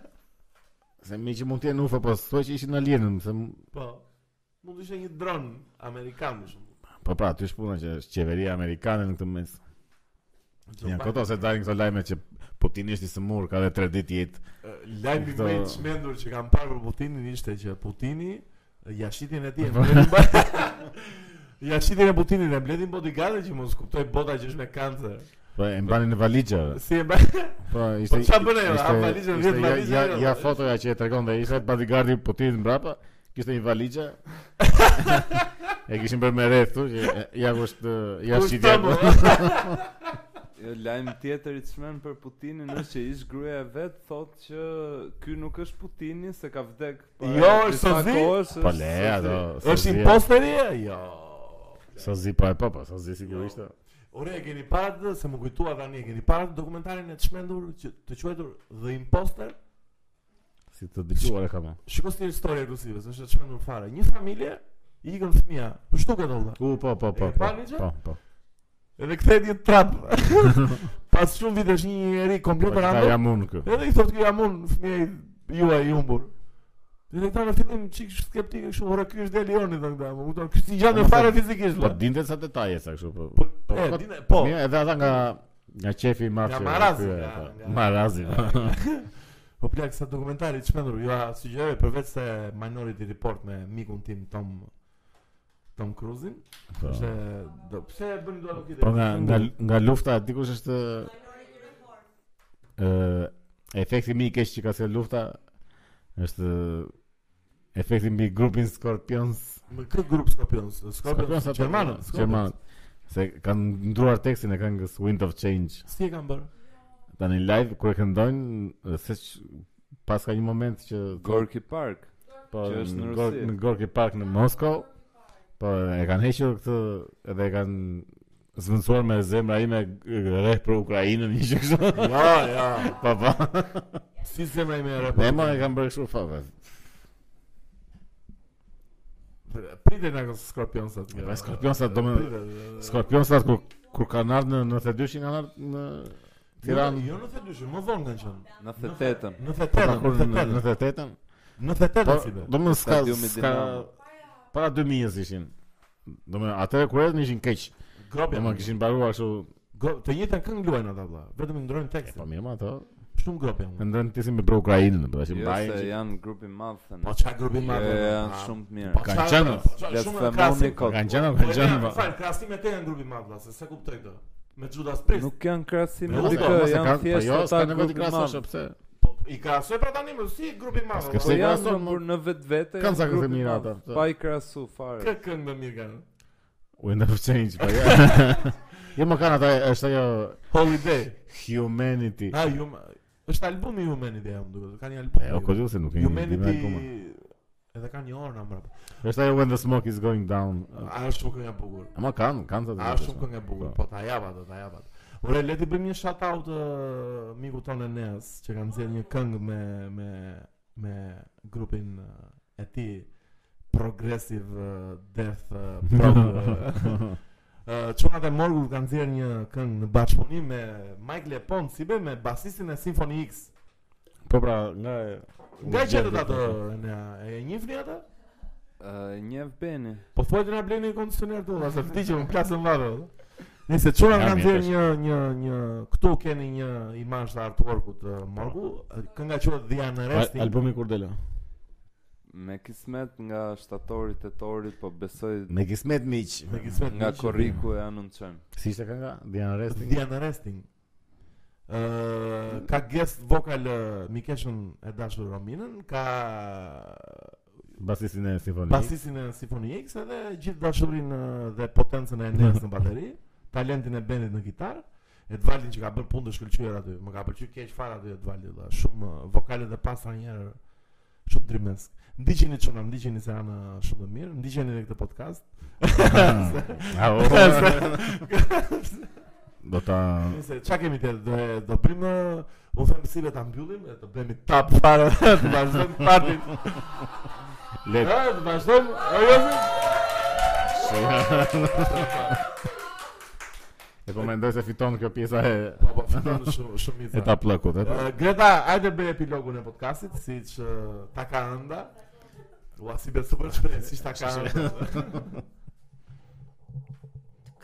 [SPEAKER 1] Se mi që mund të jenë ufo, po thuaj që ishin alienën, se m-
[SPEAKER 2] po mund të ishte një dron amerikan më shumë.
[SPEAKER 1] po pra aty është puna që është qeveria amerikane në këtë mes. Janë këto se dalin këto lajme që Putini është i sëmur, ka dhe 3 ditë jetë.
[SPEAKER 2] Ë, Lajmi
[SPEAKER 1] Këto-
[SPEAKER 2] më i çmendur që kam parë për Putinin ishte që Putini ë, ja shitin e tij. e mbledhin ba- Ja shitin e Putinin e mbledhin bodyguardin që mos kuptoj bota që është me kancer.
[SPEAKER 1] Po e mbanin në valixhe.
[SPEAKER 2] Si e bën?
[SPEAKER 1] Po ishte.
[SPEAKER 2] Po çfarë bën ajo? A
[SPEAKER 1] ishte-
[SPEAKER 2] valizhe,
[SPEAKER 1] ishte
[SPEAKER 2] vjetë
[SPEAKER 1] ja-
[SPEAKER 2] valizhe
[SPEAKER 1] Ja,
[SPEAKER 2] ajo?
[SPEAKER 1] ja fotoja që e tregonte ishte bodyguardi po ti mbrapa, kishte një valixhe. e kishin bërë me rreth këtu që e- ja ku është ja
[SPEAKER 2] Ku
[SPEAKER 1] është
[SPEAKER 2] është
[SPEAKER 1] ideja.
[SPEAKER 2] tomo?
[SPEAKER 3] Jo, lajm tjetër i çmend për Putinin është që ish gruaja e vet thotë që ky nuk është Putini se ka vdek
[SPEAKER 2] Jo, është Sozi?
[SPEAKER 1] Po le ato.
[SPEAKER 2] Është imposteri? Jo.
[SPEAKER 1] Sa zi pa e pa, po, sa zi sigurisht.
[SPEAKER 2] Ore, e keni parë atë, se më kujtua tani, e keni parë atë dokumentarin e të shmendur, që të quajtur The Imposter?
[SPEAKER 1] Si të dëgjuar e kam. e.
[SPEAKER 2] Shikos një histori rusive, se është e të shmendur fare. Një familje, i ikën fëmija, për shtu këtë olla.
[SPEAKER 1] U po po po.
[SPEAKER 2] E pra,
[SPEAKER 1] Po
[SPEAKER 2] pa ligje?
[SPEAKER 1] po. po.
[SPEAKER 2] Edhe kthehet një trap. Pas shumë vitesh një njerëz
[SPEAKER 1] Po
[SPEAKER 2] komplet
[SPEAKER 1] ta
[SPEAKER 2] random.
[SPEAKER 1] jam unë kë.
[SPEAKER 2] Edhe i thotë ky jam unë fëmijë juaj i humbur. Dhe ta në fillim çik skeptik e kështu, ora ky është Delioni thonë këta, më kupton, ky si gjatë
[SPEAKER 1] Po,
[SPEAKER 2] fare
[SPEAKER 1] po,
[SPEAKER 2] fizikisht.
[SPEAKER 1] Po
[SPEAKER 2] vla.
[SPEAKER 1] dinte sa detaje sa kështu po.
[SPEAKER 2] Po,
[SPEAKER 1] po,
[SPEAKER 2] e,
[SPEAKER 1] po,
[SPEAKER 2] dine, po.
[SPEAKER 1] Mirë, edhe ata nga nga qefi i mafshë.
[SPEAKER 2] marazi,
[SPEAKER 1] ky,
[SPEAKER 2] nga-
[SPEAKER 1] po.
[SPEAKER 2] nga-
[SPEAKER 1] Marazi. po.
[SPEAKER 2] Po plak sa dokumentari të shpendur, ju a sugjeroj përveç se Minority Report me mikun tim Tom Tom Cruise-in,
[SPEAKER 1] Po.
[SPEAKER 2] është do pse e bën dua lokite.
[SPEAKER 1] Po nga nga nga lufta dikush është ë efekti më i keq që ka sjell lufta është efekti mbi grupin Scorpions.
[SPEAKER 2] me këtë grup Scorpions, Scorpions
[SPEAKER 1] ato-
[SPEAKER 2] Gjermanët, Scorpions.
[SPEAKER 1] po, Gjermanët. Se kanë ndruar tekstin e këngës Wind of Change.
[SPEAKER 2] Si e kanë bërë?
[SPEAKER 1] Tani live kur e këndojnë ë, se që, pas ka një moment që
[SPEAKER 3] Gorky Park.
[SPEAKER 1] po
[SPEAKER 3] që është në
[SPEAKER 1] në,
[SPEAKER 3] Rusi.
[SPEAKER 1] në Gorki Park në Moskow, po e kanë hequr këtë edhe e kanë zvendësuar me zemra ime rreth për Ukrainën një gjë kështu.
[SPEAKER 2] Ja, ja.
[SPEAKER 1] Po po.
[SPEAKER 2] Si zemra ime e
[SPEAKER 1] Ne
[SPEAKER 2] raport.
[SPEAKER 1] më e kanë bërë kështu po, fave.
[SPEAKER 2] Pritet nga Scorpionsat.
[SPEAKER 1] Ja, Scorpionsat, do me-
[SPEAKER 2] Pritet, e,
[SPEAKER 1] Skorpion sa kur kur kanë ardhur në 92 kanë ardhur në Tiranë.
[SPEAKER 2] Jo, jo në 92, më vonë kanë qenë.
[SPEAKER 3] 98-ën.
[SPEAKER 2] Në
[SPEAKER 1] Po, ta kur
[SPEAKER 2] 98,
[SPEAKER 1] në 98-ën.
[SPEAKER 2] në 98
[SPEAKER 1] Po,
[SPEAKER 2] si be.
[SPEAKER 1] do më ska
[SPEAKER 3] Stadiumi
[SPEAKER 1] ska
[SPEAKER 3] Dinamo.
[SPEAKER 1] para 2000-s ishin. Do më atëherë kur erdhën ishin keq. Do
[SPEAKER 2] Grobi.
[SPEAKER 1] më kishin mbaruar kështu,
[SPEAKER 2] gro- Të njëjtën këngë luajnë ata vëlla, vetëm i ndrojnë
[SPEAKER 1] e po
[SPEAKER 2] tekstin.
[SPEAKER 1] mirë më ato.
[SPEAKER 2] Shumë grobi. janë.
[SPEAKER 1] Mendon ti si me bro Ukrainën, po tash
[SPEAKER 3] Jo,
[SPEAKER 1] mbajnë.
[SPEAKER 3] se
[SPEAKER 1] që-
[SPEAKER 3] janë grup i madh thënë.
[SPEAKER 2] Po çfarë grupi
[SPEAKER 3] Jo,
[SPEAKER 2] marrë?
[SPEAKER 3] janë shumë të mirë.
[SPEAKER 1] Kanë qenë.
[SPEAKER 3] Blasfemoni kot.
[SPEAKER 1] Kanë qenë,
[SPEAKER 2] Po
[SPEAKER 1] kanë
[SPEAKER 2] ja,
[SPEAKER 1] qenë. po.
[SPEAKER 2] fal, krahasimet e janë grupi i madh, vëlla, se se kuptoj këtë. Me Judas Priest.
[SPEAKER 3] Nuk janë krahasim me
[SPEAKER 1] Mos e-
[SPEAKER 3] dikë,
[SPEAKER 1] mos e
[SPEAKER 3] janë
[SPEAKER 1] kanë- Jo, po
[SPEAKER 3] thjesht
[SPEAKER 1] jo,
[SPEAKER 3] ata
[SPEAKER 1] s'ka nevojë të
[SPEAKER 3] grup i madh.
[SPEAKER 1] krahasosh pse.
[SPEAKER 2] Po i krahasoj pra tani më si grupi i madh.
[SPEAKER 1] Ska
[SPEAKER 2] vëlla.
[SPEAKER 1] se
[SPEAKER 3] Po
[SPEAKER 1] i
[SPEAKER 3] janë
[SPEAKER 1] krahason,
[SPEAKER 3] kur në
[SPEAKER 1] Kanë po,
[SPEAKER 3] vetvete. janë
[SPEAKER 1] sa
[SPEAKER 3] grup
[SPEAKER 1] këtë
[SPEAKER 3] i
[SPEAKER 1] mirë
[SPEAKER 3] madh.
[SPEAKER 1] ata.
[SPEAKER 3] Pa i krahasu fare.
[SPEAKER 2] Kë këngë më mirë kanë.
[SPEAKER 1] Wind of Change, po. ja. Jo më kanë ata, është ajo
[SPEAKER 2] Holiday.
[SPEAKER 1] ε, Humanity.
[SPEAKER 2] Ah, ju është albumi Humanity jam duket. Ka një
[SPEAKER 1] Po,
[SPEAKER 2] album.
[SPEAKER 1] Jo, ku se nuk e di. di me akoma.
[SPEAKER 2] Humanity edhe ka një orë në mbrapa.
[SPEAKER 1] Është ajo Ε, when the smoke is going down.
[SPEAKER 2] A është shumë këngë e bukur.
[SPEAKER 1] Ama kanë, kanë të
[SPEAKER 2] A
[SPEAKER 1] drejtë,
[SPEAKER 2] është shumë
[SPEAKER 1] po.
[SPEAKER 2] këngë e bukur.
[SPEAKER 1] Po.
[SPEAKER 2] Po ta jap atë, ta jap atë. Ore, le të bëjmë një shout out uh, miku tonë Enes që ka nxjerrë një këngë me me me grupin eh, e ti Progressive eh, Death eh, Prog. uh, eh, eh, Çunat e Morgun kanë nxjerrë një këngë në bashkëpunim me Mike Lepon, si be me basistin e Symphony X.
[SPEAKER 1] Po pra, nga
[SPEAKER 2] Nga gjetët atë ne e njihni atë?
[SPEAKER 3] Ë, Njeh Beni.
[SPEAKER 2] Po thuaj të na bleni një kondicioner tu, ose vdi që më klasën varë. Nëse çuna
[SPEAKER 1] Ja,
[SPEAKER 2] kanë
[SPEAKER 1] mirë,
[SPEAKER 2] nxjerr
[SPEAKER 1] tash.
[SPEAKER 2] një një një këtu keni një imazh të artworkut të Morgu, kënga quhet The Unresting.
[SPEAKER 1] albumi kur dela.
[SPEAKER 3] Me kismet nga shtatori tetorit, po besoj
[SPEAKER 1] Me kismet miq.
[SPEAKER 2] me kismet
[SPEAKER 3] nga
[SPEAKER 2] miqe.
[SPEAKER 3] korriku e anoncojmë.
[SPEAKER 1] Si ishte kënga? Diana Resting.
[SPEAKER 2] The Unresting. Ë ka guest vocal ë, Mikeshën e dashur Rominën, ka
[SPEAKER 1] Basistin e simfonisë.
[SPEAKER 2] basistin e Symphony X edhe gjithë dashurinë ë, dhe potencën e Enes në bateri, talentin e Benit në gitarë, Edvaldin që ka bërë punë të shkëlqyer aty. Më ka pëlqyer keq fare aty Edvaldi valla. Shumë ë, vokalet e pastra një herë shumë trimesk. Ndiqeni çuna, ndiqeni se janë ë, shumë të mirë, ndiqeni edhe këtë podcast.
[SPEAKER 1] Ah, o. oh. Do ta
[SPEAKER 2] Nëse çka kemi të do, do bëjmë ë, unë them si vetë ta mbyllim, e do bëhemi tap fare, të vazhdojmë partin.
[SPEAKER 1] le.
[SPEAKER 2] Ha, të vazhdojmë. e, jo, se-
[SPEAKER 1] E po mendoj se fiton kjo pjesa e
[SPEAKER 2] Po, po, fiton shumë shumë
[SPEAKER 1] e ta plakut, e. po.
[SPEAKER 2] Uh, Greta, hajde bëj epilogun e podcastit, siç uh, ta ka ënda. Ua, si be super shprej, siç ta ka ënda.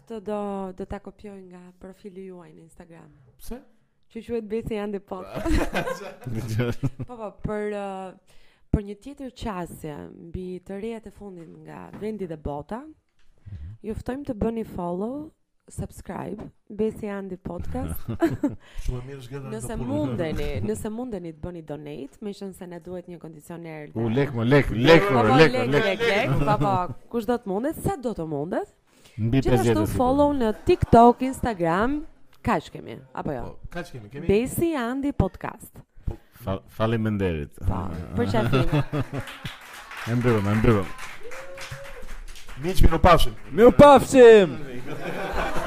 [SPEAKER 4] Këtë do do ta kopjoj nga profili juaj në Instagram.
[SPEAKER 2] Pse?
[SPEAKER 4] Që quhet Besi Ande Pop. Po po, për ë, për një tjetër qasje
[SPEAKER 1] Mhm.
[SPEAKER 4] mbi të rejat e fundit nga vendi dhe bota, ju ftojmë të bëni follow subscribe Besi Andi Podcast
[SPEAKER 2] Shumë e mirë është gjetur
[SPEAKER 4] nëse mundeni, nëse mundeni të bëni donate, me qenë se ne duhet një kondicioner.
[SPEAKER 1] U lek, më lek, lek,
[SPEAKER 4] Po,
[SPEAKER 1] më
[SPEAKER 4] po,
[SPEAKER 1] lek,
[SPEAKER 4] lek,
[SPEAKER 1] lek.
[SPEAKER 4] lek, lek, po, po, kush do të mundet, sa do të mundet.
[SPEAKER 1] Mbi 50.
[SPEAKER 4] Gjithashtu
[SPEAKER 1] si
[SPEAKER 4] follow në TikTok, Instagram, kaq kemi, apo jo?
[SPEAKER 2] Po, kaç kemi? Kemi
[SPEAKER 4] Besi Andi Podcast.
[SPEAKER 1] po. Fa- Faleminderit.
[SPEAKER 4] Po, për çfarë?
[SPEAKER 1] E mbyllëm, e mbyllëm.
[SPEAKER 2] miq mirupafshim.
[SPEAKER 5] Mirë pafshim!